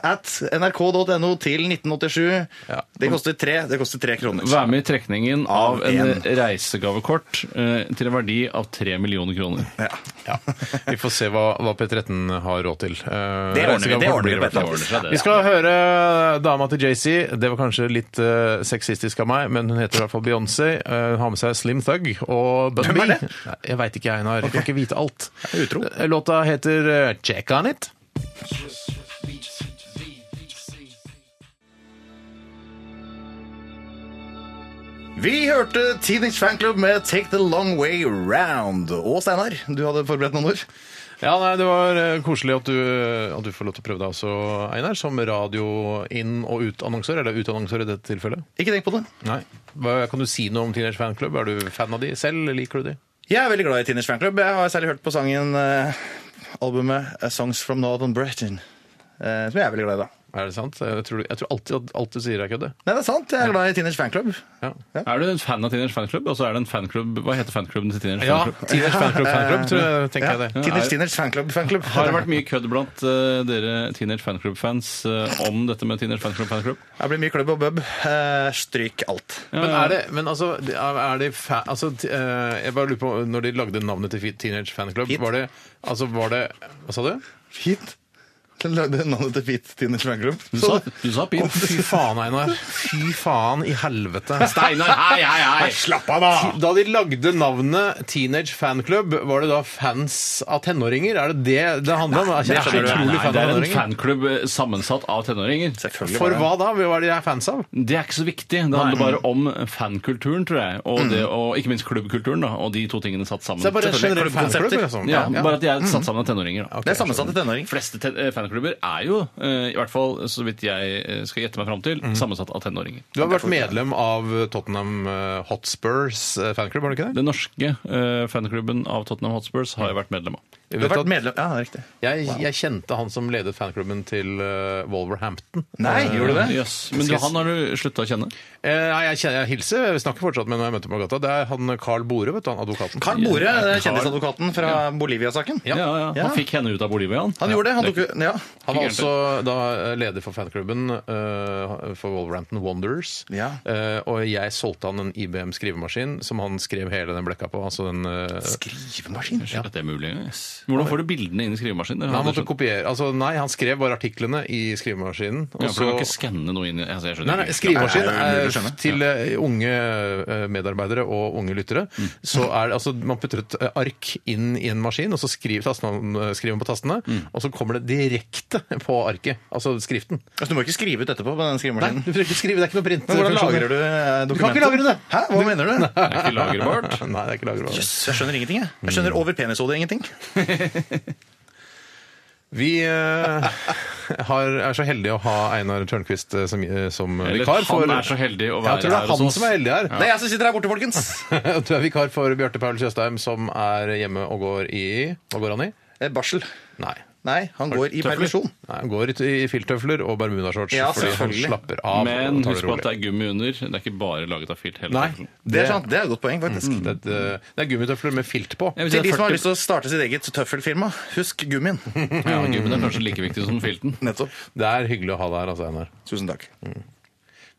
[SPEAKER 3] rr.nrk.no til 1987.
[SPEAKER 1] Ja.
[SPEAKER 3] Det koster tre, det koster tre kroner.
[SPEAKER 2] Vær med i trekningen av
[SPEAKER 3] Av
[SPEAKER 2] en
[SPEAKER 3] en.
[SPEAKER 2] reisegavekort eh, til en verdi av tre millioner kroner.
[SPEAKER 1] Ja. Vi får se hva, hva P13 har råd til. Eh,
[SPEAKER 3] Det ordner vi, det ordner vi på et eller annet vis.
[SPEAKER 1] Vi skal høre eh, dama til JC. Det var kanskje litt eh, sexistisk av meg, men hun heter i hvert fall Beyoncé. Eh, hun har med seg Slim Thug og Bun
[SPEAKER 3] Hvem
[SPEAKER 1] B.
[SPEAKER 3] er det?
[SPEAKER 1] Nei, Jeg veit ikke, Einar. Jeg kan ikke vite alt.
[SPEAKER 3] utro.
[SPEAKER 1] Eh, Låta heter eh, Check On It.
[SPEAKER 3] Vi hørte Teenage Fan Club med Take the Long Way Round. Og Steinar, du hadde forberedt noen ord.
[SPEAKER 1] Ja, nei, Det var eh, koselig at du, at du får lov til å prøve deg også, Einar, som radio inn- og utannonsør. Eller utannonsør i dette tilfellet.
[SPEAKER 3] Ikke tenk på det.
[SPEAKER 1] Nei. Hva, kan du si noe om Teenage Fan Club? Er du fan av de selv? Liker du de?
[SPEAKER 3] Jeg er veldig glad i Teenage Fan Club. Jeg har særlig hørt på sangen eh, albumet eh, Songs from Northern Britain. eh, som jeg er veldig glad i, da.
[SPEAKER 1] Er det sant? Jeg tror, jeg tror alltid at alt du sier, er kødde.
[SPEAKER 3] Nei, det er sant. Jeg er glad i Teenage Fan Club.
[SPEAKER 1] Ja.
[SPEAKER 2] Er du en fan av Teenage Fanklubb? Og så er det en fanklubb Hva heter fanklubben til Teenage
[SPEAKER 1] Ja,
[SPEAKER 2] Fanklubb?
[SPEAKER 1] Teenage Fanclub, fanclub, tror jeg, tenker
[SPEAKER 3] Ja.
[SPEAKER 1] jeg det.
[SPEAKER 3] Teenage, teenage Fan Club. Fan Club.
[SPEAKER 2] Har det vært mye kødd blant eh, dere Teenage Fanklubb-fans eh, om dette med Teenage Fanklubb Fanklubb?
[SPEAKER 3] Det blir mye klubb og bub. Eh, Stryk alt.
[SPEAKER 1] Men er det, men altså, det er er det fa altså t- eh, Jeg bare lurer på, når de lagde navnet til Fi- Teenage Fan Club,
[SPEAKER 3] Hit.
[SPEAKER 1] var det Altså, var det Hva sa du?
[SPEAKER 3] Fint. Den lagde navnet til Fit Teenage Fan Club.
[SPEAKER 2] Du sa, du sa pip.
[SPEAKER 1] Fy faen, Einar. Fy faen i helvete.
[SPEAKER 2] Steinar, hei, hei, hei!
[SPEAKER 3] Slapp av, da!
[SPEAKER 1] Da de lagde navnet Teenage Fan Club, var det da fans av tenåringer? Er det det det handler om? Jeg
[SPEAKER 2] Det
[SPEAKER 1] er
[SPEAKER 2] er,
[SPEAKER 1] så utrolig
[SPEAKER 2] nei,
[SPEAKER 1] fan av
[SPEAKER 2] det er en
[SPEAKER 1] tenåringer.
[SPEAKER 2] fanklubb eh, sammensatt av tenåringer.
[SPEAKER 3] Selvfølgelig.
[SPEAKER 1] For hva da? Hva er det de er fans av?
[SPEAKER 2] Det er ikke så viktig. Det handler bare om fankulturen, tror jeg. Og, det, og ikke minst klubbkulturen, da. Og de to tingene satt sammen.
[SPEAKER 1] Så det er bare en
[SPEAKER 3] Selvfølgelig.
[SPEAKER 1] generell fanklubb?
[SPEAKER 3] Klubbkonsepter.
[SPEAKER 1] liksom.
[SPEAKER 2] Ja, Bare at de er satt sammen av tenåringer. da.
[SPEAKER 3] Det er sammensatt til tenåring.
[SPEAKER 2] De fleste te- eh, fanklubbene barneklubber er jo, eh, i hvert fall så vidt jeg eh, skal gjette meg fram til,
[SPEAKER 1] Mm.
[SPEAKER 2] sammensatt av tenåringer.
[SPEAKER 1] Du har vært medlem av Tottenham eh, Hotspurs eh, fanklubb, har du ikke det?
[SPEAKER 2] Den norske eh, fanklubben av Tottenham Hotspurs har jeg vært medlem av.
[SPEAKER 3] Du har
[SPEAKER 1] Vet du
[SPEAKER 3] vært
[SPEAKER 1] at-
[SPEAKER 3] medlem Ja, det er riktig.
[SPEAKER 1] jeg, jeg kjente han som ledet fanklubben til eh, Wolverhampton.
[SPEAKER 3] Nei, gjorde du det?
[SPEAKER 2] Jøss. Men du, han har du slutta å kjenne?
[SPEAKER 1] Eh, nei, jeg, kjenner, jeg hilser, jeg snakker fortsatt med når jeg møter ham på gata. Det er han Carl Bore, vet du, han advokaten.
[SPEAKER 3] Carl Bore, kjendisadvokaten fra Bolivia-saken.
[SPEAKER 2] Ja. Ja,
[SPEAKER 3] Ja.
[SPEAKER 2] Han fikk henne ut av Bolivia, han.
[SPEAKER 3] Han gjorde det. Han tok Ja.
[SPEAKER 1] Han var også da eh, leder for fanklubben eh, for Wolverhampton Wonders.
[SPEAKER 3] Ja.
[SPEAKER 1] Eh, og jeg solgte han en IBM skrivemaskin som han skrev hele den blekka på. Altså den, eh,
[SPEAKER 3] Skrivemaskin.
[SPEAKER 2] Shit, at det er mulig. yes. Hvordan får du bildene inn i skrivemaskinen?
[SPEAKER 1] han måtte kopiere altså, Nei, han skrev bare artiklene i skrivemaskinen. Og
[SPEAKER 2] ja, for du kan ikke
[SPEAKER 1] så-
[SPEAKER 2] skanne noe inn i altså, jeg skjønner
[SPEAKER 1] Nei, nei,
[SPEAKER 2] ikke.
[SPEAKER 1] skrivemaskin
[SPEAKER 3] Nei, nei,
[SPEAKER 1] eh,
[SPEAKER 3] det er umulig å skjønne.
[SPEAKER 1] til eh, unge eh, medarbeidere og unge lyttere.
[SPEAKER 2] Mm.
[SPEAKER 1] Så er det, altså, Man putter et eh, ark inn i en maskin, og så skriver, tasten, eh, skriver man på tastene.
[SPEAKER 2] Mm.
[SPEAKER 1] Og så kommer det direkte på arket, altså skriften.
[SPEAKER 3] Altså, du må ikke skrive ut etterpå på den
[SPEAKER 1] Nei,
[SPEAKER 3] skrivemaskinen.
[SPEAKER 1] du trenger ikke skrive, det er ikke noe print.
[SPEAKER 3] Men hvordan lagrer du eh, dokumentet?
[SPEAKER 1] Du kan ikke lagre det!
[SPEAKER 3] Hæ, hva mener du?
[SPEAKER 2] Det er ikke lagerbart.
[SPEAKER 1] Nei, det er ikke lagerbart.
[SPEAKER 3] Jøss, jeg skjønner ingenting, jeg. Jeg skjønner over penishodet ingenting.
[SPEAKER 1] Vi eh, har, er så heldige å ha Einar Tørnquist eh, som, eh, som
[SPEAKER 2] Eller
[SPEAKER 1] vikar. for-
[SPEAKER 2] han er så heldig
[SPEAKER 1] Ja,
[SPEAKER 2] å
[SPEAKER 1] jeg
[SPEAKER 2] være
[SPEAKER 1] tror det er
[SPEAKER 2] her hos
[SPEAKER 1] han
[SPEAKER 2] oss.
[SPEAKER 1] som er heldig her.
[SPEAKER 3] Det er jeg som sitter her borte, folkens.
[SPEAKER 1] Du er vikar for Bjarte Paul Tjøstheim, som er hjemme og går i Hva går han i?
[SPEAKER 3] Eh, Barsel.
[SPEAKER 1] Nei.
[SPEAKER 3] Nei, han går i permisjon.
[SPEAKER 1] Nei, han går i, i filttøfler og bermudashorts
[SPEAKER 3] Ja,
[SPEAKER 1] fordi han
[SPEAKER 3] selvfølgelig.
[SPEAKER 1] slapper av.
[SPEAKER 2] Men
[SPEAKER 1] og tar
[SPEAKER 2] husk på at det er gummi under. Det er ikke bare laget av filt. hele
[SPEAKER 1] Nei,
[SPEAKER 2] tiden.
[SPEAKER 3] Det er sant, det er et godt poeng, faktisk.
[SPEAKER 1] Det, det, det er gummitøfler med filt på.
[SPEAKER 2] Jeg vil si
[SPEAKER 3] Til
[SPEAKER 2] at
[SPEAKER 3] de som har
[SPEAKER 2] 40
[SPEAKER 3] lyst til å starte sitt eget tøffelfirma, husk gummien.
[SPEAKER 2] Ja, Gummien er kanskje like viktig som filten.
[SPEAKER 3] Nettopp.
[SPEAKER 1] Det er hyggelig å ha deg her, altså, Einar.
[SPEAKER 3] Tusen takk.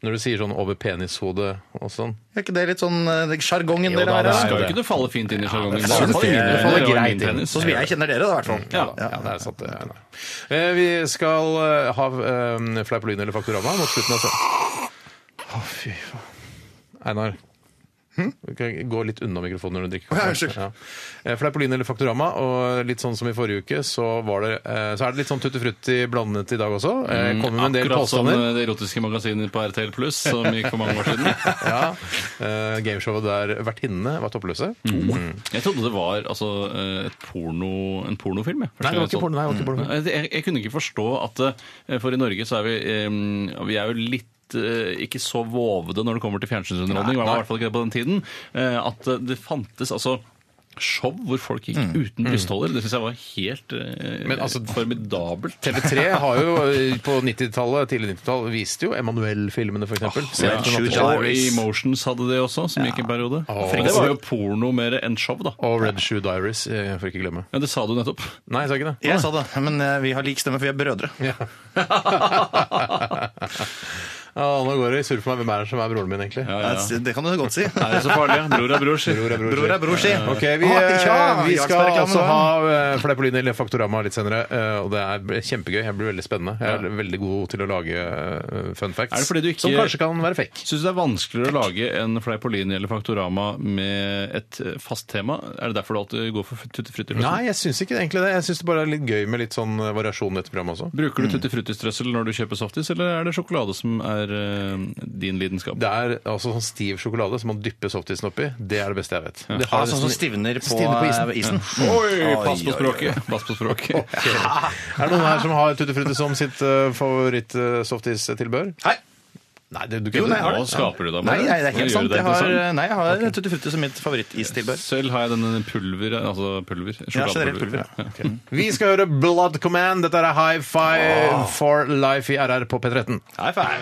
[SPEAKER 1] Når du sier sånn over penishodet og sånn.
[SPEAKER 3] Er ikke det litt sånn eh, sjargongen
[SPEAKER 1] Jo
[SPEAKER 3] dere
[SPEAKER 1] da,
[SPEAKER 3] har?
[SPEAKER 1] det er
[SPEAKER 3] her, da?
[SPEAKER 2] Skal jo ikke det falle fint inn i sjargongen?
[SPEAKER 3] det synes jeg- det faller
[SPEAKER 1] greit inn.
[SPEAKER 3] Sånn som jeg kjenner dere, da, i hvert fall.
[SPEAKER 2] Ja.
[SPEAKER 1] Ja, det er sant. det, Einar. Eh, vi skal eh, ha eh, Fleipolin eller Faktorama mot slutten av sendingen. Å, fy faen. Einar. Du kan gå litt unna mikrofonen når du drikker.
[SPEAKER 3] Å, ja, unnskyld.
[SPEAKER 1] Ja. Eh, Fleipolin eller Faktorama, og litt sånn som i forrige uke, så, var det, eh, så er det litt sånn tutti-frutti blandet i dag også. Eh, Kommer med en del
[SPEAKER 2] Mm, Akkurat som
[SPEAKER 1] påstander.
[SPEAKER 2] eh, det erotiske magasinet på RTL Pluss som gikk for mange år siden.
[SPEAKER 1] Ja. Eh, Gameshowet der vertinnene var toppløse.
[SPEAKER 2] Mm. Jeg trodde det var altså, eh, et porno, en pornofilm. jeg.
[SPEAKER 1] Nei, det var
[SPEAKER 2] Første gang jeg så
[SPEAKER 1] ikke porno. Nei, det var ikke porno.
[SPEAKER 2] Jeg, jeg, jeg kunne ikke forstå at eh, For i Norge så er vi, eh, vi er jo litt eh, ikke så vovede når det kommer til fjernsynsunderholdning. var man i hvert fall ikke det på den tiden. eh, At eh, det fantes altså show hvor folk gikk uten brystholder. Det syns jeg var helt eh,
[SPEAKER 1] Men altså-
[SPEAKER 2] formidabelt.
[SPEAKER 1] TV3 har jo eh, på 90-tallet, tidlig 90-tall, viste jo Emanuel-filmene, for eksempel.
[SPEAKER 2] Ja,
[SPEAKER 1] Sent på natten.
[SPEAKER 2] og Emotions hadde det også, som gikk en periode. Men Det var jo porno mer enn show, da.
[SPEAKER 1] Og Red Shoe Diaries, eh, for ikke å glemme.
[SPEAKER 2] Ja, Det sa du nettopp.
[SPEAKER 1] Nei, jeg sa ikke det.
[SPEAKER 3] Jeg sa det, men eh, vi har lik stemme, for vi er brødre.
[SPEAKER 1] Ja, nå går det i surr for meg. Hvem er det som er broren min, egentlig?
[SPEAKER 2] Ja, ja.
[SPEAKER 3] Det- Det kan du godt si.
[SPEAKER 2] Er det så farlig? ja? Bror er bror, sier
[SPEAKER 1] Bror er bror,
[SPEAKER 3] Bror er
[SPEAKER 1] sier.
[SPEAKER 3] bror, si.
[SPEAKER 1] Ok, vi,
[SPEAKER 3] Ah,
[SPEAKER 1] eh,
[SPEAKER 3] ja,
[SPEAKER 1] vi skal
[SPEAKER 3] Jarlsberg-reklame
[SPEAKER 1] altså
[SPEAKER 3] da.
[SPEAKER 1] ha eh, Fleipolini eller Faktorama litt senere, eh, og det er kjempegøy. Jeg blir veldig spennende. Jeg er veldig god til å lage eh, fun facts.
[SPEAKER 2] Er det fordi du ikke-
[SPEAKER 1] Som kanskje kan være fake.
[SPEAKER 2] Syns du det er vanskeligere å lage en Fleipolini eller Faktorama med et eh, fast tema? Er det derfor du alltid går for Tutti Frutti? liksom?
[SPEAKER 1] Nei, jeg syns ikke egentlig det. Jeg syns det bare er litt gøy med litt sånn eh, variasjon i dette programmet også.
[SPEAKER 2] Bruker
[SPEAKER 3] Mm.
[SPEAKER 2] du Tutti Frutti-strøssel når du kjøper softis, eller er det sjokolade som er eh, din lidenskap?
[SPEAKER 1] Det er altså sånn stiv sjokolade som man dypper softisen oppi. Det er det beste jeg vet. Det
[SPEAKER 3] Ah,
[SPEAKER 1] har
[SPEAKER 3] sånn som
[SPEAKER 1] nesten-
[SPEAKER 3] stivner på,
[SPEAKER 1] Stivner på isen.
[SPEAKER 3] eh, isen.
[SPEAKER 2] Oi,
[SPEAKER 3] Oi,
[SPEAKER 2] pass på
[SPEAKER 3] oi,
[SPEAKER 2] språket! Pass på språket.
[SPEAKER 1] Er det noen her som har Tutti Frutti som sitt uh, favoritt-softis-tilbør?
[SPEAKER 3] Nei.
[SPEAKER 1] Nei, det, du
[SPEAKER 3] Jo, nei, jeg har
[SPEAKER 2] Hva
[SPEAKER 3] det.
[SPEAKER 2] skaper du da?
[SPEAKER 3] Nei,
[SPEAKER 2] Maren?
[SPEAKER 3] nei, det er
[SPEAKER 2] Gjør
[SPEAKER 3] helt sant.
[SPEAKER 2] det
[SPEAKER 3] Jeg har, eh,
[SPEAKER 2] interessant.
[SPEAKER 3] nei, jeg har Tutti Frutti som mitt favorittistilbør.
[SPEAKER 2] Selv har jeg denne pulver, altså pulver.
[SPEAKER 3] Ja, generelt pulver.
[SPEAKER 2] sjokoladepulver.
[SPEAKER 3] Ja.
[SPEAKER 1] Vi skal høre Blood Command. Dette er High Five for Life i RR på P13.
[SPEAKER 3] High five.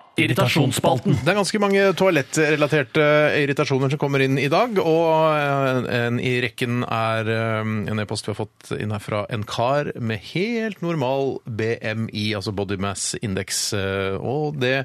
[SPEAKER 7] Irritasjonsspalten.
[SPEAKER 1] Det er ganske mange toalettrelaterte irritasjoner som kommer inn i dag, og en, en i rekken er um, en e-post vi har fått inn her fra en kar med helt normal BMI, altså body mass index, eh, og det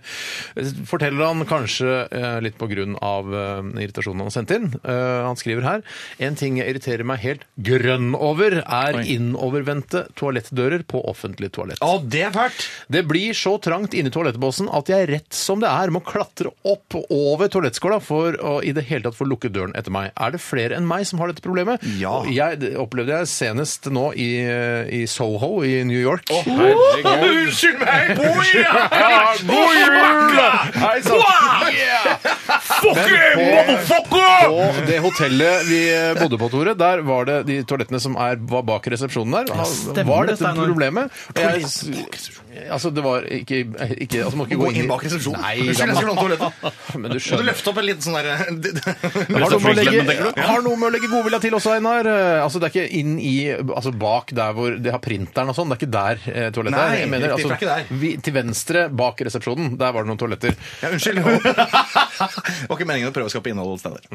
[SPEAKER 1] forteller han kanskje eh, litt på grunn av eh, irritasjonen han har sendt inn. Eh, Han skriver her, en ting jeg irriterer meg helt grønn over, er innovervendte toalettdører på offentlig toalett.
[SPEAKER 3] Å, det er fælt!
[SPEAKER 1] Det blir så trangt inni toalettbåsen at jeg rett som det er må klatre opp og over toalettskåla for å i det hele tatt få lukket døren etter meg. Er det flere enn meg som har dette problemet?
[SPEAKER 3] Ja.
[SPEAKER 1] Og Jeg det opplevde jeg senest nå i, i Soho i New York. Unnskyld meg! God jul! God jul! Hei sann! Men På, på det hotellet vi bodde på, Tore, der var det de toalettene som er, var bak resepsjonen der.
[SPEAKER 2] stemmer
[SPEAKER 1] var
[SPEAKER 2] det,
[SPEAKER 1] dette
[SPEAKER 2] Steinar.
[SPEAKER 1] problemet? Jeg, altså, det var ikke, ikke altså, Må ikke
[SPEAKER 3] Gå
[SPEAKER 1] gå
[SPEAKER 3] inn bak
[SPEAKER 1] i
[SPEAKER 3] resepsjonen.
[SPEAKER 1] Nei,
[SPEAKER 3] Unnskyld, jeg
[SPEAKER 1] da-
[SPEAKER 3] skulle låne toalettet.
[SPEAKER 1] men du
[SPEAKER 3] Kan du
[SPEAKER 1] skjønner.
[SPEAKER 3] løfte opp en liten sånn derre
[SPEAKER 1] Har noe, med å
[SPEAKER 2] Franklin,
[SPEAKER 1] legge,
[SPEAKER 2] tenker du?
[SPEAKER 1] har noe med å legge godvilja til også, Einar. Eh, Altså, det er ikke inn i Altså bak der hvor de har printeren og sånn. Det er ikke der eh, toalettet
[SPEAKER 3] Nei,
[SPEAKER 1] er. Jeg mener, altså,
[SPEAKER 3] riktig, det er ikke der.
[SPEAKER 1] vi, til venstre bak resepsjonen, der var det noen toaletter.
[SPEAKER 3] Ja, unnskyld. Det var ikke meningen å prøve å skape innhold steder.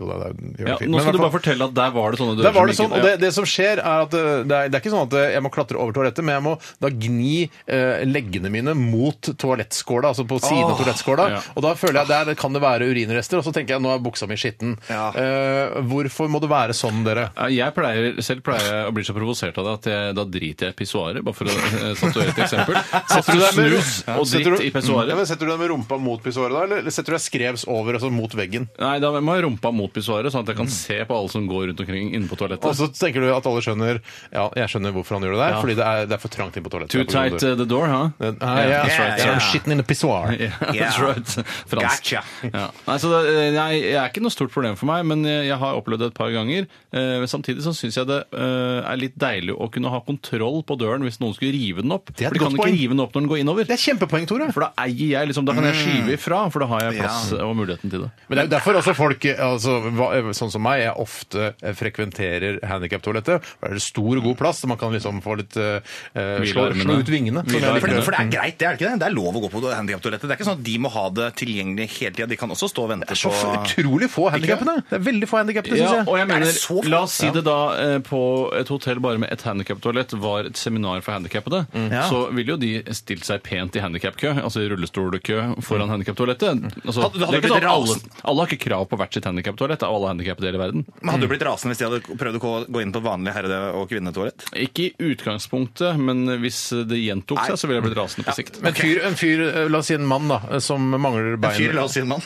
[SPEAKER 1] Jo da, det er- gjør det
[SPEAKER 2] Ja,
[SPEAKER 1] fint. Men
[SPEAKER 2] nå
[SPEAKER 1] i hvert
[SPEAKER 2] skal du
[SPEAKER 1] fall-
[SPEAKER 2] bare fortelle at der var det sånne
[SPEAKER 1] Der
[SPEAKER 2] dører
[SPEAKER 1] var det
[SPEAKER 2] som
[SPEAKER 1] sånn,
[SPEAKER 2] ikke-
[SPEAKER 1] og det, det som skjer er at eh, det er, det er ikke sånn at eh, jeg må klatre over toalettet, men jeg må da gni eh, leggene mine mot toalettskåla, altså på siden av toalettskåla,
[SPEAKER 2] ja.
[SPEAKER 1] og da føler jeg der kan det være urinrester, og så tenker jeg nå er buksa mi skitten.
[SPEAKER 3] Ja.
[SPEAKER 1] Eh, hvorfor må det være sånn, dere?
[SPEAKER 2] Ja, Jeg pleier, selv pleier jeg å bli så provosert av det at jeg, da driter jeg i pissoaret, bare for å eh, statuere et eksempel. Setter du deg med snus og
[SPEAKER 1] Setter du- Mm.
[SPEAKER 2] dritt
[SPEAKER 1] Ja,
[SPEAKER 2] i pissoaret
[SPEAKER 1] men setter du deg med rumpa mot pissoaret da, eller- eller setter du deg skrevs over, altså mot veggen?
[SPEAKER 2] Nei, da må jeg rumpa mot pissoaret,
[SPEAKER 1] Mm.
[SPEAKER 2] sånn at jeg kan se på alle som går rundt omkring inne på toalettet.
[SPEAKER 1] Og så tenker du at alle skjønner Ja, jeg skjønner hvorfor han gjør det der,
[SPEAKER 2] Ja.
[SPEAKER 1] fordi det er, det er for trangt inn på toalettet.
[SPEAKER 2] Too tight uh, the door, huh?
[SPEAKER 1] Ah, yeah,
[SPEAKER 2] Yeah,
[SPEAKER 1] that's right.
[SPEAKER 3] yeah.
[SPEAKER 1] I'm shitting in a pissoir.
[SPEAKER 2] Yeah, that's
[SPEAKER 3] Yeah.
[SPEAKER 2] right. Fransk.
[SPEAKER 3] Gotcha.
[SPEAKER 2] Ja. Nei, så det, eh, nei, jeg er ikke noe stort problem for meg, men eh, jeg jeg har opplevd det et par ganger. Eh, Samtidig så syns jeg det eh, er litt deilig å kunne ha kontroll på døren hvis noen skulle rive den opp.
[SPEAKER 1] er et
[SPEAKER 2] For de kan
[SPEAKER 1] godt
[SPEAKER 2] ikke
[SPEAKER 1] poeng.
[SPEAKER 2] rive den opp når den går innover.
[SPEAKER 1] Det er kjempepoeng, Tore.
[SPEAKER 2] For da eier jeg liksom, da kan jeg skyve ifra, for da har jeg plass og muligheten til det.
[SPEAKER 1] Men det er jo derfor også folk, altså, hva- sånn som meg, jeg ofte eh, frekventerer handikaptoalettet. Der er det stor og god plass, så man kan liksom få litt eh, eh, slå,
[SPEAKER 2] armene.
[SPEAKER 1] slå ut vingene. Som jeg
[SPEAKER 2] Hvile
[SPEAKER 3] For
[SPEAKER 1] liker.
[SPEAKER 3] det, for det er greit, det er det ikke det? Det er lov å gå på handikaptoalettet. Det er ikke sånn at de må ha det tilgjengelig hele tida. De kan også stå og vente
[SPEAKER 1] Så
[SPEAKER 3] på
[SPEAKER 1] utrolig få handikappene. Det er veldig få handikappede, syns
[SPEAKER 2] Ja,
[SPEAKER 1] jeg.
[SPEAKER 2] og jeg
[SPEAKER 3] Er
[SPEAKER 2] mener,
[SPEAKER 3] det så flott?
[SPEAKER 2] La oss si det da eh, på et hotell bare med et handikaptoalett var et seminar for handikappede. Så ville jo de stilt seg pent i handikapkø, altså i rullestolkø foran handikaptoalettet. Altså,
[SPEAKER 3] Hadde- hadde
[SPEAKER 2] det er
[SPEAKER 3] det
[SPEAKER 2] ikke sånn at
[SPEAKER 3] blitt
[SPEAKER 2] alle,
[SPEAKER 3] rasen?
[SPEAKER 2] alle har ikke krav på hvert sitt handikaptoalett av alle handikappede i hele verden.
[SPEAKER 3] Men Hadde du blitt rasende hvis de hadde prøvd å gå- gå inn på et vanlig herre- og kvinnetoalett?
[SPEAKER 2] Ikke i utgangspunktet, men hvis det gjentok seg, så ville jeg blitt rasende på sikt.
[SPEAKER 1] Men en fyr, en fyr, eh, la oss si en mann da, eh, som mangler bein.
[SPEAKER 3] Fyr, la oss si en mann.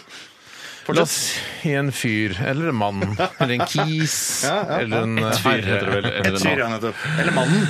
[SPEAKER 1] La oss si en fyr, eller en mann, eller en kis, eller en eh,
[SPEAKER 2] Et fyr
[SPEAKER 1] herre.
[SPEAKER 2] heter det vel.
[SPEAKER 3] Et
[SPEAKER 2] eller
[SPEAKER 3] fyr,
[SPEAKER 2] noe.
[SPEAKER 3] ja, nettopp. Eller mannen.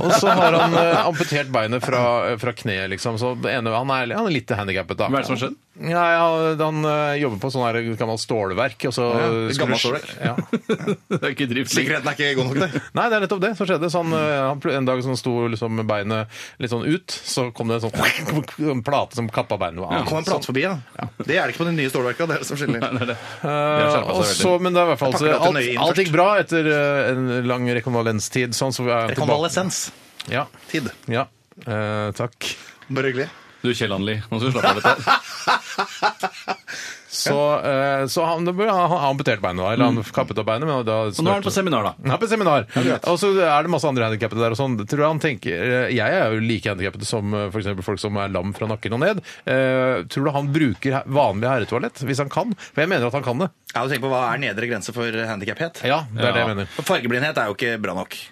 [SPEAKER 1] Og så har han eh, amputert beinet fra, fra kneet, liksom. Så det ene, han, er, han er litt handikappet, da.
[SPEAKER 2] Hva er det som har skjedd?
[SPEAKER 1] Ja, ja, han eh, jobber på sånn her gammelt stålverk, og så
[SPEAKER 3] Ja, gammelt
[SPEAKER 1] skrur-
[SPEAKER 3] stålverk.
[SPEAKER 1] Ja.
[SPEAKER 2] Det er ikke drivslig.
[SPEAKER 3] Sikkerheten er ikke god nok, det.
[SPEAKER 1] Nei, det er nettopp det som skjedde. Så han, eh, han, pl- en dag som han sto liksom med beinet litt sånn ut, så kom det en sånn en plate som kappa beinet av.
[SPEAKER 3] Kom en plate forbi, da. Det er det ikke på de nye stålverka. Det er det som skiller.
[SPEAKER 2] Nei, det er det.
[SPEAKER 1] Eh,
[SPEAKER 2] har skjerpet seg
[SPEAKER 1] og så, men det er i hvert fall
[SPEAKER 3] Jeg pakker dette
[SPEAKER 1] alt,
[SPEAKER 3] nøye inn
[SPEAKER 1] alt
[SPEAKER 3] først.
[SPEAKER 1] gikk bra etter eh, en lang rekonvalenstid. Sånn, så er han tilbake.
[SPEAKER 3] Konvalesens.
[SPEAKER 1] Ja.
[SPEAKER 3] Tid.
[SPEAKER 1] ja. Eh, takk.
[SPEAKER 3] Bare hyggelig.
[SPEAKER 2] Du, Kjell Anli, nå skal du slappe av litt. her.
[SPEAKER 1] Så, eh, så han, han har amputert beinet, da. Eller han kappet av beinet, men da
[SPEAKER 2] Og nå er han på seminar, da.
[SPEAKER 1] Han er på seminar. Og så er det masse andre handikappede der og sånn. Tror jeg han tenker eh, Jeg er jo like handikappet som eh, for eksempel folk som er lam fra nakken og ned. Eh, tror du han bruker he- vanlig herretoalett hvis han kan? For jeg mener at han kan det.
[SPEAKER 3] Ja, du tenker på Hva er nedre grense for handikaphet?
[SPEAKER 1] Ja, det er det jeg mener.
[SPEAKER 3] For Fargeblindhet er jo ikke bra nok.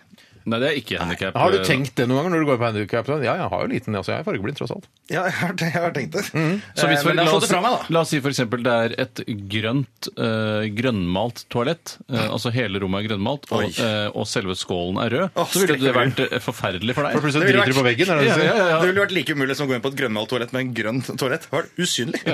[SPEAKER 2] Nei, det er ikke handikap.
[SPEAKER 1] Har du tenkt det noen ganger når du går på handikap? Ja, jeg har jo liten, altså jeg er fargeblind tross alt.
[SPEAKER 3] Ja, jeg har, jeg har tenkt det. Eh,
[SPEAKER 2] Så hvis for,
[SPEAKER 3] Men jeg har
[SPEAKER 2] la,
[SPEAKER 3] slått
[SPEAKER 2] oss,
[SPEAKER 3] det fra meg, da.
[SPEAKER 2] la oss si for eksempel det er et grønt, eh, grønnmalt toalett, eh, altså hele rommet er grønnmalt, og,
[SPEAKER 3] Oi.
[SPEAKER 2] eh, og selve skålen er rød,
[SPEAKER 3] Å,
[SPEAKER 2] så ville det
[SPEAKER 3] skrekkelig.
[SPEAKER 2] vært eh, forferdelig for
[SPEAKER 1] For
[SPEAKER 2] deg.
[SPEAKER 1] plutselig
[SPEAKER 3] Det ville
[SPEAKER 1] driter du på veggen, er det det du
[SPEAKER 2] Ja,
[SPEAKER 1] sier?
[SPEAKER 2] ja, ja.
[SPEAKER 3] Det ville vært like umulig som å gå inn på et grønnmalt toalett med en grønn toalett. Det var usynlig.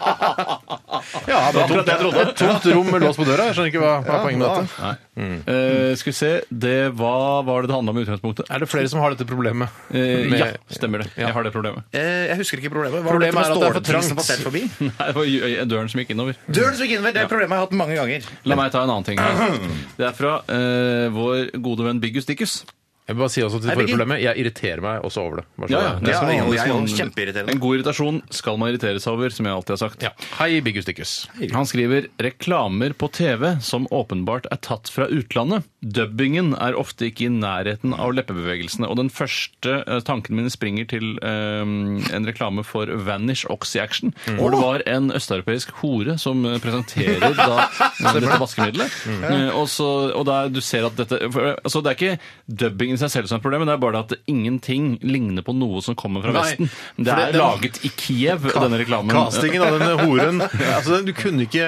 [SPEAKER 1] Ja, det var tomt, et tomt rom med lås på døra. Jeg skjønner ikke hva, hva er poenget med dette.
[SPEAKER 2] Nei. Eh, skal vi se, det, hva var det det handla om i utgangspunktet?
[SPEAKER 1] Er det flere som har dette problemet?
[SPEAKER 2] Eh,
[SPEAKER 1] Med-
[SPEAKER 2] ja, stemmer det. Jeg har det problemet.
[SPEAKER 3] Eh, Jeg husker ikke problemet. Hva
[SPEAKER 1] Problemet
[SPEAKER 3] var
[SPEAKER 1] er at det er for
[SPEAKER 3] ståltisen som
[SPEAKER 1] trangt.
[SPEAKER 3] passerte forbi?
[SPEAKER 2] Nei, det var jo- døren som gikk innover.
[SPEAKER 3] Døren som gikk inn ved, det er problemet jeg har hatt mange ganger.
[SPEAKER 2] La meg ta en annen ting her. Det er fra eh, vår gode venn Biggus Dickus.
[SPEAKER 1] Jeg vil bare si også til det
[SPEAKER 3] Nei,
[SPEAKER 1] forrige
[SPEAKER 3] Birgit.
[SPEAKER 1] problemet, jeg irriterer meg også over det. Bare så
[SPEAKER 2] Ja, ja.
[SPEAKER 1] det er.
[SPEAKER 2] Det er som
[SPEAKER 3] Ja,
[SPEAKER 2] vanlig,
[SPEAKER 3] jeg er jo
[SPEAKER 2] som-
[SPEAKER 3] kjempeirriterende.
[SPEAKER 2] En god irritasjon skal man irritere seg over, som jeg alltid har sagt.
[SPEAKER 1] Ja. Hei, Biggus Dickus.
[SPEAKER 2] Han skriver reklamer på TV som åpenbart er tatt fra utlandet. Dubbingen er ofte ikke i nærheten av leppebevegelsene. Og den første eh, tanken min springer til eh, en reklame for Vanish Oxy-action, hvor det var en østeuropeisk hore som eh, presenterer da,
[SPEAKER 1] Mm.
[SPEAKER 2] dette vaskemiddelet. Eh, og, så, og der du ser at dette for, eh, altså Det er ikke dubbingen i seg selv som et problem, men det er bare det at ingenting ligner på noe som kommer fra
[SPEAKER 1] Nei,
[SPEAKER 2] Vesten.
[SPEAKER 1] for
[SPEAKER 2] Det
[SPEAKER 1] det-
[SPEAKER 2] er
[SPEAKER 1] det var-
[SPEAKER 2] laget i Kiev, denne reklamen.
[SPEAKER 1] Castingen av denne horen altså, du, kunne ikke,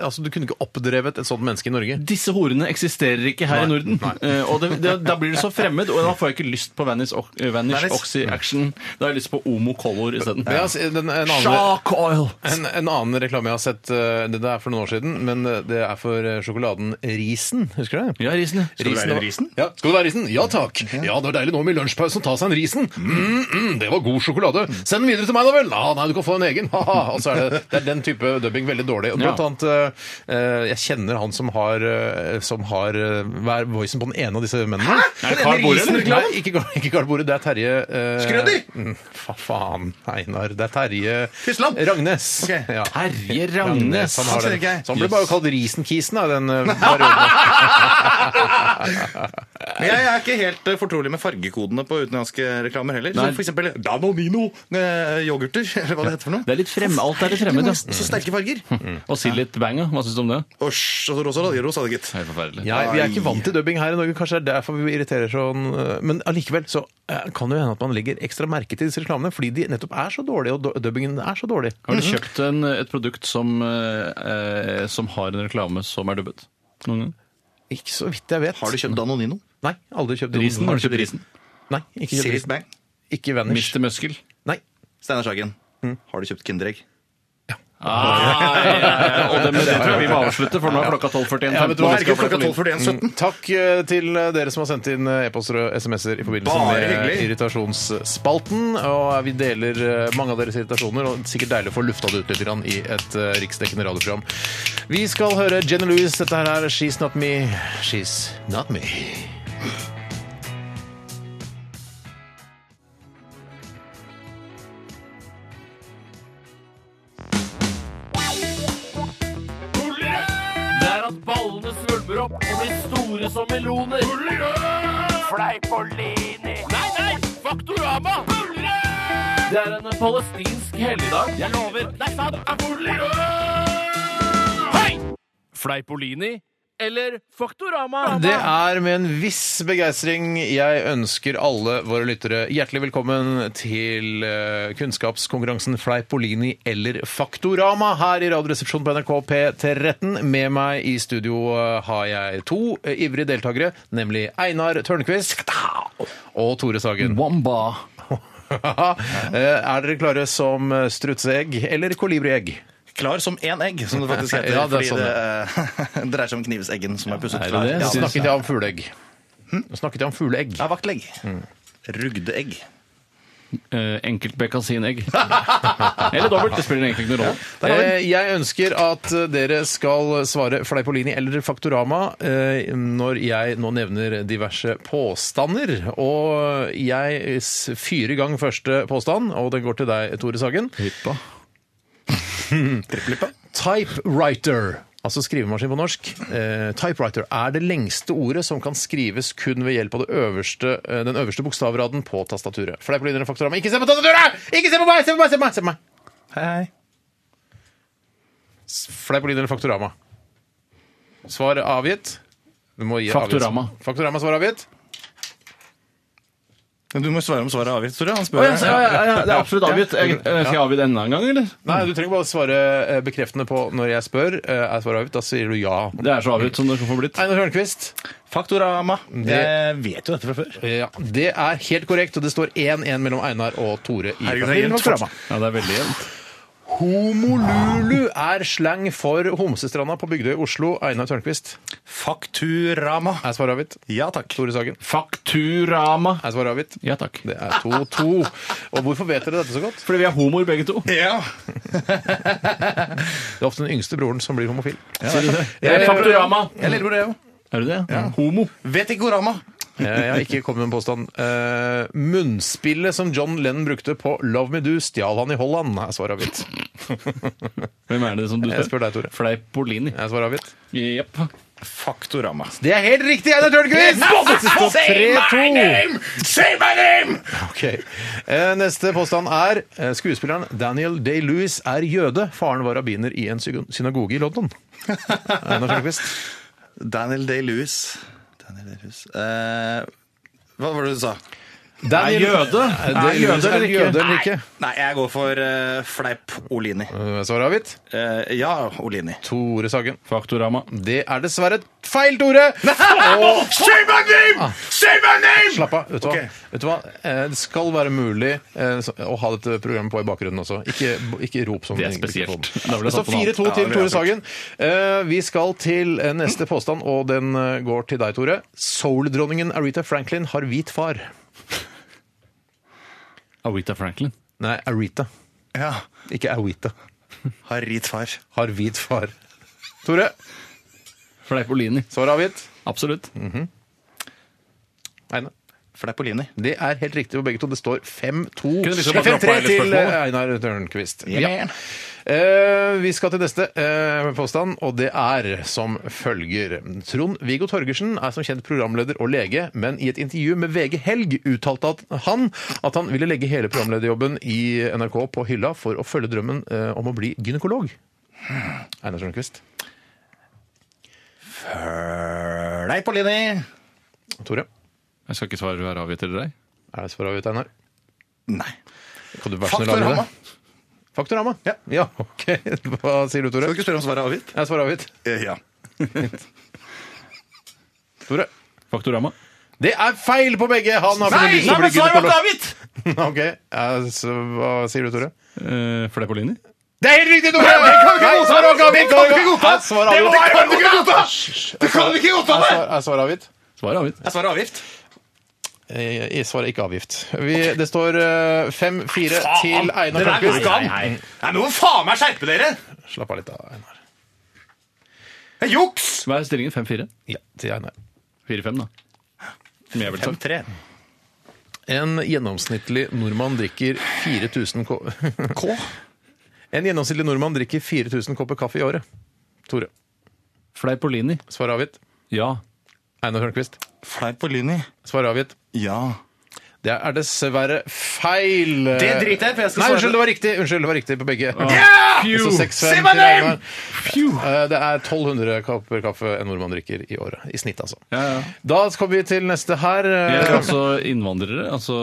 [SPEAKER 1] altså, du kunne ikke oppdrevet et sånt menneske i Norge.
[SPEAKER 2] Disse horene eksisterer ikke her i Norden. Eh, og det, det, Da blir det så fremmed, og da får jeg ikke lyst på Vanish, Ox- eh, Vanish
[SPEAKER 1] Vanish?
[SPEAKER 2] Oxy Action. Da har jeg lyst på Omo Color isteden.
[SPEAKER 1] Men jeg har se- den- en annen-
[SPEAKER 2] Shark oil!
[SPEAKER 1] En, en annen reklame jeg har sett, eh, det er for noen år siden, men eh, det er for eh, sjokoladen Risen. Husker du det?
[SPEAKER 2] Ja, risen, ja.
[SPEAKER 1] Skal
[SPEAKER 3] være en Risen?
[SPEAKER 1] Ja. Skal det være Risen? Ja takk. Ja, det er deilig nå med lunsjpausen å ta seg en Risen. Mm, mm, det var god sjokolade. Send den videre til meg, da vel. Ah, nei, du kan få en egen. Haha. Og så er det, det er den type dubbing veldig dårlig. Og blant
[SPEAKER 2] Ja.
[SPEAKER 1] annet eh, eh, Jeg kjenner han som har, eh, som har eh, hva er voicen på den ene av disse mennene.
[SPEAKER 2] Er det Carl Borre, eller?
[SPEAKER 1] Nei, ikke, Carl- ikke Carl Borre. Det er Terje eh,
[SPEAKER 3] Skrøder?
[SPEAKER 1] Mm, Fa faen, Einar. Det er Terje
[SPEAKER 3] Tysland?
[SPEAKER 1] Ragnes.
[SPEAKER 3] Ok.
[SPEAKER 1] Ja.
[SPEAKER 2] Terje Ragnes.
[SPEAKER 1] Han har
[SPEAKER 3] ser
[SPEAKER 1] den.
[SPEAKER 3] ikke jeg.
[SPEAKER 1] Så han ble bare kalt Risenkisen av den eh, perioden.
[SPEAKER 3] Men Jeg er ikke helt eh, fortrolig med fargekodene på utenlandske reklamer heller.
[SPEAKER 2] Nei.
[SPEAKER 3] Som for eksempel Danonino-yoghurter, eller hva det heter for noe.
[SPEAKER 2] Det er litt frem, alt er litt fremmed, ja.
[SPEAKER 3] Så sterke farger.
[SPEAKER 2] Og Sillit Banga, hva syns du om det?
[SPEAKER 3] Osj, og så rosa, rosa det, gitt.
[SPEAKER 2] Helt forferdelig.
[SPEAKER 1] Ja, vi er ikke vant til dubbing her i Norge, kanskje det er derfor vi irriterer sånn. eh, Men allikevel så eh, kan det jo hende at man legger ekstra merke til disse reklamene fordi de nettopp er så dårlige, og du- dubbingen er så dårlig.
[SPEAKER 2] Har du kjøpt en, et produkt som, eh, eh, som har en reklame som er dubbet? Noen gang?
[SPEAKER 1] Ikke så vidt jeg vet.
[SPEAKER 3] Har du kjøpt Danonino?
[SPEAKER 1] Nei, aldri kjøpt
[SPEAKER 2] Risen? Har du kjøpt risen?
[SPEAKER 1] Nei, ikke kjøpt
[SPEAKER 3] Serious
[SPEAKER 1] risen.
[SPEAKER 3] Bang?
[SPEAKER 1] Ikke Vanish.
[SPEAKER 2] Mr. Muskel?
[SPEAKER 1] Nei.
[SPEAKER 3] Steinar Sagen, har du kjøpt Kinderegg?
[SPEAKER 2] Ah, ja, ja, ja. Og det, med det tror jeg vi må avslutte, for nå er klokka 12.41.
[SPEAKER 1] Ja, vet du hva, herregud, klokka
[SPEAKER 3] 12.41.17.
[SPEAKER 1] Takk eh, til eh, dere som har sendt inn eh, e-poster og SMS-er i forbindelse
[SPEAKER 3] Bare
[SPEAKER 1] med
[SPEAKER 3] hyggelig.
[SPEAKER 1] irritasjonsspalten. Og vi deler eh, mange av deres irritasjoner, og det er sikkert deilig å få lufta det ut litt grann i et eh, riksdekkende radioprogram. Vi skal høre Jenny Louis. Dette her er She's Not Me. She's Not Me.
[SPEAKER 7] Det er at ballene svulmer opp og blir store som meloner. Fleipolini. Nei, nei! Faktorama. Det er en palestinsk helligdag. Jeg lover. Nei, faen. Hei! Fleipolini eller Faktorama?
[SPEAKER 1] Det er med en viss begeistring jeg ønsker alle våre lyttere hjertelig velkommen til eh, kunnskapskonkurransen Fleipolini eller Faktorama her i Radioresepsjonen på NRK P13. Med meg i studio eh, har jeg to eh, ivrige deltakere, nemlig Einar Tørnquist og Tore Sagen.
[SPEAKER 2] Wamba.
[SPEAKER 1] Eh, er dere klare som eh, strutseegg eller kolibriegg?
[SPEAKER 3] Klar som én egg, som det faktisk heter.
[SPEAKER 1] Ja, det er
[SPEAKER 3] fordi
[SPEAKER 1] sånn,
[SPEAKER 3] det eh, dreier seg om knivseggen som er pusset
[SPEAKER 2] er det
[SPEAKER 3] klar.
[SPEAKER 2] det? Hm?
[SPEAKER 3] Ja,
[SPEAKER 1] Nå
[SPEAKER 2] Synes
[SPEAKER 1] snakket jeg om fugleegg. Nå snakket jeg om fugleegg.
[SPEAKER 3] ja, vaktlegg. Rugdeegg.
[SPEAKER 2] Eh, Enkeltbekkasinegg. Eller dobbelt, det spiller egentlig ikke noen rolle.
[SPEAKER 1] Eh, jeg ønsker at eh, dere skal svare Fleipolini eller Faktorama eh, når jeg nå nevner diverse påstander. Og jeg s- fyrer i gang første påstand, og den går til deg, Tore Sagen.
[SPEAKER 2] Hyppa.
[SPEAKER 1] Typewriter, altså skrivemaskin på norsk. Eh, typewriter er det lengste ordet som kan skrives kun ved hjelp av det øverste, eh, den øverste bokstavraden på tastaturet. Fleipolini eller Faktorama, ikke se på tastaturet! Ikke se på meg! Se på meg! Se på meg! Se på meg.
[SPEAKER 3] Hei, hei.
[SPEAKER 1] Fleipolini eller Faktorama? Svar avgitt. Du må gi avgitt-
[SPEAKER 2] Faktorama.
[SPEAKER 1] Faktorama svar avgitt.
[SPEAKER 3] Men Du må svare om svaret er avgitt, Tore. Han
[SPEAKER 2] Å,
[SPEAKER 3] spør
[SPEAKER 2] ja, ja, ja, ja, det er absolutt avgitt. Jeg, eh, skal jeg avgi det enda en gang, eller?
[SPEAKER 1] Nei, du trenger bare svare eh, bekreftende på når jeg spør. Eh, Er svaret avgitt? Da sier du ja.
[SPEAKER 2] Det er så avgitt som det kan få blitt.
[SPEAKER 1] Einar Hørnquist.
[SPEAKER 3] Faktorama. Jeg vet jo dette fra før.
[SPEAKER 1] Ja, det er helt korrekt, og det står 1-1 mellom Einar og Tore. i Familien
[SPEAKER 3] Herregud, det er helt
[SPEAKER 1] Faktorama.
[SPEAKER 2] Ja, det er veldig jevnt.
[SPEAKER 1] Homolulu er slang for Homsestranda på Bygdøy i Oslo. Einar Tørnquist.
[SPEAKER 3] Fakturama.
[SPEAKER 1] Er svaret avgitt?
[SPEAKER 3] Ja takk.
[SPEAKER 1] Tore Sagen.
[SPEAKER 2] Fakturama.
[SPEAKER 1] Er svaret avgitt?
[SPEAKER 2] Ja takk.
[SPEAKER 1] Det er 2-2. Og hvorfor vet dere dette så godt?
[SPEAKER 2] Fordi vi er homoer begge to.
[SPEAKER 3] Ja.
[SPEAKER 1] Det er ofte den yngste broren som blir homofil.
[SPEAKER 2] Sier du det? Det er Faktorama.
[SPEAKER 3] Jeg lurer på det òg.
[SPEAKER 2] Er du det? Homo.
[SPEAKER 3] Vetikorama.
[SPEAKER 1] Eh, Jeg har ikke kommet med en påstand. Eh, munnspillet som John Lennon brukte på Love Me Do, stjal han i Holland. Er svaret avgitt?
[SPEAKER 2] Hvem er det som du
[SPEAKER 1] Jeg spør deg, Tore.
[SPEAKER 2] Fleipolini.
[SPEAKER 1] Er svaret avgitt?
[SPEAKER 2] Jepp.
[SPEAKER 3] Faktorama.
[SPEAKER 1] Det er helt riktig, Einar Tørnquist! Det står 3-2.
[SPEAKER 3] Say my name!
[SPEAKER 1] Ok. Eh, Neste påstand er eh, skuespilleren Daniel Day-Lewis er jøde. Faren var rabbiner i en sygo- synagoge i London. Einar Tørnquist.
[SPEAKER 3] Daniel Day-Lewis. Daniel Day-Lewis. Eh, Hva var det du sa?
[SPEAKER 2] Er jøde? Er jøde eller ikke?
[SPEAKER 6] jøde eller ikke?
[SPEAKER 3] Nei, jeg går for eh, fleip Olini.
[SPEAKER 1] Svaret avgitt.
[SPEAKER 3] Eh, ja, Olini.
[SPEAKER 1] Tore Sagen.
[SPEAKER 2] Faktorama.
[SPEAKER 1] Det er dessverre feil, Tore! Og
[SPEAKER 3] Say my name! Say my name!
[SPEAKER 1] Ah. slapp av. Vet du hva?
[SPEAKER 3] Ok.
[SPEAKER 1] Vet du hva? Eh, Det skal være mulig eh, så- å ha dette programmet på i bakgrunnen også. Ikke, ikke rop som
[SPEAKER 2] Det sånn er
[SPEAKER 1] egentlig ikke
[SPEAKER 2] spesielt.
[SPEAKER 1] får den.
[SPEAKER 2] Da ville jeg
[SPEAKER 1] Så
[SPEAKER 2] satt på
[SPEAKER 1] 4-2
[SPEAKER 2] noe
[SPEAKER 3] annet. Ja,
[SPEAKER 1] til
[SPEAKER 3] det ville
[SPEAKER 1] Tore
[SPEAKER 3] jeg
[SPEAKER 1] Sagen. Eh, Vi skal til eh, neste påstand, og den eh, går til deg, Tore. Soul-dronningen Aretha Franklin har hvit far.
[SPEAKER 2] Awita Franklin.
[SPEAKER 1] Nei, Aretha.
[SPEAKER 3] Ja,
[SPEAKER 1] Ikke Awita.
[SPEAKER 3] har rit far.
[SPEAKER 1] Har hvit far. Tore,
[SPEAKER 2] Fleipolini.
[SPEAKER 1] svar avgitt.
[SPEAKER 2] Absolutt.
[SPEAKER 1] Einar.
[SPEAKER 3] Fleip Olini.
[SPEAKER 1] Det er helt riktig på begge to. Det står 5-2
[SPEAKER 2] Kunne liksom bare droppet
[SPEAKER 1] 5-3
[SPEAKER 2] hele
[SPEAKER 1] til
[SPEAKER 2] spørsmålet.
[SPEAKER 1] eh, Einar Tørnquist.
[SPEAKER 3] Ja.
[SPEAKER 1] Eh, vi skal til neste eh, påstand, og det er som følger. Trond-Viggo Torgersen er som kjent programleder og lege, men i et intervju med VG Helg uttalte at han at han ville legge hele programlederjobben i NRK på hylla for å følge drømmen eh, om å bli gynekolog. Einar Tørnquist.
[SPEAKER 3] Fleip Olini.
[SPEAKER 1] Tore,
[SPEAKER 2] Jeg skal ikke svare hver avgitt eller deg.
[SPEAKER 1] er det svaret avgitt, Einar?
[SPEAKER 3] Nei.
[SPEAKER 1] Kan du være snill å lage
[SPEAKER 3] Faktorhamma.
[SPEAKER 1] det? Faktorama? Ja. ja. Ok. Hva sier du, Tore?
[SPEAKER 3] Skal du ikke spørre om svaret er avgitt?
[SPEAKER 1] Jeg svarer avgitt.
[SPEAKER 3] Eh, ja.
[SPEAKER 1] Tore?
[SPEAKER 2] Faktorama.
[SPEAKER 1] Det er feil på begge! Han har
[SPEAKER 3] Nei,
[SPEAKER 1] lyst til å
[SPEAKER 3] nei, men
[SPEAKER 1] bli
[SPEAKER 3] svaret var ikke
[SPEAKER 1] gynekolog.
[SPEAKER 3] avgitt!
[SPEAKER 1] Ok, eh, så Hva sier du, Tore?
[SPEAKER 2] Uh, Fleipolini.
[SPEAKER 1] Det er helt riktig! Tore! Nei, svaret var ikke avgitt!
[SPEAKER 3] Det kan vi ikke godta!
[SPEAKER 1] Er svaret avgitt?
[SPEAKER 3] Det kan vi ikke godta! Det kan vi ikke godta!
[SPEAKER 1] Er
[SPEAKER 3] det!
[SPEAKER 1] svar- Er svaret avgitt?
[SPEAKER 2] Svaret er avgitt.
[SPEAKER 3] Er svaret avgift?
[SPEAKER 1] Eh, Jeg svarer ikke avgift. Vi, det står eh, 5-4 til Einar
[SPEAKER 3] Dere er jo
[SPEAKER 1] Tørnquist.
[SPEAKER 3] skam! Nei, nå må faen meg skjerpe dere!
[SPEAKER 1] Slapp av litt, da, Einar.
[SPEAKER 3] Det er juks!
[SPEAKER 2] Hva er stillingen? 5-4?
[SPEAKER 1] Ja, til Einar.
[SPEAKER 2] 4-5, da. Som jeg ville sagt.
[SPEAKER 1] En gjennomsnittlig nordmann drikker 4000 ko K? En gjennomsnittlig nordmann drikker 4000 kopper kaffe i året. Tore.
[SPEAKER 2] Fleipolini.
[SPEAKER 1] Svar avgitt.
[SPEAKER 2] Ja.
[SPEAKER 1] Einar Tørnquist.
[SPEAKER 3] Fleip på Lyni.
[SPEAKER 1] Svar avgitt.
[SPEAKER 3] Ja.
[SPEAKER 1] Det er dessverre feil.
[SPEAKER 3] Det driter jeg i, for jeg skal
[SPEAKER 1] Nei,
[SPEAKER 3] svare- Altså,
[SPEAKER 1] unnskyld, det var riktig. Unnskyld, det var riktig på begge.
[SPEAKER 3] Yeah!
[SPEAKER 2] Altså,
[SPEAKER 1] Så 6-5
[SPEAKER 3] Say
[SPEAKER 1] til
[SPEAKER 3] my
[SPEAKER 1] Einar.
[SPEAKER 3] name!
[SPEAKER 1] Eh, Det er 1200 kopper kaffe en nordmann drikker i året. I snitt, altså.
[SPEAKER 2] ja, ja.
[SPEAKER 1] Da kommer vi til neste her.
[SPEAKER 2] Det
[SPEAKER 1] eh,
[SPEAKER 2] Gjelder altså innvandrere? Altså,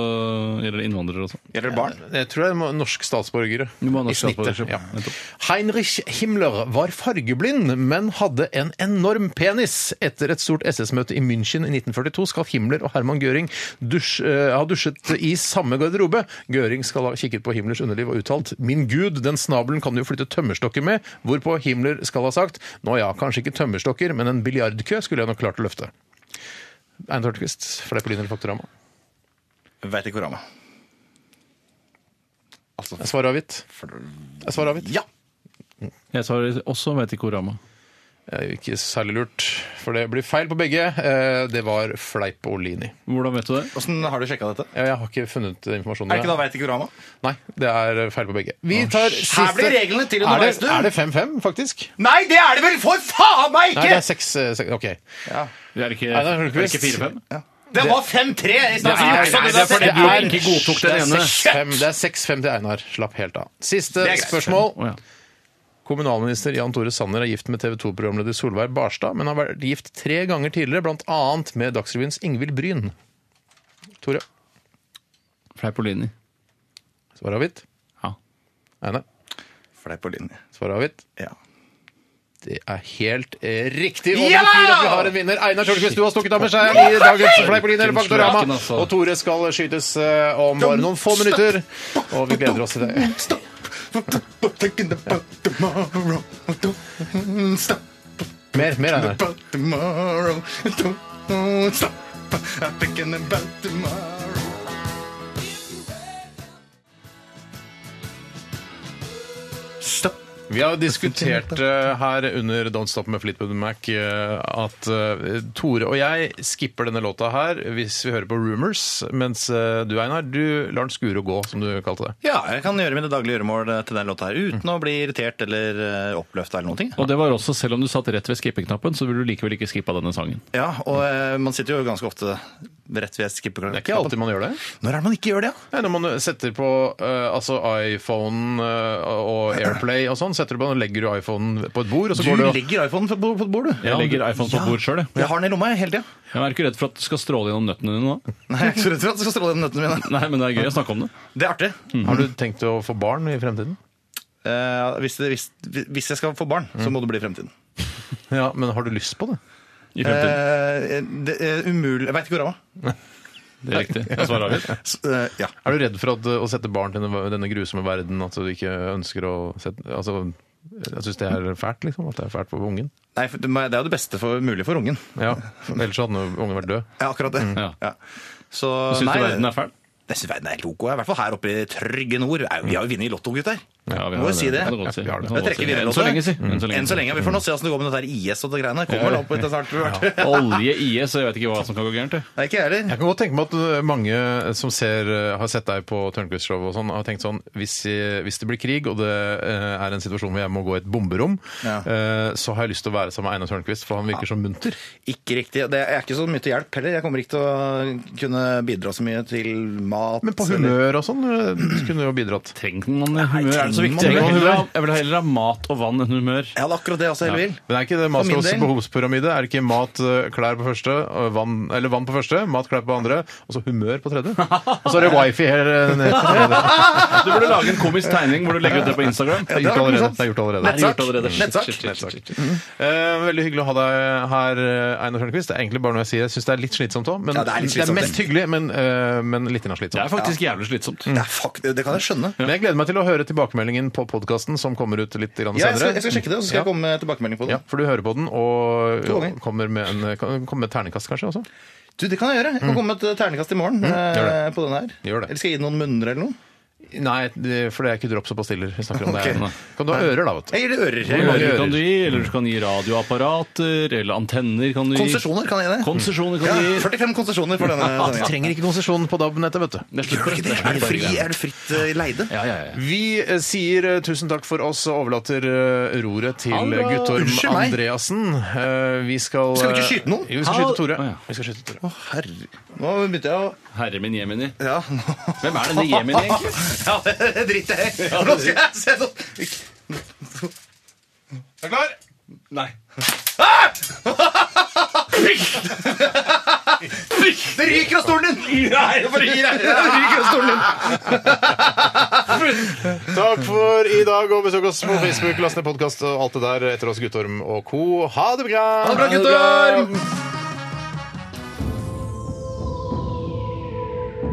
[SPEAKER 2] gjelder det innvandrere også?
[SPEAKER 3] Gjelder det barn?
[SPEAKER 1] Jeg tror det er norsk statsborgere.
[SPEAKER 2] Du må ha norsk
[SPEAKER 1] I snittet,
[SPEAKER 2] statsborgerskap.
[SPEAKER 1] ja.
[SPEAKER 2] Nettopp.
[SPEAKER 1] Heinrich Himmler var fargeblind, men hadde en enorm penis. Etter et stort SS-møte i München i 1942 skal Himmler og Herman Göring dusj, eh, ha dusjet i samme garderobe. Göring skal ha kikket på Himmlers underliv og uttalt 'Min Gud, den snabelen kan du jo flytte tømmerstokker med', hvorpå Himmler skal ha sagt 'Nå ja, kanskje ikke tømmerstokker, men en biljardkø skulle jeg nok klart å løfte'. Einar Tørtquist, Fleipolin eller Faktorama?
[SPEAKER 3] Veit ikke hvor ramma.
[SPEAKER 1] Svar avgitt. Svar avgitt.
[SPEAKER 3] Ja.
[SPEAKER 2] Jeg svarer også vet ikke hvor ramma.
[SPEAKER 1] Det er jo ikke særlig lurt, for det blir feil på begge. Eh, Det var fleip og lini.
[SPEAKER 2] Hvordan vet du det?
[SPEAKER 3] Åssen har du sjekka dette?
[SPEAKER 1] Ja, Jeg har ikke funnet informasjonen.
[SPEAKER 3] Er det ikke da veit ikke hvor ramma?
[SPEAKER 1] Nei, det er feil på begge. Vi tar siste...
[SPEAKER 3] Her blir reglene til
[SPEAKER 1] Er det
[SPEAKER 3] underveis, du.
[SPEAKER 1] er det 5-5, faktisk?
[SPEAKER 3] Nei, det er det vel for faen meg
[SPEAKER 1] Nei, det
[SPEAKER 3] ikke!
[SPEAKER 1] er 6... Ok.
[SPEAKER 2] Det er ikke,
[SPEAKER 1] Nei, det er
[SPEAKER 2] er det ikke
[SPEAKER 1] Hulkvist.
[SPEAKER 2] 4-5?
[SPEAKER 3] Det var 5-3! i stedet for
[SPEAKER 2] Nei,
[SPEAKER 3] juks, og
[SPEAKER 2] nei,
[SPEAKER 3] det
[SPEAKER 2] det er
[SPEAKER 3] var
[SPEAKER 2] fordi du
[SPEAKER 3] seks.
[SPEAKER 1] Det er-
[SPEAKER 2] ikke godtok den ene.
[SPEAKER 1] Fem, det er 6-5 til Einar. Slapp helt av. Siste
[SPEAKER 3] Det er greit.
[SPEAKER 1] spørsmål.
[SPEAKER 2] Å, ja.
[SPEAKER 1] Kommunalminister Jan Tore Sanner er gift med TV 2-programleder Solveig Barstad, men har vært gift tre ganger tidligere, blant annet med Dagsrevyens Ingvild Bryn. Tore,
[SPEAKER 2] Fleipolini.
[SPEAKER 1] svaret avgitt.
[SPEAKER 2] Ja.
[SPEAKER 1] Einar,
[SPEAKER 3] Fleip på linje.
[SPEAKER 1] svaret avgitt.
[SPEAKER 3] Ja.
[SPEAKER 1] Det er helt eh, riktig. Og
[SPEAKER 3] Ja!
[SPEAKER 1] det betyr at vi har en vinner. Einar Tørnquist, du har stukket av med seieren i dagens Fleipolin eller Faktorama.
[SPEAKER 2] Slaken, altså.
[SPEAKER 1] Og Tore skal skytes eh, om bare noen få minutter. Og vi gleder oss til det.
[SPEAKER 3] Stop. Thinking about tomorrow. Don't Stop
[SPEAKER 1] Mer, mer Einar.
[SPEAKER 3] about tomorrow. Don't Stop thinking about tomorrow. Stop.
[SPEAKER 1] Vi har diskutert eh, her under Don't Stop med Fleetwood Mac eh, at eh, Tore og jeg skipper denne låta her hvis vi hører på Rumors, mens eh, du, Einar, du lar den skure og gå, som du kalte det.
[SPEAKER 3] Ja, jeg kan gjøre mine daglige gjøremål eh, til den låta her uten å bli irritert eller eh, oppløfta eller noen ting.
[SPEAKER 2] Og det var også, selv om du satt rett ved skippeknappen, så ville du likevel ikke skippa denne sangen.
[SPEAKER 3] Ja, og eh, man sitter jo ganske ofte rett ved skipperklokken.
[SPEAKER 1] Det er ikke alltid man gjør det.
[SPEAKER 3] Når er det man ikke gjør det?
[SPEAKER 1] Nei, når man setter på eh, altså iPhonen eh, og Airplay og sånn, setter du på, legger du iPhonen på et bord, og så
[SPEAKER 3] Du
[SPEAKER 1] går du og
[SPEAKER 3] legger iPhonen på bord, på bord du.
[SPEAKER 2] Jeg legger iPhone på bord sjøl, jeg.
[SPEAKER 3] Jeg har den i lomma jeg, hele tida.
[SPEAKER 2] Jeg er ikke redd for at det skal stråle gjennom nøttene dine nå.
[SPEAKER 3] Nei, jeg er ikke så redd for at det skal stråle gjennom nøttene mine.
[SPEAKER 2] Nei, men det er gøy å snakke om det.
[SPEAKER 3] Det er artig.
[SPEAKER 1] Har du tenkt å få barn i fremtiden?
[SPEAKER 3] Eh, hvis, det, hvis, hvis jeg skal få barn, så må det bli i fremtiden.
[SPEAKER 1] Ja, men har du lyst på det?
[SPEAKER 2] I fremtiden.
[SPEAKER 3] Eh, det er umulig Jeg veit ikke hvor jeg var.
[SPEAKER 2] Det er riktig. Jeg svarer avgitt.
[SPEAKER 3] S- eh, ja.
[SPEAKER 1] Er du redd for at, eh, å sette barn til denne, denne grusomme verden, at du ikke ønsker å sette Altså, jeg syns det er fælt, liksom. At det er fælt for ungen.
[SPEAKER 3] Nei, for det må- det er jo det beste for, mulig for ungen.
[SPEAKER 1] Ja, Ellers hadde jo ungen vært død.
[SPEAKER 3] Ja, akkurat det.
[SPEAKER 2] Ja.
[SPEAKER 3] Ja. Så,
[SPEAKER 2] Syns du verden er fæl?
[SPEAKER 3] Jeg synes verden er helt OK. I hvert fall her oppe i trygge nord. Er- Vi har jo vunnet i Lotto, gutter.
[SPEAKER 2] Ja, vi
[SPEAKER 3] Må
[SPEAKER 2] har
[SPEAKER 3] jo si det.
[SPEAKER 2] Ja, kan du godt si.
[SPEAKER 1] Ja, vi har det.
[SPEAKER 2] Det kan du
[SPEAKER 3] Jeg
[SPEAKER 2] godt
[SPEAKER 3] trekker
[SPEAKER 2] si.
[SPEAKER 3] videre,
[SPEAKER 2] Enn så
[SPEAKER 3] Lotte.
[SPEAKER 2] lenge, si. Enn så lenge.
[SPEAKER 3] Enn så lenge. Vi får nå se åssen det går med dette her IS og det greiene der. Kommer vel opp etter snart. Ja.
[SPEAKER 2] Olje, IS, og jeg vet ikke hva som kan gå gærent. jeg.
[SPEAKER 3] Nei, ikke jeg heller.
[SPEAKER 1] Jeg kan godt tenke meg at eh, mange som ser, eh, har sett deg på Tørnquist-show og sånn, har tenkt sånn hvis, jeg- hvis det blir krig, og det eh, er en situasjon hvor jeg må gå i et bomberom,
[SPEAKER 3] Ja.
[SPEAKER 1] eh, så har jeg lyst til å være sammen med Einar Tørnquist, for han virker så munter.
[SPEAKER 3] Ikke riktig. Det er ikke så mye til hjelp heller. Jeg kommer ikke til å kunne bidra så mye til mat.
[SPEAKER 1] Men på
[SPEAKER 3] eller-
[SPEAKER 1] humør og sånn eh, kunne du jo bidratt.
[SPEAKER 2] Trenger man humør? Er det så
[SPEAKER 3] trenger
[SPEAKER 2] viktig? Jeg vil
[SPEAKER 3] man humør?
[SPEAKER 2] heller ha- jeg vil heller ha mat og vann enn humør.
[SPEAKER 3] Jeg hadde akkurat det altså, Elvil.
[SPEAKER 1] Men er ikke det
[SPEAKER 3] min
[SPEAKER 1] Maslows
[SPEAKER 3] del-
[SPEAKER 1] behovspyramide? Er det ikke mat, eh, klær på første, og vann, eller vann på første, mat, klær på andre, og så humør på tredje? Og så er det wifi her eh, nede. på tredje.
[SPEAKER 2] Du burde lage en komisk tegning hvor du legger ut det på Instagram.
[SPEAKER 1] Det er gjort allerede. Det er gjort allerede.
[SPEAKER 2] Det er gjort allerede. Shit,
[SPEAKER 3] Nettsak.
[SPEAKER 2] shit, shit, shit, shit.
[SPEAKER 1] Eh, veldig hyggelig å ha deg her, eh, Einar Tørnquist. Det er egentlig bare noe jeg sier. Jeg syns det er litt slitsomt òg, men
[SPEAKER 3] Ja, det er litt slitsomt,
[SPEAKER 1] mest hyggelig, men, eh, men litt grann
[SPEAKER 2] Det er
[SPEAKER 1] slitsomt.
[SPEAKER 2] faktisk jævlig slitsomt.
[SPEAKER 3] Det, er fakt- det kan jeg skjønne.
[SPEAKER 1] Men jeg gleder meg til å høre tilbakemeldingen på podkasten som kommer ut litt grann
[SPEAKER 3] Ja, jeg, skal,
[SPEAKER 1] senere.
[SPEAKER 3] jeg skal sjekke det, og så skal
[SPEAKER 1] Ja.
[SPEAKER 3] jeg komme med tilbakemelding på det.
[SPEAKER 1] Ja, for du hører på den og
[SPEAKER 3] To ganger.
[SPEAKER 1] kommer med, en, kan- kommer med et ternekast kanskje også?
[SPEAKER 3] Du, Det kan jeg gjøre. Jeg kan komme med et ternekast i morgen
[SPEAKER 1] gjør
[SPEAKER 3] eh, på den her.
[SPEAKER 1] Gjør det.
[SPEAKER 3] Eller skal jeg gi den noen munner eller noe?
[SPEAKER 1] Nei, det- for det er ikke drops og pastiller vi snakker om.
[SPEAKER 3] Ok.
[SPEAKER 1] Det er, kan du ha ører, da, vet du.
[SPEAKER 3] Jeg gir det ører. Jeg gir det
[SPEAKER 2] Ører
[SPEAKER 3] ører.
[SPEAKER 2] kan du gi, eller du kan gi radioapparater, eller antenner kan du gi.
[SPEAKER 3] Konsesjoner kan jeg gi det.
[SPEAKER 2] Konsesjoner
[SPEAKER 3] Ja,
[SPEAKER 2] kan du gi.
[SPEAKER 3] 45 konsesjoner for denne sendinga.
[SPEAKER 1] Trenger ikke konsesjon på DAB-nettet, vet du.
[SPEAKER 2] Det er slutt på dette.
[SPEAKER 3] Er det fri, er det fritt eh, leide?
[SPEAKER 2] Ja, ja, ja.
[SPEAKER 1] Vi eh, sier eh, tusen takk for oss og overlater eh, roret til
[SPEAKER 2] Hallo.
[SPEAKER 1] eh, Guttorm
[SPEAKER 3] Unnskyld meg.
[SPEAKER 1] Andreassen. Eh, Vi skal
[SPEAKER 3] Skal vi ikke
[SPEAKER 1] eh,
[SPEAKER 3] skyte noen?
[SPEAKER 1] Jo, vi skal
[SPEAKER 2] Hallo.
[SPEAKER 1] skyte Tore.
[SPEAKER 2] Å, ja.
[SPEAKER 1] Vi skal skyte Tore.
[SPEAKER 3] Å, herre Nå begynte jeg å
[SPEAKER 2] Herre min Jemini.
[SPEAKER 3] Ja, nå
[SPEAKER 2] Hvem er denne Jemini, egentlig?
[SPEAKER 3] Ja, det driter jeg i. Nå skal jeg se sånn
[SPEAKER 1] Er du klar?
[SPEAKER 2] Nei.
[SPEAKER 3] Det ryker av stolen din! Nei, det ryker av stolen din.
[SPEAKER 1] Takk for i dag, og besøk oss på Facebook. Last ned podkast og alt det der etter oss, Guttorm og co. Ha det bra!
[SPEAKER 3] Ha det bra, Guttorm!